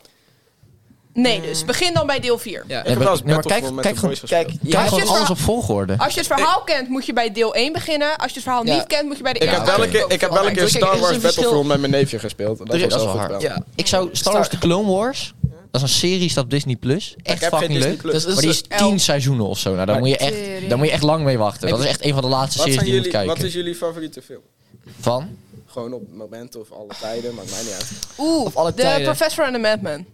Speaker 1: Nee,
Speaker 3: Hmm.
Speaker 1: dus begin dan bij deel 4.
Speaker 4: Ja.
Speaker 3: Ik heb wel eens
Speaker 2: Nee, maar
Speaker 3: Battle
Speaker 2: kijk-
Speaker 3: voor met
Speaker 2: kijk
Speaker 3: de
Speaker 2: gewoon-
Speaker 3: boys gespeeld.
Speaker 2: Kijk
Speaker 4: Ja,
Speaker 1: als je
Speaker 2: gewoon
Speaker 1: het
Speaker 2: alles
Speaker 1: verhaal-
Speaker 2: op volgorde.
Speaker 1: Als je het verhaal kent, moet je bij deel 1 beginnen. Als je het verhaal
Speaker 4: Eh, Ja.
Speaker 1: niet kent, moet je bij de
Speaker 3: Ik heb
Speaker 1: eerste
Speaker 3: wel
Speaker 2: oké.
Speaker 3: een keer- ik heb wel een keer
Speaker 4: Kijk, er is
Speaker 3: Star
Speaker 4: een
Speaker 3: Wars
Speaker 4: verschil.
Speaker 3: Battlefront met mijn neefje gespeeld. Dat was
Speaker 2: is
Speaker 3: wel
Speaker 2: wel
Speaker 3: goed
Speaker 2: hard.
Speaker 3: wel.
Speaker 4: Ja.
Speaker 2: Ik zou Star Wars The Clone Wars... Dat is een serie, staat op Disney+. Plus.
Speaker 3: Ik
Speaker 2: Echt
Speaker 3: heb geen
Speaker 2: fucking
Speaker 3: Disney
Speaker 2: leuk.
Speaker 3: Plus.
Speaker 4: Dus is
Speaker 2: Maar die is
Speaker 1: Elf.
Speaker 2: tien seizoenen of zo. Nou, daar moet, je echt,
Speaker 1: Serie.
Speaker 2: daar moet je echt lang mee wachten. Dat is echt een van de laatste
Speaker 3: Wat
Speaker 2: series
Speaker 3: zijn
Speaker 2: die je moet
Speaker 3: jullie, wat
Speaker 2: kijken.
Speaker 3: is jullie favoriete film?
Speaker 2: Van?
Speaker 3: Gewoon op het moment of alle tijden, maakt mij niet uit.
Speaker 1: Oeh,
Speaker 4: alle
Speaker 1: de
Speaker 4: tijden.
Speaker 1: Professor and the Madman.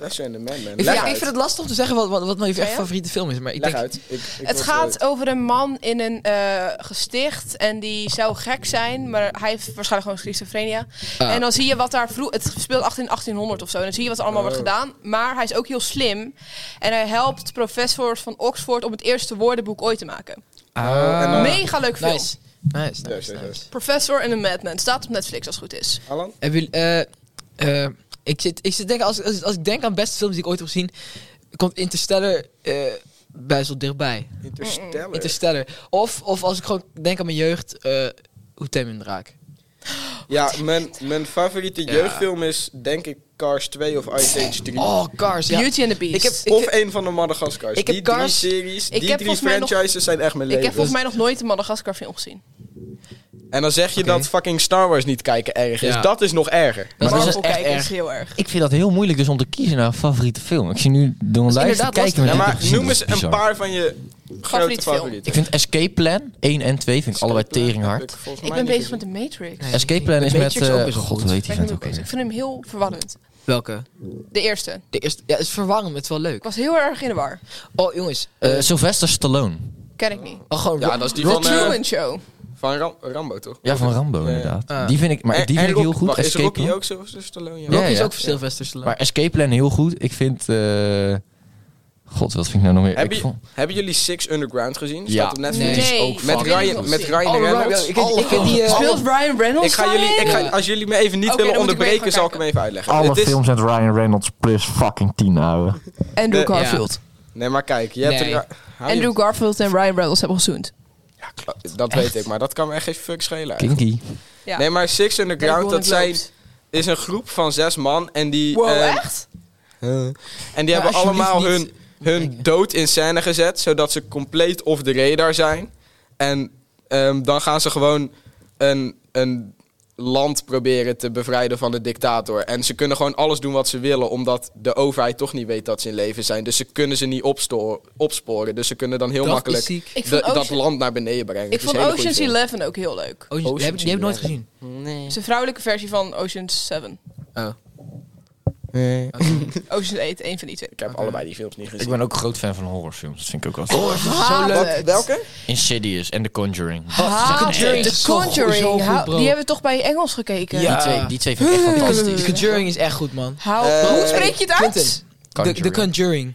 Speaker 3: Fashion and the Man, man.
Speaker 4: Ik
Speaker 3: Leg
Speaker 4: vind, ja, ik
Speaker 3: uit.
Speaker 4: vind het lastig om te zeggen wat, wat, wat mijn
Speaker 1: Ja,
Speaker 4: echt
Speaker 1: ja?
Speaker 4: favoriete film is, maar ik
Speaker 3: Leg
Speaker 4: denk...
Speaker 3: uit. Ik- ik eh,
Speaker 1: Het
Speaker 3: wil
Speaker 1: gaat over een man in een eh, gesticht en die zou gek zijn, maar hij heeft waarschijnlijk gewoon schizofrenia.
Speaker 4: Ah.
Speaker 1: En dan zie je wat daar vroeg, het speelt achter in 1800 of zo, en dan zie je wat er allemaal wordt
Speaker 3: Oh.
Speaker 1: gedaan. Maar hij is ook heel slim en hij helpt professors van Oxford om het eerste woordenboek ooit te maken.
Speaker 4: Oh,
Speaker 3: Ah. en dan-
Speaker 1: Mega leuk film.
Speaker 4: Nice. Nice,
Speaker 3: Yes,
Speaker 4: nice,
Speaker 3: yes,
Speaker 4: nice.
Speaker 1: Professor en the Madman staat op Netflix als het goed is.
Speaker 3: Alan?
Speaker 4: Hebben jullie... eh, eh, ik zit, ik zit denken, als, als, als ik denk aan beste films die ik ooit heb gezien, komt Interstellar eh best wel dichtbij. Mm,
Speaker 3: Interstellar.
Speaker 4: Interstellar. Of, of als ik gewoon denk aan mijn jeugd, eh Hoe Tem en Draak.
Speaker 3: Ja, mijn, mijn favoriete jeugdfilm is denk ik Cars 2 of Ice Age 3.
Speaker 4: Oh, Cars, ja.
Speaker 1: Beauty and the Beast.
Speaker 4: Ik heb-
Speaker 3: of een van de Madagaskars.
Speaker 4: ik heb
Speaker 3: die
Speaker 4: Cars-
Speaker 3: drie series,
Speaker 1: ik
Speaker 3: die
Speaker 1: heb
Speaker 3: drie
Speaker 1: volgens mij nog-
Speaker 3: franchises zijn echt
Speaker 1: Ik
Speaker 3: mijn leven.
Speaker 1: heb volgens mij nog nooit een Madagaskar film gezien.
Speaker 3: En dan zeg je
Speaker 4: Oké.
Speaker 3: dat fucking Star Wars niet kijken erg is.
Speaker 4: Ja.
Speaker 3: Dat is nog erger.
Speaker 4: Maar dat is
Speaker 1: Marvel
Speaker 4: echt
Speaker 1: kijken
Speaker 4: erg.
Speaker 1: is heel erg.
Speaker 2: Ik vind dat heel moeilijk dus om te kiezen naar een favoriete film. Ik zie nu door een lijst te
Speaker 4: inderdaad
Speaker 2: kijken.
Speaker 4: lastig.
Speaker 2: met die
Speaker 3: Ja,
Speaker 2: ik
Speaker 3: maar
Speaker 2: heb gezien.
Speaker 3: noem
Speaker 2: Dat is
Speaker 3: eens
Speaker 2: bizar.
Speaker 3: een paar van je
Speaker 1: Favoriete
Speaker 3: grote
Speaker 1: film.
Speaker 3: favorieten.
Speaker 2: Ik vind Escape Plan 1 en 2 vind ik allebei teringhard.
Speaker 1: Ik ben bezig met de Matrix.
Speaker 4: Nee.
Speaker 2: Escape Plan
Speaker 4: De
Speaker 2: is met...
Speaker 4: Matrix ook
Speaker 2: eh,
Speaker 4: is wel
Speaker 2: God,
Speaker 4: goed.
Speaker 2: weet
Speaker 1: Daar ben
Speaker 2: die
Speaker 1: ik
Speaker 2: vent
Speaker 1: mee
Speaker 2: ook
Speaker 1: bezig. Ik vind
Speaker 2: weer.
Speaker 1: hem heel verwarrend.
Speaker 4: Welke?
Speaker 1: De eerste.
Speaker 4: De eerste. Ja, het is verwarrend, maar het is wel
Speaker 1: Ik
Speaker 4: leuk.
Speaker 1: was heel erg in de war.
Speaker 4: Oh, jongens.
Speaker 2: Eh, Sylvester Stallone.
Speaker 1: Ken ik niet.
Speaker 4: oh, gewoon
Speaker 3: Ja,
Speaker 4: Ro-
Speaker 3: dat is die
Speaker 1: Rod
Speaker 3: van, eh,
Speaker 1: Truman Show.
Speaker 3: van Ram- Rambo, toch?
Speaker 2: Ja, van Rambo
Speaker 3: Ja, ja.
Speaker 2: inderdaad.
Speaker 4: Ah.
Speaker 2: Die vind ik, maar
Speaker 3: En-
Speaker 2: die
Speaker 3: en
Speaker 2: vind ik heel
Speaker 3: Rocky-
Speaker 2: goed.
Speaker 3: wacht, is
Speaker 2: Escape
Speaker 3: Rocky
Speaker 2: Plan.
Speaker 3: ook zo? zo Stallone? Ja.
Speaker 2: Ja,
Speaker 4: Rocky is
Speaker 2: ja.
Speaker 4: ook voor Sylvester Stallone.
Speaker 2: Maar Escape Plan heel goed. Ik vind... eh, God, wat vind ik nou nog meer?
Speaker 3: Heb
Speaker 2: Ik
Speaker 3: je-
Speaker 2: vond-
Speaker 3: Hebben jullie Six Underground gezien?
Speaker 2: Ja.
Speaker 3: Staat op Netflix.
Speaker 4: Nee.
Speaker 1: Nee.
Speaker 3: Met
Speaker 1: Fucking
Speaker 3: Ryan,
Speaker 1: Reynolds.
Speaker 3: met Ryan
Speaker 4: Oh, Ryan-
Speaker 3: Reynolds.
Speaker 4: ik ken- ik ken die, eh,
Speaker 1: Speelt Ryan Reynolds
Speaker 3: Ik ga jullie, ik ga,
Speaker 4: Ja.
Speaker 3: als jullie me even niet
Speaker 1: Oké,
Speaker 3: willen
Speaker 1: dan moet ik weer
Speaker 3: onderbreken,
Speaker 1: gaan
Speaker 3: zal ik hem
Speaker 1: kijken.
Speaker 3: even uitleggen.
Speaker 2: Alle
Speaker 3: Het is-
Speaker 2: films met Ryan Reynolds plus fucking 10 ouwe.
Speaker 1: En
Speaker 3: Andrew
Speaker 1: Andrew
Speaker 3: Nee.
Speaker 1: Garfield.
Speaker 4: Garfield.
Speaker 3: Nee, maar kijk, je hebt
Speaker 4: Nee.
Speaker 3: er- hou je-
Speaker 1: Andrew Garfield en Ryan Reynolds hebben gezoend.
Speaker 3: Ja, klopt. Dat weet ik, maar dat kan me echt geen fuck schelen. eigenlijk.
Speaker 2: Kinky.
Speaker 1: Ja.
Speaker 3: Nee, maar Six Underground, dat zijn, is een groep van zes man en die...
Speaker 1: Wow,
Speaker 3: eh,
Speaker 1: echt?
Speaker 3: eh, en die hebben
Speaker 4: alsjeblieft
Speaker 3: allemaal
Speaker 4: niet.
Speaker 3: hun hun dood in scène gezet, zodat ze compleet off the radar zijn. En ehm, dan gaan ze gewoon een, een land proberen te bevrijden van de dictator. En ze kunnen gewoon alles doen wat ze willen, omdat de overheid toch niet weet dat ze in leven zijn. Dus ze kunnen ze niet opsto- opsporen. Dus ze kunnen dan heel
Speaker 4: Dat
Speaker 3: makkelijk
Speaker 4: is ziek.
Speaker 1: Ik
Speaker 3: de-
Speaker 1: vond,
Speaker 3: dat
Speaker 1: Ocean-
Speaker 3: land naar beneden brengen.
Speaker 1: ik
Speaker 3: Het is
Speaker 1: vond
Speaker 3: een hele goede
Speaker 1: Ocean's
Speaker 3: film.
Speaker 1: Eleven ook heel leuk.
Speaker 4: Oh, die heb ik, die heb ik nooit gezien.
Speaker 1: Het is een vrouwelijke versie van Ocean's 7.
Speaker 4: Oh,
Speaker 1: Ocean's 8, één van die twee.
Speaker 3: Ik heb allebei die films niet
Speaker 2: Ik
Speaker 3: gezien.
Speaker 2: ben ook groot fan van horrorfilms. Dat vind ik ook altijd.
Speaker 1: Haat het.
Speaker 2: Insidious en The Conjuring.
Speaker 1: Haat
Speaker 4: The Conjuring
Speaker 1: het.
Speaker 4: is
Speaker 1: Ah, The
Speaker 4: zo goed,
Speaker 1: Conjuring.
Speaker 4: zo goed,
Speaker 1: Hou-
Speaker 4: bro.
Speaker 1: die hebben we toch bij Engels gekeken?
Speaker 4: Ja.
Speaker 2: Die,
Speaker 3: Ah.
Speaker 2: twee, die twee vind ik echt fantastisch.
Speaker 4: The Conjuring is echt goed, man.
Speaker 1: Hou-
Speaker 3: Eh,
Speaker 1: hoe spreek je het uit?
Speaker 4: Quentin. De, de
Speaker 2: Conjuring.
Speaker 4: Conjuring.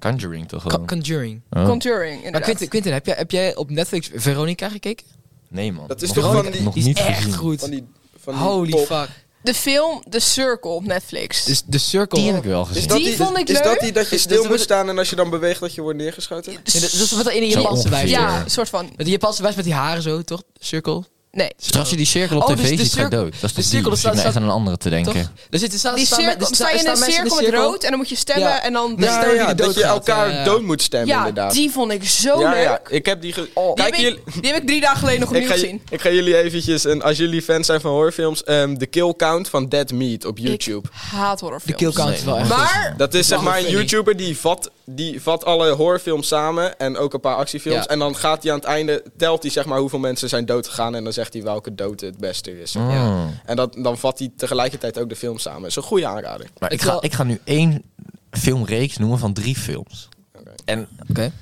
Speaker 2: Conjuring toch
Speaker 4: Co-
Speaker 2: gewoon?
Speaker 4: Conjuring.
Speaker 2: Oh.
Speaker 1: Conjuring,
Speaker 4: Maar
Speaker 1: inderdaad.
Speaker 4: Quinten, Quinten heb, jij, heb jij op Netflix Veronica gekeken?
Speaker 2: Nee man.
Speaker 3: Dat is
Speaker 2: Nog
Speaker 3: toch
Speaker 2: nooit-
Speaker 3: van die-
Speaker 2: nog
Speaker 4: Die is
Speaker 2: niet
Speaker 4: echt
Speaker 2: gezien.
Speaker 4: goed.
Speaker 3: Van die, van die
Speaker 4: Holy
Speaker 3: pop.
Speaker 4: fuck.
Speaker 1: De film The Circle op Netflix.
Speaker 4: Dus de cirkel.
Speaker 2: Die heb ik wel
Speaker 3: Is
Speaker 2: gezien.
Speaker 3: dat
Speaker 1: Die vond ik
Speaker 3: is
Speaker 1: leuk.
Speaker 3: dat die dat je
Speaker 4: Is-
Speaker 3: stil
Speaker 4: Dus dat-
Speaker 3: moet staan en als je dan beweegt dat je wordt neergeschoten?
Speaker 4: Ja, dat dat is wat dat ene
Speaker 2: Zo
Speaker 4: Japanse wijf.
Speaker 2: ongeveer.
Speaker 4: Ja.
Speaker 1: ja, een soort van...
Speaker 4: Die Japanse wijf met die haren zo, toch? Cirkel.
Speaker 1: Nee.
Speaker 2: Dus als je die cirkel op
Speaker 4: Oh,
Speaker 2: tv
Speaker 4: dus de
Speaker 2: ziet, ga je
Speaker 4: cirkel-
Speaker 2: dood. Dat is
Speaker 4: de
Speaker 2: toch
Speaker 4: cirkel
Speaker 2: die? Ik
Speaker 4: staat-
Speaker 2: zit nou echt
Speaker 4: staat-
Speaker 2: aan een andere te denken.
Speaker 4: Toch? Er zitten staan,
Speaker 1: Die
Speaker 4: staan,
Speaker 1: cirkel,
Speaker 4: er
Speaker 1: sta je in een cirkel met rood en dan moet je stemmen
Speaker 4: Ja.
Speaker 1: en dan...
Speaker 4: Nee,
Speaker 1: ja,
Speaker 4: stel je die dood
Speaker 3: dat je
Speaker 4: gaat,
Speaker 3: elkaar
Speaker 4: ja, ja.
Speaker 3: dood moet stemmen,
Speaker 1: ja,
Speaker 3: inderdaad.
Speaker 1: die vond ik zo
Speaker 3: ja,
Speaker 1: leuk.
Speaker 3: ja, ik heb die... Ge-
Speaker 1: Die, heb
Speaker 3: Kijken jullie...
Speaker 1: ik, die heb ik drie dagen geleden nog
Speaker 3: Ik
Speaker 1: opnieuw
Speaker 3: ga,
Speaker 1: gezien.
Speaker 3: ik ga jullie eventjes, en als jullie fan zijn van horrorfilms, ehm The Kill Count van Dead Meat op YouTube.
Speaker 1: Ik haat
Speaker 4: De
Speaker 1: horrorfilms.
Speaker 4: kill count
Speaker 2: Nee,
Speaker 4: is wel
Speaker 2: man.
Speaker 4: echt
Speaker 1: Maar
Speaker 3: Dat is zeg
Speaker 4: Wow,
Speaker 3: maar een
Speaker 4: vind ik.
Speaker 3: YouTuber die vat, die vat alle horrorfilms samen en ook een paar actiefilms.
Speaker 4: Ja.
Speaker 3: En dan gaat hij aan het einde, telt hij zeg maar hoeveel mensen zijn doodgegaan en dan zegt hij welke dood het beste is.
Speaker 2: Mm.
Speaker 3: Ja. En dat, dan vat hij tegelijkertijd ook de film samen. Dat is een goede aanrader.
Speaker 2: Maar ik
Speaker 4: Ik
Speaker 2: ga,
Speaker 4: wil-
Speaker 2: ik ga nu één filmreeks noemen van drie films.
Speaker 3: Oké.
Speaker 2: En
Speaker 4: Oké.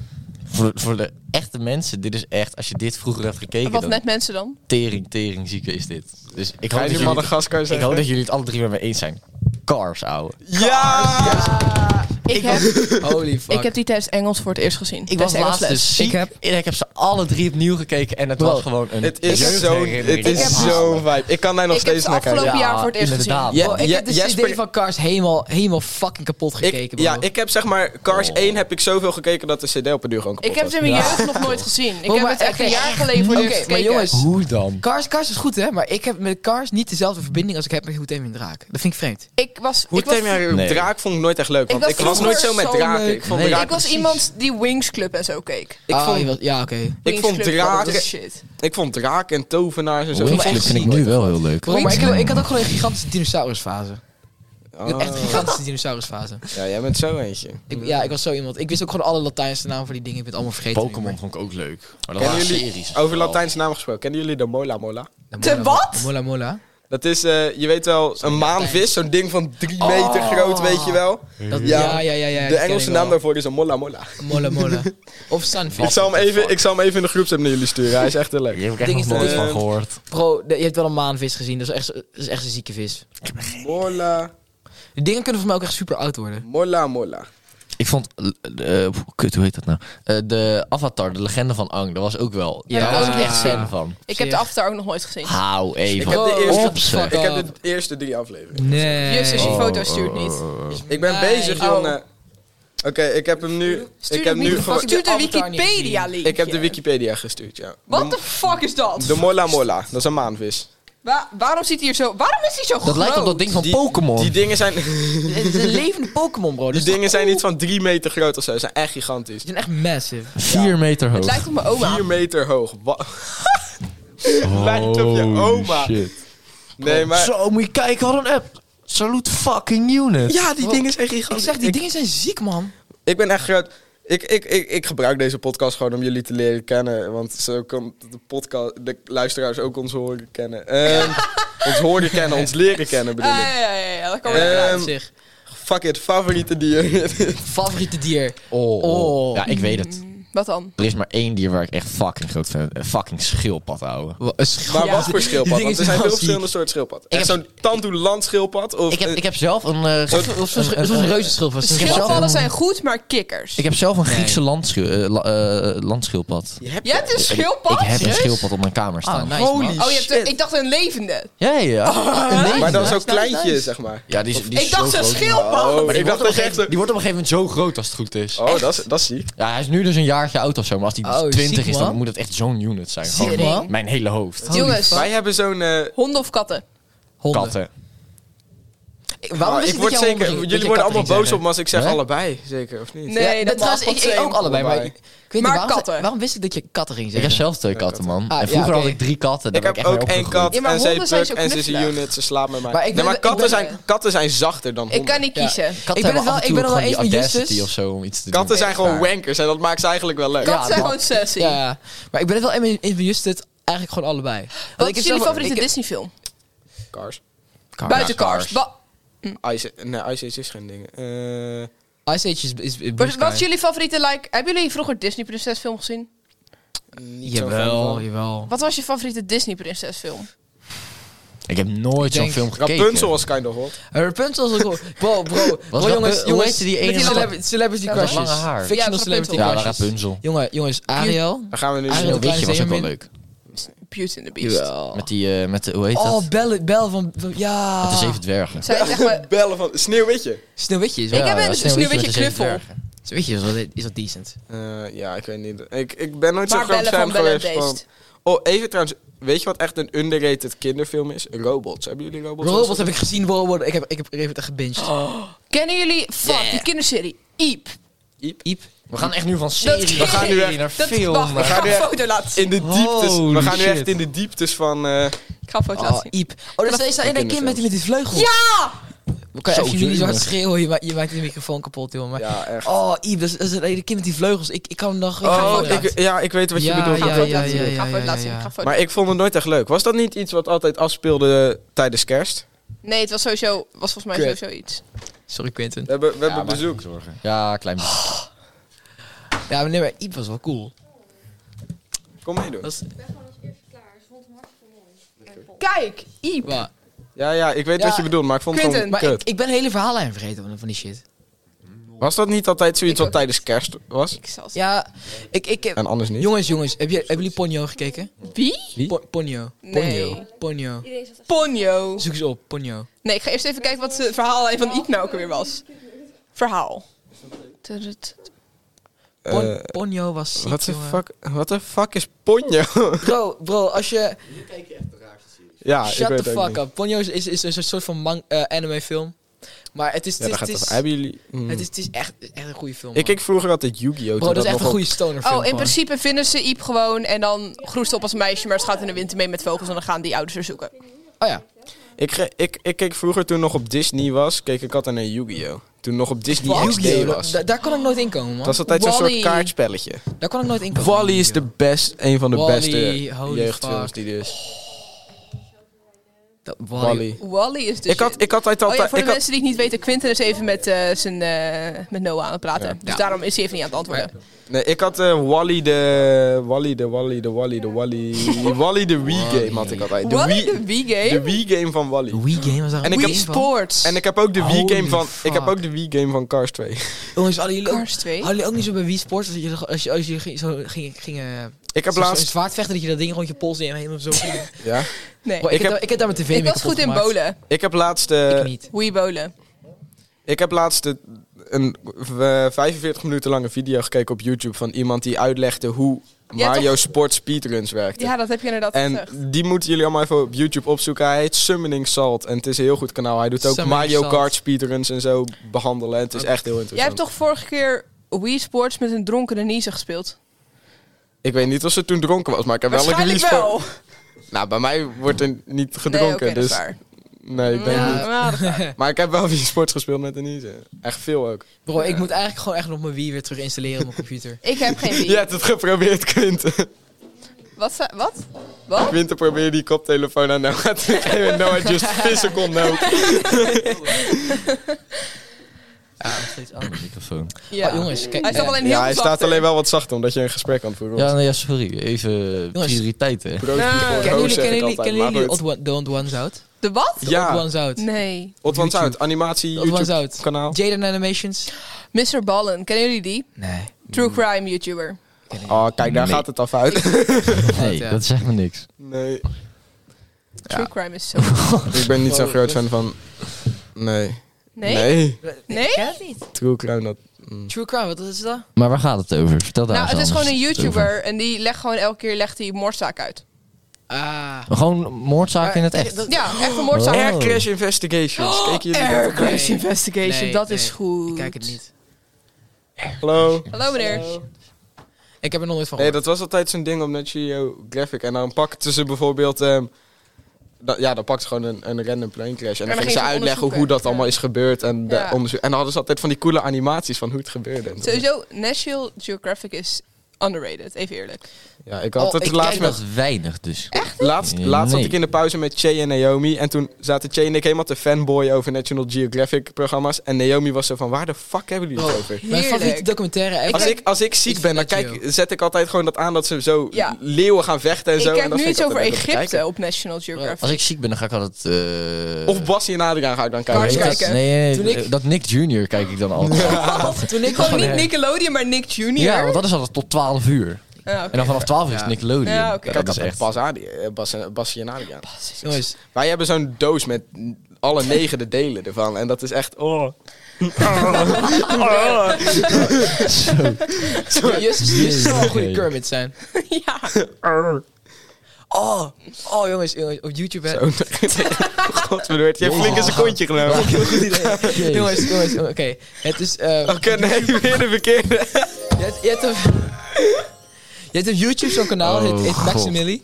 Speaker 2: voor, voor de echte mensen, dit is echt, als je dit vroeger hebt gekeken,
Speaker 1: wat
Speaker 2: dan
Speaker 1: net mensen dan?
Speaker 2: tering, tering zieke is dit. Dus ik
Speaker 3: Ga
Speaker 2: hoop,
Speaker 3: je
Speaker 2: dat
Speaker 3: nu
Speaker 2: jullie,
Speaker 3: Madagaskar
Speaker 2: ik
Speaker 3: zeggen?
Speaker 2: hoop dat jullie het alle drie met me eens zijn. Cars, ouwe.
Speaker 3: Ja!
Speaker 1: Ik heb,
Speaker 4: Holy fuck.
Speaker 1: ik heb die tijdens Engels voor het eerst gezien.
Speaker 2: Ik was
Speaker 1: Tijdens
Speaker 2: laatst
Speaker 1: Engelsles.
Speaker 2: dus ziek
Speaker 4: Ik heb-
Speaker 2: en ik heb ze alle drie opnieuw gekeken en het
Speaker 4: Bro,
Speaker 2: was gewoon een
Speaker 3: Het is zo,
Speaker 2: jeugdherinnering.
Speaker 3: het is
Speaker 1: heb-
Speaker 3: zo vibe. Ik kan daar nog
Speaker 1: Ik heb
Speaker 3: steeds
Speaker 1: het
Speaker 3: naar kijken.
Speaker 1: afgelopen jaar voor het eerst
Speaker 2: inderdaad.
Speaker 4: Bro,
Speaker 3: Ja,
Speaker 4: oh, ik
Speaker 3: ja,
Speaker 4: heb dus de
Speaker 3: Jesper-
Speaker 4: CD van Cars helemaal, helemaal fucking kapot
Speaker 3: Ik-
Speaker 4: gekeken, bro.
Speaker 3: ja, ik heb zeg maar Cars
Speaker 2: Oh.
Speaker 3: 1 heb ik zoveel gekeken dat de CD op een duur gewoon kapot
Speaker 1: Ik heb
Speaker 3: was.
Speaker 1: ze in mijn
Speaker 4: Ja.
Speaker 1: jeugd nog nooit gezien. Ik
Speaker 4: Oh,
Speaker 1: heb
Speaker 4: maar
Speaker 1: het echt een
Speaker 4: echt-
Speaker 1: jaar geleden voor het
Speaker 4: Oké,
Speaker 1: eerst
Speaker 4: maar
Speaker 1: gekeken.
Speaker 4: jongens,
Speaker 2: Hoe dan?
Speaker 4: Cars, Cars is goed, hè? Maar ik heb met Cars niet dezelfde verbinding als ik heb met Hoed in Draak. Dat vind ik vreemd.
Speaker 1: ik was,
Speaker 3: Hoe
Speaker 1: ik was,
Speaker 3: ik was...
Speaker 2: Nee.
Speaker 3: Draak vond ik nooit echt leuk. Want
Speaker 1: was
Speaker 3: ik was
Speaker 1: vroeger
Speaker 3: nooit zo met
Speaker 1: zo
Speaker 3: draken.
Speaker 4: leuk.
Speaker 3: Ik vond
Speaker 2: Nee.
Speaker 3: draken-
Speaker 1: ik was iemand die Wings Club en zo keek.
Speaker 3: Ik
Speaker 4: Ah,
Speaker 3: vond-
Speaker 4: je was- ja, oké.
Speaker 3: Ik vond,
Speaker 1: Wings Club, wat
Speaker 3: draken,
Speaker 1: is shit.
Speaker 3: ik vond draken en tovenaars en zo.
Speaker 2: Wings Club
Speaker 4: echt
Speaker 2: vind ik
Speaker 4: ziek.
Speaker 2: nu wel heel leuk.
Speaker 4: Bro, maar ik, ik had ook gewoon een gigantische dinosaurusfase. Ik had
Speaker 3: Oh.
Speaker 4: echt een gigantische dinosaurusfase.
Speaker 3: Ja, jij bent zo eentje.
Speaker 4: Ik, ja, ik was zo iemand. Ik wist ook gewoon alle Latijnse namen voor die dingen. Ik ben het allemaal vergeten.
Speaker 2: Pokémon vond ik ook leuk. Maar dat
Speaker 3: Kennen
Speaker 2: waren
Speaker 3: jullie- Oh.
Speaker 2: series.
Speaker 3: Over Latijnse namen gesproken. Kennen jullie de Mola Mola?
Speaker 4: De
Speaker 1: Te
Speaker 4: mola-
Speaker 1: wat?
Speaker 4: de Mola mola.
Speaker 3: Dat is, eh, je weet wel, een maanvis. Zo'n ding van drie meter
Speaker 1: Oh.
Speaker 3: groot, weet je wel.
Speaker 4: Dat,
Speaker 3: Ja.
Speaker 4: ja. ja, ja, ja,
Speaker 3: De Engelse naam daarvoor is een Mola Mola.
Speaker 4: daarvoor. Mola mola. Of Sunfish.
Speaker 3: Ik zal, hem even, ik zal hem even in de groepsapp naar jullie sturen. Hij is echt heel leuk.
Speaker 2: Hier heb ik
Speaker 4: Ding
Speaker 2: echt
Speaker 4: is
Speaker 2: nog nooit
Speaker 3: dat-
Speaker 2: van gehoord.
Speaker 4: Bro, de- je hebt wel een maanvis gezien. Dat is echt, zo- dat is echt een zieke vis.
Speaker 3: Mola,
Speaker 4: Die dingen kunnen voor mij ook echt super oud worden.
Speaker 3: Mola Mola.
Speaker 2: Ik vond... eh, eh, kut, hoe heet dat nou? Eh, de Avatar, de legende van Ang, dat was ook wel...
Speaker 4: Ja.
Speaker 2: Daar was ik
Speaker 1: Ja.
Speaker 2: echt fan van.
Speaker 1: Ik heb de Avatar ook nog nooit gezien.
Speaker 2: Hou even
Speaker 3: Ik heb de
Speaker 2: op,
Speaker 3: eerste-
Speaker 2: zeg.
Speaker 4: Fuck
Speaker 3: Ik heb
Speaker 4: off.
Speaker 3: de eerste drie afleveringen.
Speaker 4: Nee.
Speaker 1: Jezus, je
Speaker 2: Oh,
Speaker 1: foto
Speaker 2: oh,
Speaker 1: stuurt niet.
Speaker 3: Ik ben
Speaker 4: Nee.
Speaker 3: bezig,
Speaker 4: Oh.
Speaker 3: jongen. Oké, ik heb hem nu...
Speaker 1: Stuur
Speaker 3: ik heb
Speaker 1: de,
Speaker 3: nu
Speaker 1: wiki-
Speaker 3: gewoon-
Speaker 1: stuur de
Speaker 4: de Avatar niet
Speaker 1: Wikipedia
Speaker 4: gezien.
Speaker 1: link.
Speaker 3: Ik heb de Wikipedia gestuurd, ja.
Speaker 1: What the fuck is dat?
Speaker 3: De Mola Mola, dat is een maanvis.
Speaker 1: Wa- waarom zit hij hier zo? Waarom is hij zo groot?
Speaker 2: Dat lijkt op dat ding van
Speaker 3: Die-
Speaker 2: Pokémon.
Speaker 3: Die dingen zijn,
Speaker 4: Het is een levende Pokémon, bro.
Speaker 3: die
Speaker 4: Dus die
Speaker 3: dingen zijn iets van drie meter groot of zo. Ze zijn echt gigantisch.
Speaker 4: zijn echt massive.
Speaker 2: Vier meter
Speaker 1: Het
Speaker 2: hoog.
Speaker 1: lijkt op mijn oma.
Speaker 3: Vier meter hoog. Wa- lijkt op je oma.
Speaker 2: shit.
Speaker 3: Nee, maar...
Speaker 2: Zo, moet je kijken, wat een app. Salute fucking unit.
Speaker 3: Ja, die
Speaker 4: Bro,
Speaker 3: dingen zijn
Speaker 4: Ik Oh,
Speaker 3: gigantisch.
Speaker 4: zeg, die
Speaker 3: ik,
Speaker 4: dingen zijn ziek, man.
Speaker 3: ik ben echt groot. Ik, ik, ik, ik gebruik deze podcast gewoon om jullie te leren kennen. Want zo kan de, podcast, de luisteraars ook ons horen kennen. Ehm, ons horen kennen, ons leren kennen bedoel
Speaker 1: Ah,
Speaker 3: ik.
Speaker 1: ja, ja, ja, ja, dat kan
Speaker 3: Eh,
Speaker 1: wel.
Speaker 3: Ehm,
Speaker 4: Zich.
Speaker 3: Fuck it, favoriete dier.
Speaker 4: Favoriete dier.
Speaker 2: Oh,
Speaker 4: Oh.
Speaker 2: Ja, ik weet het.
Speaker 1: Wat dan?
Speaker 2: Er is maar één dier waar ik echt fucking groot fan Een fucking schildpad, ouwe.
Speaker 4: Wa- Een schil-
Speaker 3: maar
Speaker 1: Ja.
Speaker 3: wat voor
Speaker 4: Die
Speaker 3: schildpad?
Speaker 4: dingen
Speaker 3: Want er
Speaker 4: zijn
Speaker 3: zijn
Speaker 4: wel
Speaker 3: veel
Speaker 4: ziek.
Speaker 3: verschillende soorten schildpad. Echt
Speaker 2: heb-
Speaker 3: zo'n tandoe schildpad of...
Speaker 2: Ik heb,
Speaker 3: een-
Speaker 2: ik heb zelf een... eh,
Speaker 4: Of- Of zo'n
Speaker 2: een-
Speaker 4: zo'n
Speaker 2: een-
Speaker 4: reuzenschilpad. Zo'n
Speaker 1: Schildpadden
Speaker 4: reuzenschilpad.
Speaker 1: zijn goed, maar kikkers.
Speaker 2: Ik heb zelf een
Speaker 4: Nee.
Speaker 2: Griekse landschi- eh, la- eh, landschildpad.
Speaker 3: Je hebt
Speaker 1: Jij hebt een schildpad?
Speaker 2: Ik heb een
Speaker 4: Serieus?
Speaker 2: schildpad op mijn kamer
Speaker 4: Ah,
Speaker 2: staan.
Speaker 4: nice,
Speaker 3: Holy
Speaker 4: man.
Speaker 1: Oh, je hebt een-
Speaker 3: shit.
Speaker 1: ik dacht een levende.
Speaker 2: Ja, ja. Nee,
Speaker 3: Maar dan zo'n
Speaker 4: nice, nice,
Speaker 3: kleintje,
Speaker 4: nice.
Speaker 3: zeg maar.
Speaker 2: Ja, die is, die is
Speaker 1: Ik dacht
Speaker 2: zo
Speaker 1: een
Speaker 2: groot. Nou,
Speaker 1: schildpad.
Speaker 2: Maar
Speaker 3: Oh,
Speaker 2: die,
Speaker 3: ik dacht
Speaker 2: wordt
Speaker 3: dat
Speaker 2: op een
Speaker 3: je echt...
Speaker 2: gegeven-
Speaker 3: zo-
Speaker 2: die wordt op een gegeven moment zo groot als het goed is.
Speaker 3: Oh, dat is, dat is ziek.
Speaker 2: Ja, hij is nu dus een jaartje oud of zo. Maar als hij
Speaker 4: Oh, ziek,
Speaker 2: 20 is, dan
Speaker 4: man.
Speaker 2: moet het echt zo'n unit zijn.
Speaker 4: Ziek,
Speaker 2: Gewoon
Speaker 4: man.
Speaker 2: mijn hele hoofd.
Speaker 4: Holy
Speaker 1: Jongens,
Speaker 4: fuck.
Speaker 3: Wij hebben zo'n... eh,
Speaker 1: honden of katten?
Speaker 4: Honden.
Speaker 2: Katten.
Speaker 4: Ik- Waarom
Speaker 3: Ah,
Speaker 4: is
Speaker 3: ik
Speaker 4: het
Speaker 3: word
Speaker 4: dat jij
Speaker 3: zeker,
Speaker 4: honderd ging? Dat
Speaker 3: jullie worden
Speaker 4: jij
Speaker 3: allemaal
Speaker 4: katten
Speaker 3: boos
Speaker 4: ging
Speaker 3: op me als ik zeg
Speaker 2: Hè?
Speaker 3: allebei, zeker of niet?
Speaker 1: Nee,
Speaker 4: zeggen? Ja,
Speaker 1: dat
Speaker 4: dat trouwens,
Speaker 1: mag
Speaker 4: ik,
Speaker 1: wel
Speaker 4: ik ook
Speaker 1: twee.
Speaker 4: allebei. Maar
Speaker 3: Allebei.
Speaker 4: ik, ik
Speaker 1: Maar
Speaker 4: weet niet, waarom,
Speaker 1: katten.
Speaker 4: waarom wist ik dat je katten ging
Speaker 2: Ik heb
Speaker 4: zeggen?
Speaker 2: zelf twee
Speaker 3: Ja,
Speaker 2: katten,
Speaker 3: katten.
Speaker 2: man.
Speaker 4: Ah,
Speaker 2: en
Speaker 4: ja,
Speaker 2: vroeger had
Speaker 4: oké.
Speaker 2: ik drie katten. daar
Speaker 3: Ik heb
Speaker 2: ben echt
Speaker 3: ook
Speaker 2: mee
Speaker 3: één
Speaker 2: opgegroeid.
Speaker 3: kat
Speaker 1: Ja, maar
Speaker 3: en zij
Speaker 1: honden zijn
Speaker 3: plukt
Speaker 1: zo
Speaker 3: en ze is een
Speaker 1: knuffelig.
Speaker 3: unit, ze slaapt met mij.
Speaker 4: Maar ik
Speaker 3: nee,
Speaker 4: ben-
Speaker 3: maar
Speaker 4: ik ben-
Speaker 3: katten, zijn, katten zijn zachter dan honden.
Speaker 1: Ik kan niet
Speaker 4: Ja.
Speaker 1: kiezen.
Speaker 4: Ik ben
Speaker 2: Katten
Speaker 4: het
Speaker 2: hebben
Speaker 4: wel-
Speaker 2: af en
Speaker 4: ik ben
Speaker 2: toe
Speaker 4: het wel
Speaker 2: gewoon
Speaker 4: eens
Speaker 2: die
Speaker 4: met
Speaker 2: audacity
Speaker 4: Justus.
Speaker 2: of zo om iets te doen.
Speaker 3: Katten zijn gewoon
Speaker 2: Raar.
Speaker 3: wankers en dat maakt ze eigenlijk wel leuk.
Speaker 1: Katten
Speaker 4: Ja,
Speaker 1: zijn
Speaker 4: dat-
Speaker 1: gewoon sassy.
Speaker 4: Ja, ja. maar ik ben het wel in mijn, in mijn juiste het eigenlijk gewoon allebei. Want
Speaker 1: Wat
Speaker 4: ik
Speaker 1: is
Speaker 4: heb
Speaker 1: jullie
Speaker 4: zelf-
Speaker 1: favoriete
Speaker 4: ik heb-
Speaker 1: Disney-film?
Speaker 3: Cars.
Speaker 4: Cars.
Speaker 1: Buiten
Speaker 2: Ja,
Speaker 1: Cars.
Speaker 2: Cars.
Speaker 1: Wa-
Speaker 3: Ice, nee, Ice Age is geen ding. Eh,
Speaker 4: Ice Age is... is, is
Speaker 1: Wat, wat is jullie favoriete, like... Hebben jullie vroeger Disney-prinsesfilm gezien?
Speaker 3: niet zo fan
Speaker 4: Jawel,
Speaker 3: van.
Speaker 4: jawel.
Speaker 1: Wat was je favoriete Disney-prinsesfilm?
Speaker 2: Ik heb nooit zo'n
Speaker 4: denk-
Speaker 2: film gekeken.
Speaker 3: Rapunzel was kind of hot.
Speaker 4: Rapunzel is ook... Bro, bro.
Speaker 2: Was
Speaker 4: bro
Speaker 2: Rapu-
Speaker 4: jongens,
Speaker 2: hoe
Speaker 4: jongens.
Speaker 2: heette die
Speaker 4: met
Speaker 2: ene met
Speaker 4: celebrity, celebrity
Speaker 1: Ja, dat
Speaker 4: crushes.
Speaker 2: lange haar?
Speaker 1: Ja,
Speaker 4: Fictional
Speaker 1: dat
Speaker 4: celebrity
Speaker 1: Rapunzel.
Speaker 2: Ja,
Speaker 4: crushes.
Speaker 2: daar Rapunzel.
Speaker 4: Jongen, jongens, Ariel.
Speaker 3: Dan gaan we nu
Speaker 4: Ah,
Speaker 3: zien.
Speaker 2: Ariel
Speaker 4: dat
Speaker 2: Witje was ook wel
Speaker 4: Benjamin.
Speaker 2: leuk.
Speaker 1: Beauty and the Beast.
Speaker 4: Jawel.
Speaker 2: Met die, eh, met de, hoe heet
Speaker 4: Oh,
Speaker 2: dat?
Speaker 4: Belle, Belle van... van- Ja.
Speaker 2: Met de zeven dwergen.
Speaker 1: Zij, zeg maar,
Speaker 3: Bellen van Sneeuwwitje.
Speaker 4: Sneeuwwitje is
Speaker 1: Ik
Speaker 4: wel...
Speaker 1: heb een
Speaker 2: ja,
Speaker 1: sneeuwwitje
Speaker 2: met de zeven
Speaker 1: knuffel.
Speaker 2: dwergen.
Speaker 4: Sneeuwwitje is wel, is wel decent.
Speaker 3: Eh, ja, ik weet niet. Ik, ik ben nooit zo'n
Speaker 1: maar
Speaker 3: groot
Speaker 1: bellen van
Speaker 3: fan
Speaker 1: Belle and
Speaker 3: geweest
Speaker 1: Beast.
Speaker 3: van... Oh, even trouwens. Weet je wat echt een underrated kinderfilm is? Robots. Hebben jullie robots?
Speaker 4: Robots heb ik gezien worden. Ik heb, ik heb even echt gebinged.
Speaker 1: Oh. Kennen jullie, fuck,
Speaker 4: Yeah.
Speaker 1: die kinderserie, Iep.
Speaker 4: Iep.
Speaker 2: We gaan echt nu van serie
Speaker 1: ging-
Speaker 2: we gaan nu echt naar
Speaker 1: Dat,
Speaker 2: film.
Speaker 1: wacht, ik
Speaker 2: maar-
Speaker 1: ga
Speaker 3: Ga
Speaker 1: een
Speaker 3: je-
Speaker 1: foto laten zien.
Speaker 3: In de dieptes.
Speaker 2: Holy
Speaker 3: we gaan nu
Speaker 2: shit.
Speaker 3: echt in de dieptes van... eh,
Speaker 1: Ik ga een foto
Speaker 4: Oh,
Speaker 1: laten zien.
Speaker 4: Iep. Oh, dat is dat ene
Speaker 3: kinderfilm.
Speaker 4: kind met die, met die vleugels.
Speaker 1: Ja!
Speaker 4: We kan je
Speaker 2: Zo,
Speaker 4: even jullie zo hard
Speaker 2: jemig.
Speaker 4: schreeuwen. Je, ma- je maakt die microfoon kapot, jongen. Maar...
Speaker 3: ja, echt.
Speaker 4: Oh, Iep, dat is, dat is het ene kind met die vleugels. Ik, ik kan hem nog...
Speaker 1: ga
Speaker 3: Oh,
Speaker 1: foto laten
Speaker 3: ik, ja, ik weet wat je
Speaker 4: Ja,
Speaker 3: bedoelt.
Speaker 1: Ik ga een foto laten
Speaker 4: ja,
Speaker 1: zien. Ik
Speaker 4: ja,
Speaker 1: ga een foto
Speaker 4: ja,
Speaker 1: laten zien.
Speaker 4: ja.
Speaker 1: Ik ga een foto-
Speaker 3: Maar ik vond het nooit echt leuk. Was dat niet iets wat altijd afspeelde tijdens kerst?
Speaker 1: Nee, het was sowieso, was volgens mij
Speaker 3: Kut.
Speaker 1: sowieso iets.
Speaker 4: Sorry, Quentin.
Speaker 3: We hebben, we hebben
Speaker 2: Ja, maak je
Speaker 3: bezoek.
Speaker 2: geen zorgen. Ja, klein bezoek.
Speaker 4: Ja, maar nee, maar Iep was wel cool.
Speaker 3: Kom meedoen.
Speaker 4: Dat is...
Speaker 1: Kijk, Iep.
Speaker 4: Maar,
Speaker 3: Ja, ja, ik weet
Speaker 4: Ja,
Speaker 3: wat je bedoelt, maar ik vond het
Speaker 1: Quinten,
Speaker 3: gewoon
Speaker 4: maar ik,
Speaker 3: kut.
Speaker 4: ik ben hele verhaallijn vergeten van, van die shit.
Speaker 3: Was dat niet altijd zoiets
Speaker 1: Ik
Speaker 3: wat
Speaker 1: ook
Speaker 3: tijdens kerst was?
Speaker 1: Ik zal
Speaker 4: Ja, ik... ik heb...
Speaker 3: En anders niet?
Speaker 4: Jongens, jongens, heb je, hebben jullie Ponyo gekeken?
Speaker 1: Wie?
Speaker 2: Wie?
Speaker 4: Po- Ponyo.
Speaker 1: Nee.
Speaker 4: Ponyo. Ponyo.
Speaker 1: Ponyo.
Speaker 4: Zoek eens op, Ponyo.
Speaker 1: Nee, ik ga eerst even kijken wat het verhaal van Iep nou ook alweer was. Verhaal. Tudut.
Speaker 4: Pon-
Speaker 3: Eh,
Speaker 4: Ponyo was ziek,
Speaker 3: Wat de
Speaker 4: jongen.
Speaker 3: fuck, what the fuck is Ponyo?
Speaker 4: Bro, bro, als je...
Speaker 3: ja, Ah, ik
Speaker 4: Shut
Speaker 3: weet
Speaker 4: the
Speaker 3: het ook niet.
Speaker 4: fuck up. Ponyo is, is, is een soort van man- eh, anime film. Maar het is...
Speaker 3: Ja, daar
Speaker 4: het
Speaker 3: gaat
Speaker 4: is,
Speaker 3: het. Hebben jullie... Hmm.
Speaker 4: het is, het is echt, echt een goede film.
Speaker 3: Ik
Speaker 4: man.
Speaker 3: keek vroeger altijd Yu-Gi-Oh!
Speaker 4: Bro,
Speaker 3: toen
Speaker 4: dat is echt een
Speaker 3: nog op-
Speaker 4: goede stoner film.
Speaker 1: Oh, in
Speaker 4: gewoon.
Speaker 1: principe vinden ze Iep gewoon en dan groest op als meisje, maar het gaat in de winter mee met vogels en dan gaan die ouders er zoeken.
Speaker 4: Oh ja.
Speaker 3: Ik, ge- ik, ik keek vroeger toen nog op Disney was, keek ik altijd naar Yu-Gi-Oh! Toen nog op Disney
Speaker 4: Yu-Gi-Oh!
Speaker 3: XD
Speaker 4: da-
Speaker 3: was.
Speaker 4: da- daar kon ik nooit in komen, man.
Speaker 3: Dat was altijd zo'n soort
Speaker 1: Wall-E.
Speaker 3: kaartspelletje.
Speaker 4: Daar kon ik nooit in komen.
Speaker 3: Wally is de best, een van de
Speaker 4: Wall-E,
Speaker 3: beste
Speaker 4: holy
Speaker 3: jeugdfilms
Speaker 4: fuck.
Speaker 3: die er is.
Speaker 4: Dat-
Speaker 3: Wally.
Speaker 4: Wally.
Speaker 1: Wally is dus...
Speaker 3: Ik had, ik
Speaker 1: Oh
Speaker 3: had
Speaker 1: ja,
Speaker 3: altijd...
Speaker 1: voor de
Speaker 3: ik had-
Speaker 1: mensen die het niet weten, Quinten is even met, eh, zijn, eh, met Noah aan het praten. Dus
Speaker 4: Ja.
Speaker 1: daarom is hij even niet aan het antwoorden.
Speaker 3: Nee, ik had eh, Wally de... Wally de Wally de Wally de Wally... Wally de Wii-game had ik altijd. De
Speaker 1: Wally,
Speaker 3: Wii-
Speaker 1: de
Speaker 3: de
Speaker 1: Wii-game?
Speaker 3: Wii-game van Wally.
Speaker 4: Wii game was daar
Speaker 3: En
Speaker 4: een
Speaker 3: ik
Speaker 1: Wii
Speaker 3: heb-
Speaker 4: game van?
Speaker 1: Sports.
Speaker 3: En ik heb ook de Wii-game
Speaker 4: Holy
Speaker 3: van... Ik heb
Speaker 4: fuck.
Speaker 3: ook de Wii-game van Cars 2.
Speaker 4: Jongens, hadden jullie, ook,
Speaker 1: Cars 2.
Speaker 4: hadden jullie ook niet zo bij Wii Sports? Als je, als je, als je ging- zo ging, ging, eh,
Speaker 3: Ik heb
Speaker 4: zo- zo'n
Speaker 3: laatst...
Speaker 4: zwaard vechten dat je dat ding rond je pols deed en helemaal zo... Bro,
Speaker 3: Ja?
Speaker 1: Nee.
Speaker 4: ik,
Speaker 3: Ik
Speaker 4: heb,
Speaker 3: heb-
Speaker 4: daar- ik heb daar mijn tv mee
Speaker 1: Ik was
Speaker 4: kapot
Speaker 1: goed in
Speaker 4: gemaakt.
Speaker 1: bowlen.
Speaker 3: Ik heb laatst... eh,
Speaker 4: Ik niet.
Speaker 1: Wii bowlen.
Speaker 3: Ik heb laatst een, een eh, 45 minuten lange video gekeken op YouTube van iemand die uitlegde hoe
Speaker 1: Ja,
Speaker 3: Mario
Speaker 1: toch?
Speaker 3: Sport speedruns werkte.
Speaker 1: Ja, dat heb je inderdaad
Speaker 3: en
Speaker 1: gezegd.
Speaker 3: die moeten jullie allemaal even op YouTube opzoeken. Hij heet Summoning Salt en het is een heel goed kanaal. Hij doet ook
Speaker 4: Summoning
Speaker 3: Mario
Speaker 4: Salt.
Speaker 3: Kart speedruns en zo behandelen. En het is echt heel
Speaker 1: Jij hebt
Speaker 3: interessant.
Speaker 1: toch vorige keer Wii Sports met een dronkene Niezen gespeeld?
Speaker 3: Ik weet niet of ze toen dronken was, maar ik heb wel een
Speaker 1: Waarschijnlijk
Speaker 3: release voor-
Speaker 1: wel.
Speaker 3: Nou, bij mij wordt er niet
Speaker 1: Nee,
Speaker 3: gedronken,
Speaker 1: oké, dat is
Speaker 3: dus
Speaker 1: waar.
Speaker 3: nee, ik denk
Speaker 4: Ja.
Speaker 3: niet.
Speaker 1: Ja, dat-
Speaker 3: Maar ik heb wel Wii Sports gespeeld met Denise. Echt veel ook.
Speaker 4: Bro, ik moet eigenlijk gewoon echt nog mijn Wii weer terug installeren op mijn computer.
Speaker 1: Ik heb geen Wii.
Speaker 3: Je hebt het geprobeerd, Quinten.
Speaker 1: Wat? zei- Wat? Wat?
Speaker 3: Winter probeer die koptelefoon aan. Nou gaat het no, I just physical note.
Speaker 4: Ja, nog steeds
Speaker 2: Ah.
Speaker 4: aan.
Speaker 2: Microfoon.
Speaker 1: Ja.
Speaker 4: Oh, jongens, kijk.
Speaker 1: Hij staat
Speaker 4: eh,
Speaker 1: alleen heel
Speaker 3: Ja, hij
Speaker 1: zacht
Speaker 3: staat
Speaker 1: in.
Speaker 3: alleen wel wat zacht omdat je een gesprek aan het voeren
Speaker 2: Ja,
Speaker 3: bent.
Speaker 2: nee, ja, sorry. Even prioriteiten.
Speaker 3: Brood
Speaker 1: Nee.
Speaker 3: voor
Speaker 1: Ah, Kennen
Speaker 3: roos,
Speaker 4: Kennen jullie,
Speaker 3: zeg ik
Speaker 4: kennen jullie,
Speaker 3: altijd,
Speaker 4: kennen
Speaker 3: maar
Speaker 4: jullie
Speaker 3: goed.
Speaker 4: Odd One- The Odd Ones Out?
Speaker 1: De wat?
Speaker 4: The
Speaker 3: Ja.
Speaker 4: Odd Ones Out.
Speaker 1: Nee.
Speaker 3: Odd Ones
Speaker 4: YouTube.
Speaker 3: Out, animatie,
Speaker 4: Odd Ones
Speaker 3: YouTube
Speaker 4: Out.
Speaker 3: kanaal.
Speaker 4: Jaden Animations?
Speaker 1: Mr. Ballen, kennen jullie die?
Speaker 4: Nee.
Speaker 3: Mm.
Speaker 1: True crime YouTuber.
Speaker 3: Oh, kijk, daar
Speaker 2: Nee.
Speaker 3: gaat het af uit.
Speaker 2: Nee,
Speaker 4: Ja.
Speaker 2: dat zegt me niks.
Speaker 3: Nee,
Speaker 1: True
Speaker 4: Ja.
Speaker 1: crime is zo.
Speaker 3: ik ben niet zo'n groot fan van... Nee.
Speaker 1: Nee? Nee? Nou,
Speaker 4: Ken het niet.
Speaker 3: True Crime, dat... mm.
Speaker 4: True Crime, wat is dat?
Speaker 2: Maar waar gaat het over? Vertel daar
Speaker 1: Nou,
Speaker 2: eens
Speaker 1: het is
Speaker 2: anders
Speaker 1: gewoon een
Speaker 2: over.
Speaker 1: YouTuber en die legt gewoon elke keer legt hij moordzaak uit.
Speaker 4: Ah.
Speaker 2: Gewoon moordzaken in het echt.
Speaker 1: Ja, echt een moordzaak.
Speaker 2: Oh.
Speaker 3: Air Crash Investigations.
Speaker 1: Oh,
Speaker 3: Keken jullie dat?
Speaker 4: Air- Crash
Speaker 1: Investigation,
Speaker 4: Oh, Ah, Nee,
Speaker 1: dat
Speaker 4: nee,
Speaker 1: is goed.
Speaker 4: Ik kijk het niet.
Speaker 3: Hallo.
Speaker 1: Hallo meneer.
Speaker 4: Ik heb er nog nooit van
Speaker 3: Nee,
Speaker 4: gehoord.
Speaker 3: dat was altijd zo'n ding op Nat Geo Graphic. En dan pakten ze bijvoorbeeld... ehm, dat, ja, dan pakten ze gewoon een, een random plane crash. En dan gingen ze
Speaker 1: gingen ze
Speaker 3: uitleggen hoe
Speaker 1: onderzoeken.
Speaker 3: dat allemaal is gebeurd. En, de
Speaker 1: Ja.
Speaker 3: onderzoek. en dan hadden ze altijd van die coole animaties van hoe het gebeurde. En zo.
Speaker 1: Sowieso, National Geographic is underrated, even eerlijk.
Speaker 3: Ja, ik had
Speaker 4: Oh,
Speaker 3: het
Speaker 4: ik
Speaker 3: laatst
Speaker 2: Kijk,
Speaker 3: met
Speaker 2: dat is weinig dus.
Speaker 3: Laatst,
Speaker 2: Nee.
Speaker 3: laatst zat ik in de pauze met Che en Naomi. En toen zaten Che en ik helemaal te fanboy over National Geographic programma's. En Naomi was zo van, waar de fuck hebben jullie het
Speaker 4: Oh.
Speaker 3: over?
Speaker 4: Mijn favoriete
Speaker 1: Heerlijk.
Speaker 4: documentaire ever.
Speaker 3: Als ik, als ik ziek
Speaker 4: Ik
Speaker 3: ben, dan
Speaker 4: vind dat
Speaker 3: kijk, zet ik altijd gewoon dat aan dat ze zo
Speaker 1: Ja.
Speaker 3: leeuwen gaan vechten en
Speaker 1: Ik
Speaker 3: zo. en
Speaker 1: kijk
Speaker 3: dat
Speaker 1: nu
Speaker 3: vind
Speaker 1: iets
Speaker 3: ik
Speaker 1: over
Speaker 3: altijd leuk om te
Speaker 1: Egypte op National Geographic.
Speaker 2: Als ik ziek ben, dan ga ik altijd... eh,
Speaker 3: kijken. Of Bassie en Adriaan ga ik dan
Speaker 2: hoe
Speaker 1: Cars
Speaker 2: heet
Speaker 3: kijken.
Speaker 2: dat?
Speaker 1: kijken.
Speaker 2: Nee, nee,
Speaker 4: Toen ik-
Speaker 2: dat Nick Junior kijk ik dan altijd.
Speaker 4: Toen ik
Speaker 1: Gewoon
Speaker 2: Gewoon,
Speaker 1: niet
Speaker 2: eh,
Speaker 1: Nickelodeon, maar Nick Jr.
Speaker 2: Ja, want dat is altijd tot 12 uur.
Speaker 1: Ah, oké.
Speaker 2: En dan vanaf 12 uur is
Speaker 4: Ja.
Speaker 2: het Nickelodeon.
Speaker 1: Ja, oké.
Speaker 2: oké.
Speaker 3: Kijk,
Speaker 2: Dat is echt...
Speaker 3: Bas Adi- eh, Bas en- Bassie en Adriaan.
Speaker 4: Jongens,
Speaker 3: Wij hebben zo'n doos met alle negen de delen ervan. En dat is echt... Oh.
Speaker 4: Sorry. Justus Justus zou wel een goede
Speaker 2: Nee.
Speaker 4: Kermit zijn.
Speaker 1: ja.
Speaker 4: Oh, oh jongens, jongens, op YouTube. Hè.
Speaker 3: Zo. Godverdomme, werd je flink in zijn kontje genomen.
Speaker 2: Jezus.
Speaker 4: Jongens, jongens, oké. Het is. eh,
Speaker 3: Oké, nee, weer de verkeerde.
Speaker 4: je, hebt, je, hebt op, je hebt op YouTube zo'n kanaal, het
Speaker 2: Oh,
Speaker 4: heet
Speaker 2: God.
Speaker 4: Maximili.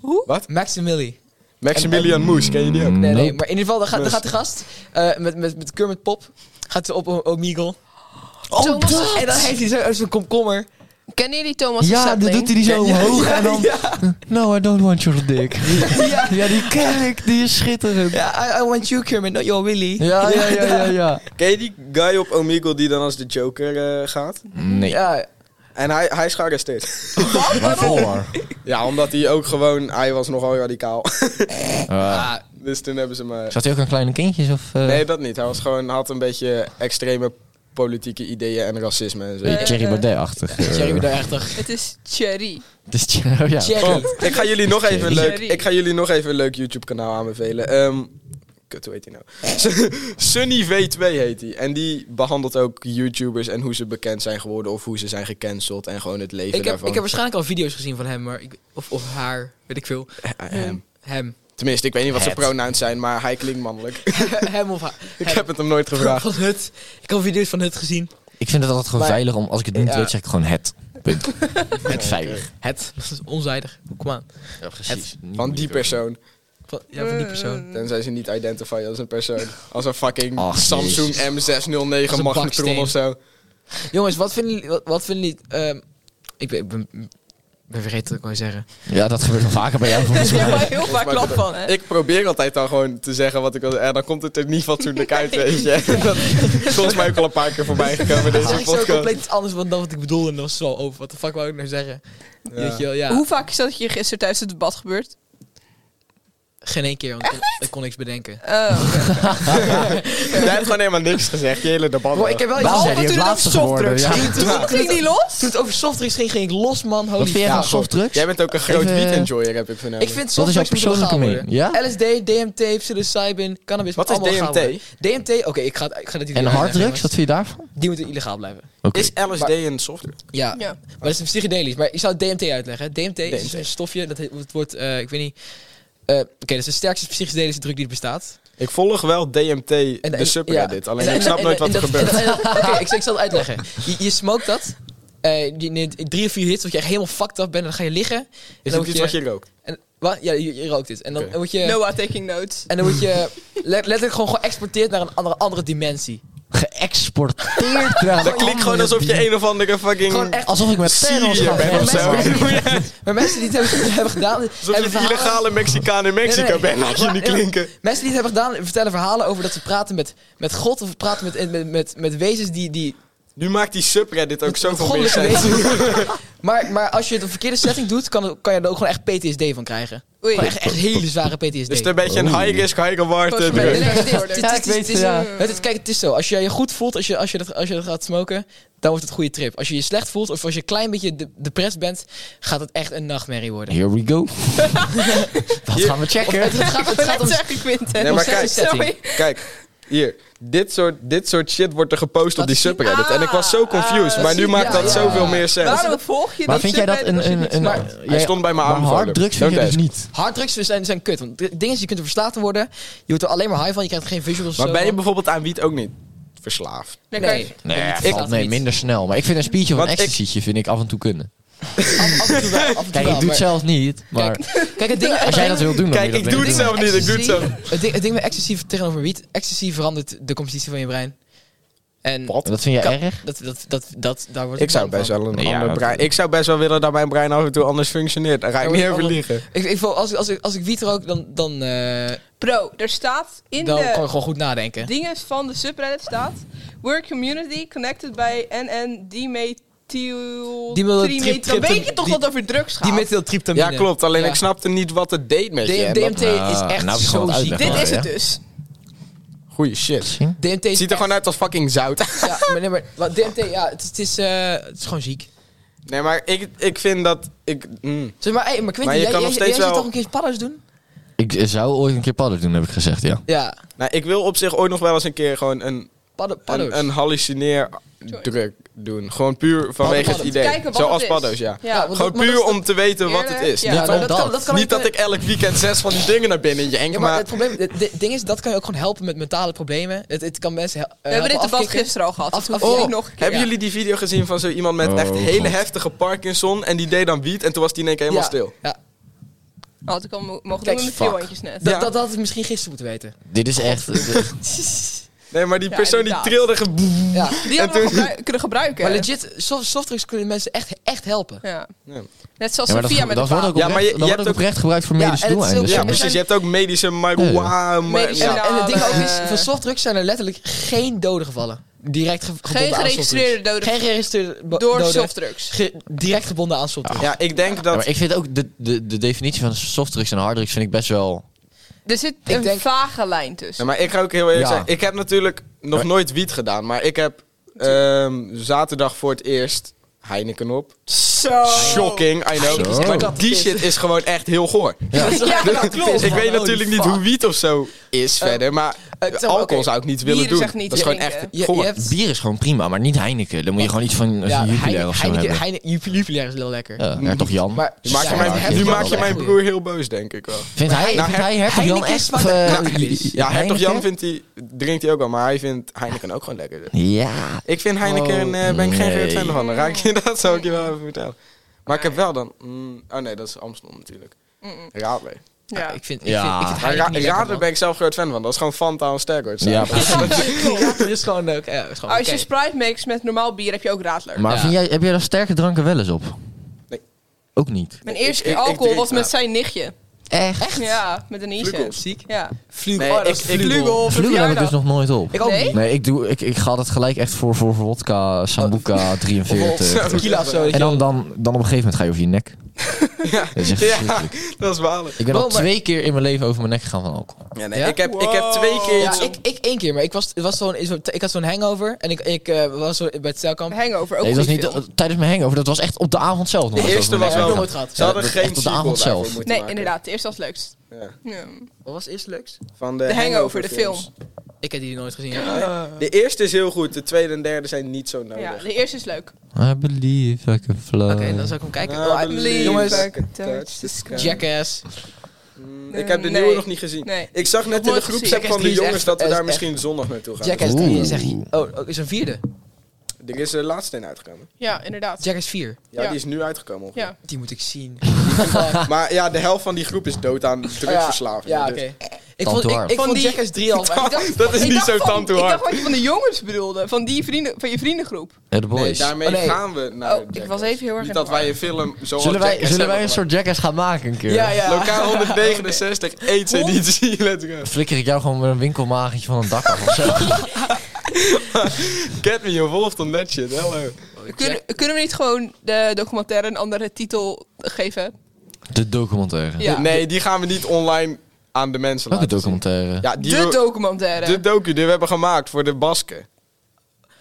Speaker 4: Hoe?
Speaker 3: Wat?
Speaker 4: Maximili.
Speaker 3: Maximilian Moes, ken je die ook?
Speaker 4: Nee, nee,
Speaker 2: Nope.
Speaker 4: maar in ieder geval, daar gaat, daar gaat de gast eh, met, met, met Kermit Pop. Gaat ze op O- Omegle.
Speaker 1: Thomas,
Speaker 4: En dan heeft hij zo- zo'n komkommer.
Speaker 1: Kennen jullie Thomas de
Speaker 2: Ja, dan
Speaker 1: Sapling?
Speaker 2: doet hij die zo
Speaker 4: Ja,
Speaker 2: omhoog en dan... No, I don't want your dick. Ja, die ken ik. Die is schitterend. Ja,
Speaker 4: Ja, I, I want you, Kermit, not your Willy.
Speaker 2: ja, ja, ja, ja. ja.
Speaker 3: Ken je die guy op Omegle die dan als de Joker eh, gaat?
Speaker 2: Nee,
Speaker 4: Ja,
Speaker 3: En hij, hij is gearresteerd.
Speaker 2: waarvoor? maar?
Speaker 3: Ja, omdat hij ook gewoon... Hij was nogal radicaal.
Speaker 2: Eh,
Speaker 4: ah,
Speaker 3: dus toen hebben ze me...
Speaker 2: Zat hij ook aan kleine kindjes of... eh,
Speaker 3: Nee, dat niet. Hij was gewoon, had een beetje extreme politieke ideeën en racisme en zo.
Speaker 2: Beetje Thierry
Speaker 1: Eh,
Speaker 2: Baudet-achtig. eh.
Speaker 4: Jerry, daar echt toch.
Speaker 1: Het is Cherry.
Speaker 2: Het is Thierry- oh, ja.
Speaker 4: Jerry.
Speaker 3: Oh, ik ga jullie nog even een leuk,
Speaker 1: Jerry.
Speaker 3: ik ga jullie nog even een leuk YouTube kanaal aanbevelen. Ehm, kut, hoe heet hij nou? Sunny V2 heet hij. En die behandelt ook YouTubers en hoe ze bekend zijn geworden of hoe ze zijn gecanceld en gewoon het leven
Speaker 4: Ik heb,
Speaker 3: daarvan.
Speaker 4: ik heb waarschijnlijk al video's gezien van hem, maar ik, of, of haar, weet ik veel.
Speaker 3: Hem.
Speaker 4: Hem.
Speaker 3: ehm, Tenminste, ik weet niet wat zijn
Speaker 2: Het.
Speaker 3: pronouns zijn, maar hij klinkt mannelijk.
Speaker 4: hem of haar.
Speaker 3: ik
Speaker 4: Hem.
Speaker 3: heb het hem nooit gevraagd.
Speaker 4: Van Hut. Ik heb video's van Hut gezien.
Speaker 2: Ik vind het altijd gewoon
Speaker 4: Maar-
Speaker 2: veilig om... Als ik het niet
Speaker 4: Ja.
Speaker 2: weet, zeg ik gewoon het. Punt. Het veilig.
Speaker 4: Het. Dat is onzijdig. Kom aan.
Speaker 2: Ja, precies.
Speaker 3: Van die persoon.
Speaker 4: Van, ja, van die persoon.
Speaker 3: Mm. Tenzij ze niet identify als een persoon. Als een fucking
Speaker 2: Ach,
Speaker 3: Samsung
Speaker 2: jezus.
Speaker 3: M609
Speaker 4: Als een
Speaker 3: magnetron
Speaker 4: baksteen.
Speaker 3: of zo.
Speaker 4: Jongens, wat vinden jullie... Wat, wat vinden jullie ehm, ik ben, ik ben, ik ben vergeten wat ik wou zeggen.
Speaker 2: Ja, dat gebeurt wel vaker bij jou. volgens mij.
Speaker 1: Daar heb heel vaak
Speaker 3: mij
Speaker 1: klap
Speaker 3: dat-
Speaker 1: van, hè?
Speaker 3: Ik probeer altijd dan gewoon te zeggen wat ik wil. En dan komt het er niet fatsoenlijk uit, weet je. Dat is volgens mij ook al een paar keer voorbij gekomen
Speaker 4: Dat is
Speaker 3: deze
Speaker 4: echt zo
Speaker 3: podcast.
Speaker 4: compleet iets anders dan dan wat ik bedoelde. En dan was het wel over. Wat de fuck wou ik nou zeggen? Weet je wel, ja.
Speaker 1: Hoe vaak is dat je gisteren tijdens het debat gebeurd?
Speaker 4: Geen één keer, want ik kon, ik kon niks bedenken.
Speaker 1: Oh, oké.
Speaker 3: Jij hebt gewoon helemaal niks gezegd. Je hele debat.
Speaker 4: Bro, ik heb wel iets...
Speaker 2: Waarom
Speaker 1: Behalve
Speaker 2: zijn die
Speaker 1: toen het
Speaker 2: laatste
Speaker 1: over
Speaker 2: geworden? Ja.
Speaker 4: Toen, toen,
Speaker 1: Ging die los?
Speaker 4: het over softdrinks ging, ging ik los, man.
Speaker 2: Wat
Speaker 4: Holy
Speaker 2: vind jij
Speaker 4: fuck.
Speaker 2: van softdrugs?
Speaker 3: Jij bent ook een groot
Speaker 2: Even-
Speaker 3: weed-enjoyer, heb ik vernomen.
Speaker 4: eh, Ik vind
Speaker 2: Wat is jouw
Speaker 4: softdrugs moeten
Speaker 2: persoonlijke
Speaker 4: legaal worden.
Speaker 2: mening? Ja?
Speaker 4: LSD, DMT, psilocybin, cannabis.
Speaker 3: Wat
Speaker 4: moet
Speaker 3: is
Speaker 4: allemaal legaal
Speaker 3: DMT?
Speaker 4: worden. DMT, oké, ik, ga, ik ga dat jullie
Speaker 2: En harddrugs?
Speaker 4: uitleggen,
Speaker 2: Wat vind je daarvan?
Speaker 4: jongens. Die moeten illegaal blijven.
Speaker 2: Oké.
Speaker 3: Is LSD een software?
Speaker 4: Ja,
Speaker 1: Ja.
Speaker 4: Maar dat is een psychedelisch. Maar ik zou DMT uitleggen. hè. DMT, is dus
Speaker 3: DMT.
Speaker 4: een stofje, dat heet- het wordt, eh, ik weet niet... eh, Oké, dat is de sterkste psychedelische druk die er bestaat.
Speaker 3: Ik volg wel DMT,
Speaker 4: En-
Speaker 3: de
Speaker 4: en-
Speaker 3: subreddit.
Speaker 4: ja.
Speaker 3: Alleen
Speaker 4: En-
Speaker 3: ik snap
Speaker 4: en-
Speaker 3: nooit
Speaker 4: en-
Speaker 3: wat er
Speaker 4: en dat-
Speaker 3: gebeurt.
Speaker 4: en dat- en dat- Oké, ik, ik zal het uitleggen. Je, je smokt dat. eh, je neemt drie of vier hits, want je echt helemaal fucked up bent. En dan ga je liggen. en
Speaker 3: Is
Speaker 4: dan
Speaker 3: het
Speaker 4: word
Speaker 3: iets wat je rookt?
Speaker 4: en- wat? Ja, je, je rookt dit. En dan
Speaker 3: Oké.
Speaker 4: word je...
Speaker 1: Noah taking notes.
Speaker 4: En dan word je le- letterlijk gewoon geëxporteerd naar een andere, andere dimensie.
Speaker 2: Geëxporteerd. naar
Speaker 3: Dat klinkt gewoon alsof je een of andere
Speaker 4: Gewoon
Speaker 3: fucking...
Speaker 4: echt.
Speaker 2: Alsof ik met Thanos
Speaker 3: Syrië
Speaker 2: ga
Speaker 3: bent of zo.
Speaker 2: vechten.
Speaker 4: Maar mensen die het hebben, hebben gedaan...
Speaker 3: Alsof je
Speaker 4: hebben
Speaker 3: een
Speaker 4: verhalen-
Speaker 3: illegale Mexicaan in Mexico
Speaker 4: Nee, nee,
Speaker 3: bent.
Speaker 4: nee.
Speaker 3: Laat je niet
Speaker 4: Ja, ja.
Speaker 3: klinken.
Speaker 4: Mensen die het hebben gedaan vertellen verhalen over dat ze praten met, met God of praten met, met, met, met wezens die. die
Speaker 3: Nu maakt die subreddit ook zoveel meer
Speaker 4: goddelijke
Speaker 3: sens.
Speaker 4: wezens. maar, maar als je het op verkeerde setting doet, kan, kan je er ook gewoon echt PTSD van krijgen.
Speaker 1: Oei.
Speaker 4: Gewoon echt, echt hele zware PTSD.
Speaker 3: Dus het een beetje een
Speaker 2: Oeh.
Speaker 3: high risk, high reward eh,
Speaker 1: Volgens mij-
Speaker 3: drug.
Speaker 1: Nee, nee, nee, nee.
Speaker 4: Ja, ik weet het,
Speaker 2: ja.
Speaker 4: Het is- kijk, het is zo. Als je je goed voelt, als je, als je, dat, als je dat gaat smoken, dan wordt het een goede trip. Als je je slecht voelt of als je een klein beetje de, depressed bent, gaat het echt een nachtmerrie worden.
Speaker 2: Here we go. Dat gaan we
Speaker 4: Of het,
Speaker 2: checken.
Speaker 4: het gaat,
Speaker 1: Ik
Speaker 4: het
Speaker 1: ben
Speaker 4: gaat om...
Speaker 1: net zeggen, Quinten.
Speaker 3: Nee, maar
Speaker 4: Ontzettend
Speaker 3: kijk,
Speaker 4: setting.
Speaker 3: kijk. Hier, dit soort, dit soort shit wordt er gepost op die
Speaker 4: zie-
Speaker 3: subreddit. en ik was zo confused,
Speaker 1: ah,
Speaker 3: maar nu
Speaker 1: zie- ja,
Speaker 3: maakt dat
Speaker 1: ja.
Speaker 3: zoveel meer sens.
Speaker 1: Waarom volg je
Speaker 5: Maar
Speaker 1: dat
Speaker 5: vind jij dat
Speaker 1: subreddit als
Speaker 5: een...
Speaker 1: je
Speaker 5: een,
Speaker 1: niks
Speaker 5: een,
Speaker 1: snapt?
Speaker 5: jij-
Speaker 3: Hij stond bij mijn
Speaker 5: maar
Speaker 3: aanbevolen.
Speaker 5: harddrugs vind je
Speaker 3: Don't
Speaker 5: dus
Speaker 3: ask.
Speaker 5: niet.
Speaker 4: Harddrugs zijn, zijn kut. Want d- dingen is, je kunt er verslaafd aan worden. Je wordt er alleen maar high van. Je krijgt geen visuals. of
Speaker 3: Maar
Speaker 4: zo,
Speaker 3: ben je
Speaker 4: man.
Speaker 3: bijvoorbeeld aan wiet ook niet verslaafd?
Speaker 1: Nee,
Speaker 4: Nee.
Speaker 1: kijk,
Speaker 2: Nee,
Speaker 4: Ik-
Speaker 2: valt
Speaker 4: dat
Speaker 2: mee,
Speaker 4: niet.
Speaker 2: minder snel. Maar ik vind een speech of een
Speaker 3: Want ik-
Speaker 2: ecstasy'tje vind ik af en toe kunnen.
Speaker 4: Af, af en toe wel. Af en toe
Speaker 2: Kijk, ik
Speaker 4: wel,
Speaker 2: doe
Speaker 4: maar-
Speaker 2: het zelf niet, maar
Speaker 4: Kijk, het ding, het
Speaker 2: als jij dat
Speaker 4: ding-
Speaker 2: wil doen, dan
Speaker 3: Kijk,
Speaker 2: moet je
Speaker 3: ik
Speaker 2: dat
Speaker 3: doe het
Speaker 2: denk
Speaker 3: zelf niet, ik doe het zelf.
Speaker 4: Het ding, het ding met excessief tegenover wiet, excessief verandert de compositie van je brein. En
Speaker 2: Wat? Dat vind je
Speaker 4: Kan-
Speaker 2: erg?
Speaker 4: dat, dat, dat, dat, daar wordt
Speaker 3: Ik zou
Speaker 4: bang
Speaker 3: best
Speaker 4: van.
Speaker 3: wel een
Speaker 2: Nee, ja,
Speaker 3: ander
Speaker 2: dat-
Speaker 3: brein... Ik zou best wel willen dat mijn brein af en toe anders functioneert. Daar ga ik
Speaker 4: Ja,
Speaker 3: niet
Speaker 4: maar-
Speaker 3: over liegen.
Speaker 4: Ik, ik, voel- als, ik- als, ik, als ik wiet rook, dan, dan, eh,
Speaker 1: bro, er staat in
Speaker 4: dan
Speaker 1: de
Speaker 4: kan ik gewoon goed nadenken.
Speaker 1: dingen van de subreddit staat... We're community connected by NN dimethyl...
Speaker 4: Die wil dat
Speaker 1: trimet-
Speaker 4: trip-
Speaker 1: Dan
Speaker 4: trip-
Speaker 1: weet je toch
Speaker 4: die-
Speaker 1: dat het over drugs gaat?
Speaker 4: Die methyltryptamine.
Speaker 3: Ja, klopt. Alleen
Speaker 4: Ja.
Speaker 3: ik snapte niet wat het deed met je.
Speaker 4: D-
Speaker 3: en dat-
Speaker 4: DMT is
Speaker 2: Ah,
Speaker 4: echt
Speaker 2: nou heb je gewoon
Speaker 4: zo
Speaker 2: wat
Speaker 4: ziek.
Speaker 2: uitleg.
Speaker 1: Dit
Speaker 2: Ja,
Speaker 1: is het
Speaker 2: ja.
Speaker 1: dus.
Speaker 3: Goeie shit.
Speaker 4: DMT is
Speaker 3: Het ziet er gewoon uit als fucking zout.
Speaker 4: Ja, maar nee, maar wat DMT, ja, het, het is, eh, het is gewoon ziek.
Speaker 3: Nee, maar ik, ik vind dat... Ik, mm.
Speaker 4: Zeg maar, hey, maar Quinten,
Speaker 3: Maar je
Speaker 4: jij,
Speaker 3: kan
Speaker 4: jij,
Speaker 3: nog
Speaker 4: jij
Speaker 3: steeds
Speaker 4: zou
Speaker 3: wel-
Speaker 4: toch een keer paddo's doen?
Speaker 2: Ik zou ooit een keer padden doen, heb ik gezegd, ja.
Speaker 4: Ja,
Speaker 3: nou, ik wil op zich ooit nog wel eens een keer gewoon een,
Speaker 4: paddo, paddo's.
Speaker 3: een, een hallucineerdruk doen. Gewoon puur vanwege het
Speaker 4: Paddo's.
Speaker 3: idee.
Speaker 1: Kijken wat het
Speaker 3: Zoals
Speaker 1: is.
Speaker 3: paddo's, ja.
Speaker 1: Ja,
Speaker 4: want
Speaker 3: Gewoon
Speaker 4: dat- maar dat
Speaker 3: puur
Speaker 4: is
Speaker 3: om te weten wat het
Speaker 1: eerder?
Speaker 3: is.
Speaker 1: Ja.
Speaker 3: Niet,
Speaker 4: Ja,
Speaker 2: dan
Speaker 4: dat,
Speaker 2: dat.
Speaker 4: kan, dat kan
Speaker 3: niet
Speaker 4: ook-
Speaker 3: dat ik elk weekend zes van die dingen naar binnen jenk,
Speaker 4: Ja, maar,
Speaker 3: maar...
Speaker 4: het probleem, het het ding is, dat kan je ook gewoon helpen met mentale problemen. Het, het kan mensen hel- eh,
Speaker 1: We hebben dit
Speaker 4: helpen
Speaker 1: debat
Speaker 4: afkicken.
Speaker 1: gisteren al gehad.
Speaker 4: Af-
Speaker 1: Dat hoef
Speaker 4: af-
Speaker 1: je
Speaker 4: oh,
Speaker 1: niet nog een keer.
Speaker 3: Hebben
Speaker 4: Ja.
Speaker 3: jullie die video gezien van zo iemand met
Speaker 2: Oh,
Speaker 3: echt hele
Speaker 2: God.
Speaker 3: heftige Parkinson en die deed dan wiet en toen was die in één keer helemaal stil?
Speaker 4: Ja,
Speaker 1: Had ik al mo- mogen
Speaker 4: Kijk,
Speaker 1: doen met
Speaker 4: fuck.
Speaker 1: mijn viewantjes net.
Speaker 4: Dat,
Speaker 3: Ja.
Speaker 4: dat, dat had ik misschien gisteren moeten weten.
Speaker 2: Dit is echt...
Speaker 3: Nee, maar die
Speaker 1: Ja,
Speaker 3: persoon die
Speaker 1: inderdaad.
Speaker 3: trilde... ge-
Speaker 4: Ja.
Speaker 1: Die hadden we gebru- kunnen gebruiken.
Speaker 4: Maar legit, soft, softdrugs kunnen mensen echt, echt helpen.
Speaker 1: ja.
Speaker 3: Ja.
Speaker 1: Net zoals
Speaker 2: Ja, maar dat,
Speaker 1: Sophia met de
Speaker 2: dat wordt ook
Speaker 1: vader.
Speaker 3: Ja, maar
Speaker 2: oprecht- dat
Speaker 3: je- je
Speaker 2: wordt
Speaker 3: hebt
Speaker 2: ook
Speaker 3: ook-
Speaker 2: oprecht gebruikt voor
Speaker 4: Ja,
Speaker 2: medische
Speaker 4: en het is
Speaker 2: doeleinden. dus
Speaker 3: Ja,
Speaker 4: heel-
Speaker 2: zeg maar.
Speaker 3: precies. Je hebt ook medische marijuana. maar-
Speaker 1: Medische-
Speaker 3: ja.
Speaker 4: En, en het ding ook is,
Speaker 1: Eh.
Speaker 4: van softdrugs zijn er letterlijk geen doden gevallen. Direct ge- gebonden
Speaker 1: Geen
Speaker 4: aan
Speaker 1: geregistreerde
Speaker 4: softdrugs.
Speaker 1: doden
Speaker 4: Geen geregistreerde bo-
Speaker 1: door
Speaker 4: doden.
Speaker 1: softdrugs.
Speaker 4: Ge- direct gebonden aan softdrugs.
Speaker 3: Ja, ik denk
Speaker 2: Ja,
Speaker 3: dat...
Speaker 2: maar ik vind ook de, de, de definitie van softdrugs en harddrugs vind ik best wel...
Speaker 1: Er zit
Speaker 4: Ik
Speaker 1: een
Speaker 4: denk-
Speaker 1: vage lijn tussen.
Speaker 3: Nee, maar ik ga ook heel eerlijk
Speaker 2: Ja.
Speaker 3: zeggen. Ik heb natuurlijk nog
Speaker 2: Maar-
Speaker 3: nooit wiet gedaan. Maar ik heb ehm, zaterdag voor het eerst Heineken op.
Speaker 1: Zo.
Speaker 3: Shocking, I know.
Speaker 2: Zo.
Speaker 3: Maar die shit is gewoon echt heel goor. Dus
Speaker 2: Ja.
Speaker 1: Ja, dat klopt.
Speaker 3: ik weet natuurlijk niet
Speaker 4: fuck.
Speaker 3: hoe wiet of zo is verder. Maar
Speaker 4: zeg maar,
Speaker 3: alcohol
Speaker 4: oké.
Speaker 3: zou ik niet
Speaker 1: Bier
Speaker 3: willen
Speaker 1: is
Speaker 3: doen.
Speaker 1: echt niet
Speaker 3: dat is
Speaker 1: te
Speaker 3: gewoon echt
Speaker 1: drinken.
Speaker 4: Je, je
Speaker 3: goor.
Speaker 4: hebt...
Speaker 2: Bier is gewoon prima, maar niet Heineken. Dan moet je gewoon iets van een
Speaker 4: Ja,
Speaker 2: Jupiler
Speaker 4: Heine-
Speaker 2: of zo
Speaker 4: Heineken,
Speaker 2: hebben.
Speaker 4: Heine- Jup- Jupiler is heel lekker.
Speaker 2: Ja, Hertog Jan.
Speaker 4: Maar,
Speaker 3: Nu maak je
Speaker 4: Ja,
Speaker 3: mijn-
Speaker 4: maar
Speaker 2: Hertog
Speaker 3: nu
Speaker 2: Jan
Speaker 3: maak
Speaker 2: is
Speaker 3: je
Speaker 2: wel
Speaker 3: mijn
Speaker 4: echt
Speaker 3: broer heel boos, denk ik wel.
Speaker 2: Vindt hij,
Speaker 3: Nou,
Speaker 2: vindt hij
Speaker 4: Her-
Speaker 2: Hertog Jan
Speaker 4: Heineken
Speaker 2: echt...
Speaker 4: smaakt-
Speaker 2: eh,
Speaker 4: Nou,
Speaker 3: Ja, Hertog Jan
Speaker 2: Heineken?
Speaker 3: vindt die, drinkt hij ook wel, maar hij vindt Heineken ook gewoon lekker.
Speaker 2: Ja.
Speaker 3: Ik vind Heineken,
Speaker 4: Oh,
Speaker 3: eh, ben ik geen groot
Speaker 2: nee.
Speaker 3: fan van. Dan raak je dat, zou ik je wel even vertellen. Maar ik heb wel dan... mm, oh nee, dat is Amsterdam natuurlijk.
Speaker 1: Mm-mm.
Speaker 3: Radler.
Speaker 1: Ja.
Speaker 4: Ik vind, ik
Speaker 2: Ja.
Speaker 4: vind, ik vind
Speaker 3: Maar
Speaker 4: Heineken
Speaker 3: Ra-
Speaker 4: niet lekker,
Speaker 3: Radler
Speaker 4: man.
Speaker 3: ben ik zelf groot fan van. Dat is gewoon Fanta en Sterkort.
Speaker 2: Ja,
Speaker 4: Ja, dat is gewoon leuk. Ja, dat is gewoon
Speaker 1: Als
Speaker 4: oké.
Speaker 1: je Sprite mix met normaal bier heb je ook Radler.
Speaker 2: Maar
Speaker 4: Ja.
Speaker 2: vind jij, heb jij daar sterke dranken wel eens op?
Speaker 3: Nee.
Speaker 2: Ook niet.
Speaker 1: Mijn
Speaker 3: Ik-
Speaker 1: eerste
Speaker 3: ik-
Speaker 1: keer
Speaker 3: ik
Speaker 1: alcohol
Speaker 3: drink-
Speaker 1: was met
Speaker 3: ja.
Speaker 1: zijn nichtje.
Speaker 2: Echt?
Speaker 1: Ja, met een nichtje.
Speaker 3: Vlugels.
Speaker 4: Ziek.
Speaker 1: Ja.
Speaker 4: Vlugel.
Speaker 3: Nee,
Speaker 4: oh, dat
Speaker 3: ik-
Speaker 4: is
Speaker 3: ik-
Speaker 4: vlugel.
Speaker 1: Vlugel of
Speaker 2: Vlugel heb ik dus nog nooit op.
Speaker 4: Ik ook
Speaker 1: Nee?
Speaker 4: niet.
Speaker 2: Nee, ik, doe, ik, ik ga dat gelijk echt voor, voor, voor wodka, sambuca,
Speaker 4: Of
Speaker 2: 43.
Speaker 4: of tequila of zo. weet je
Speaker 2: En dan,
Speaker 4: wel.
Speaker 2: dan, dan op een gegeven moment ga je over je nek.
Speaker 3: Ja.
Speaker 2: Dat is echt
Speaker 3: Ja.
Speaker 2: verschrikkelijk.
Speaker 3: dat is balen.
Speaker 2: Ik ben al
Speaker 4: Wow, maar-
Speaker 2: twee keer in mijn leven over mijn nek gegaan van alcohol.
Speaker 3: Ja, nee,
Speaker 4: Ja?
Speaker 3: Ik, heb, ik heb twee keer...
Speaker 4: Ja,
Speaker 3: iets-
Speaker 4: ik, ik één keer, maar ik was, het was zo'n, is- ik had zo'n hangover en ik, ik eh, was zo bij het
Speaker 1: Een
Speaker 4: stelkamp.
Speaker 1: Hangover, ook
Speaker 2: Nee, dat was
Speaker 1: niet
Speaker 2: niet eh, tijdens mijn hangover. Dat was echt op de avond zelf. nog
Speaker 3: de
Speaker 2: dat
Speaker 3: eerste
Speaker 2: over mijn
Speaker 3: was
Speaker 2: nek gegaan.
Speaker 3: wel...
Speaker 4: nooit gehad.
Speaker 3: Ze hadden
Speaker 2: Ja, dat-
Speaker 3: geen
Speaker 2: echt op de
Speaker 3: sequel
Speaker 2: avond
Speaker 3: daarvoor
Speaker 2: zelf.
Speaker 3: moeten
Speaker 1: Nee,
Speaker 3: maken.
Speaker 1: inderdaad. Eerst was het leukst.
Speaker 3: Ja.
Speaker 1: Ja.
Speaker 4: Wat was eerst leuks?
Speaker 3: Van de,
Speaker 1: De Hangover, de film.
Speaker 3: films.
Speaker 4: Ik heb die nooit gezien.
Speaker 3: De eerste is heel goed. De tweede en derde zijn niet zo nodig.
Speaker 1: Ja, de eerste is leuk.
Speaker 2: I believe I can fly.
Speaker 4: Oké, dan zal ik hem kijken.
Speaker 3: I
Speaker 4: Oh, hij-
Speaker 3: believe
Speaker 4: jongens,
Speaker 3: I can touch the sky.
Speaker 4: jackass.
Speaker 3: Mm,
Speaker 1: Nee.
Speaker 3: ik heb de nieuwe
Speaker 1: Nee.
Speaker 3: nog niet gezien.
Speaker 1: Nee.
Speaker 3: Ik zag net in de
Speaker 1: nooit
Speaker 3: groepsapp
Speaker 1: gezien.
Speaker 3: van de
Speaker 4: Jackass
Speaker 3: jongens
Speaker 4: is echt-
Speaker 3: dat we
Speaker 4: is
Speaker 3: daar
Speaker 4: echt-
Speaker 3: misschien zondag naartoe gaan.
Speaker 4: Jackass
Speaker 2: Oeh.
Speaker 4: 3 is echt... Oh, oh, is een vierde.
Speaker 3: Er is de laatste in uitgekomen.
Speaker 1: Ja, inderdaad.
Speaker 4: Jackass 4.
Speaker 3: Ja,
Speaker 1: Ja.
Speaker 3: die is nu uitgekomen. ongeveer.
Speaker 1: Ja.
Speaker 4: Die moet ik zien.
Speaker 3: Maar ja, de helft van die groep is dood aan drugsverslaving.
Speaker 4: Ja, oké.
Speaker 3: dus-
Speaker 4: Ik vond, ik,
Speaker 2: Tantoor.
Speaker 4: ik
Speaker 1: Van
Speaker 4: vond
Speaker 1: die-
Speaker 4: Jackass 3 al...
Speaker 3: Dat- dat is
Speaker 1: Ik
Speaker 3: niet
Speaker 1: dacht
Speaker 3: zo
Speaker 1: van-
Speaker 3: tante
Speaker 1: Ik dacht
Speaker 3: hard.
Speaker 1: wat je van de jongens bedoelde. Van, die vrienden, van je vriendengroep.
Speaker 2: Eh, de boys.
Speaker 3: Nee, daarmee
Speaker 4: Oh, nee.
Speaker 3: gaan we naar
Speaker 1: Oh, ik
Speaker 3: Jackass.
Speaker 1: was even heel erg
Speaker 3: Niet
Speaker 1: in
Speaker 3: dat
Speaker 1: de
Speaker 3: wij een film zo
Speaker 2: zullen wij, zullen wij een soort jackass gaan maken een keer?
Speaker 4: Ja, ja.
Speaker 3: Lokaal 169, aids editie, let's go.
Speaker 2: Flikker ik jou gewoon met een winkelmagentje van een dak af of zo?
Speaker 3: Get me involved on that shit, hello.
Speaker 1: Kunnen, kunnen we niet gewoon de documentaire een andere titel geven?
Speaker 2: De documentaire.
Speaker 1: Ja.
Speaker 3: Nee, die gaan we niet online aan de mensen
Speaker 2: Welke
Speaker 3: laten zien.
Speaker 2: documentaire?
Speaker 3: Ja, die
Speaker 1: de
Speaker 3: wil-
Speaker 1: documentaire.
Speaker 3: de docu die we hebben gemaakt voor de Basken.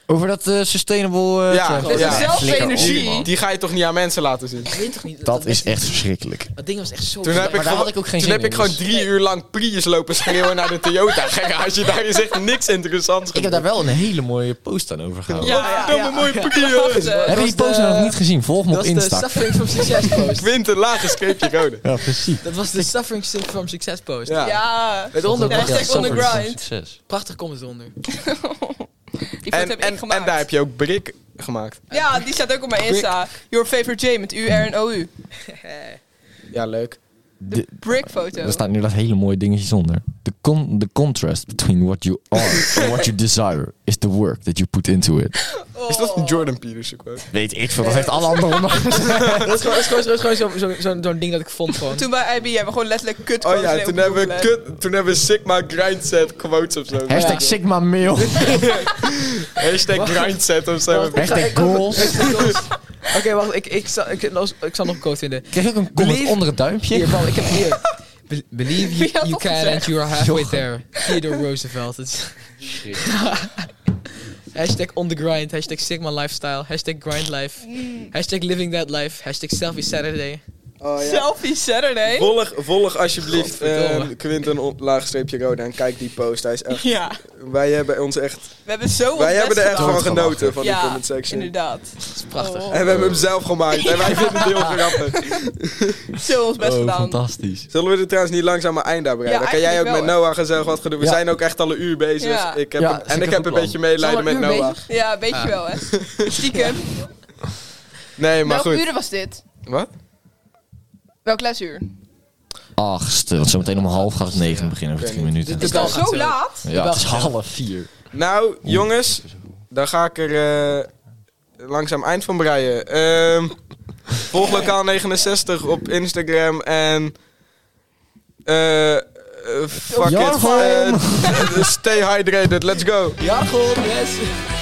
Speaker 2: Over dat eh, sustainable... eh,
Speaker 3: Ja,
Speaker 2: trend.
Speaker 3: dat is
Speaker 1: dezelfde
Speaker 2: flikker op,
Speaker 1: energie.
Speaker 2: man.
Speaker 3: Die ga je toch niet aan mensen laten zien?
Speaker 4: Ik weet toch niet.
Speaker 2: Dat is
Speaker 4: mensen-
Speaker 2: echt verschrikkelijk.
Speaker 4: Dat ding was echt zo.
Speaker 3: Toen heb
Speaker 4: maar
Speaker 3: ik,
Speaker 4: daar
Speaker 3: gewoon-
Speaker 4: had ik ook geen
Speaker 3: toen
Speaker 4: zin
Speaker 3: heb ik
Speaker 4: in,
Speaker 3: gewoon
Speaker 4: dus-
Speaker 3: drie uur lang Prius lopen schreeuwen naar de Toyota. Garage, daar is echt niks interessants
Speaker 2: Ik heb daar wel een hele mooie post aan over gehouden.
Speaker 3: Ja, ja, ja, Oh, mooie Prius.
Speaker 2: Heb je die
Speaker 4: Dat was
Speaker 2: post
Speaker 4: de-
Speaker 2: nog niet gezien? Volg me op
Speaker 4: Dat is de
Speaker 2: Insta.
Speaker 4: Suffering from Success post.
Speaker 3: Quinten, lage streepje rode.
Speaker 2: Ja, precies.
Speaker 4: Dat was de Suffering from Success post.
Speaker 3: Ja.
Speaker 1: Ja.
Speaker 4: Met onder
Speaker 1: Ja,
Speaker 4: prachtig,
Speaker 1: hashtag on the
Speaker 4: comments.
Speaker 1: grind.
Speaker 2: Succes.
Speaker 4: prachtig comments onder.
Speaker 1: Die foto
Speaker 3: En,
Speaker 1: heb
Speaker 3: en,
Speaker 1: ik gemaakt.
Speaker 3: en daar heb je ook Brik gemaakt.
Speaker 1: Ja, die staat ook op mijn Insta. Your favorite J met U, R en OU.
Speaker 3: Ja, leuk.
Speaker 2: De,
Speaker 1: Brick foto.
Speaker 2: er staat nu dat hele mooie dingetje onder. The, con the contrast between what you are and what you desire is the work that you put into it.
Speaker 3: Is dat een Jordan Peterson quote?
Speaker 2: Weet ik veel, dat heeft alle anderen nog.
Speaker 4: Dat is gewoon, is gewoon, is gewoon zo'n zo, zo'n- zo'n ding dat ik vond gewoon.
Speaker 1: Toen bij IB hebben we gewoon letterlijk kut
Speaker 3: Oh ja, toen hebben, we kut, toen hebben we Sigma Grindset quotes of zo.
Speaker 2: Hashtag Sigma mail.
Speaker 3: Hashtag Grindset of zo.
Speaker 4: Wacht.
Speaker 2: Hashtag goals.
Speaker 4: Oké, wacht, ik, ik, zal, ik, ik zal nog een quote vinden.
Speaker 2: Kreeg ook een comment
Speaker 4: Believe-
Speaker 2: onder het duimpje. Oh,
Speaker 4: Hier, Paul, ik heb hier. Be- believe
Speaker 1: Wie had
Speaker 4: you, you
Speaker 1: dat
Speaker 4: can
Speaker 1: gezegd?
Speaker 4: and you are halfway there. Theodore Roosevelt. Het is- hashtag on the grind. Hashtag Sigma lifestyle. Hashtag grind life. Hashtag living that life. Hashtag selfie Saturday.
Speaker 3: Oh
Speaker 1: Selfie Saturday.
Speaker 3: Volg, volg alsjeblieft
Speaker 4: Godverdomme.
Speaker 3: eh, Quinten op laagstreepje rode en kijk die post. Hij is echt,
Speaker 1: Ja,
Speaker 3: wij hebben ons echt,
Speaker 1: we hebben zo ons
Speaker 3: wij hebben er
Speaker 1: best
Speaker 3: echt
Speaker 1: gedaan.
Speaker 2: Dood
Speaker 3: van
Speaker 2: van
Speaker 3: genoten van die
Speaker 1: Ja,
Speaker 3: comment section.
Speaker 1: inderdaad.
Speaker 4: Dat is prachtig.
Speaker 1: Oh.
Speaker 3: En we hebben hem zelf gemaakt en wij vinden het heel grappig.
Speaker 1: Zo ons
Speaker 3: Oh,
Speaker 1: best gedaan.
Speaker 2: fantastisch.
Speaker 3: Zullen we er trouwens niet langzaam aan einde aan bereiden?
Speaker 1: Ja,
Speaker 3: Dan kan jij ook
Speaker 1: eigenlijk
Speaker 3: met
Speaker 1: wel,
Speaker 3: Noah gezellig wat gaan doen. We
Speaker 2: Ja.
Speaker 3: zijn ook echt al een uur bezig.
Speaker 1: Ja.
Speaker 3: Ik heb
Speaker 2: Ja,
Speaker 3: een-
Speaker 2: dat is
Speaker 3: en
Speaker 2: een
Speaker 3: ik heb
Speaker 2: goed
Speaker 3: een
Speaker 2: plan.
Speaker 3: beetje medelijden
Speaker 4: Zal
Speaker 3: met
Speaker 4: een uur
Speaker 3: Noah.
Speaker 4: bezig?
Speaker 1: Ja, weet je
Speaker 4: Ah.
Speaker 1: wel, hè. Stiekem.
Speaker 3: Nee, maar
Speaker 1: Welke
Speaker 3: goed.
Speaker 1: uren was dit?
Speaker 3: Wat?
Speaker 1: Welk lesuur?
Speaker 2: Achtste, want zometeen om half gaat het negen beginnen over
Speaker 3: Oké,
Speaker 2: tien
Speaker 3: niet.
Speaker 2: minuten.
Speaker 4: Dit is
Speaker 1: Zo
Speaker 4: wel gaat zo.
Speaker 1: laat?
Speaker 2: Ja, het is half vier.
Speaker 3: Nou, jongens, daar ga ik er eh, langzaam eind van breien. Ehm, volg lokaal 69 op Instagram en. eh, eh, fuck it.
Speaker 2: Jargon.
Speaker 3: Eh, stay hydrated, let's go.
Speaker 4: Ja, goed. Yes.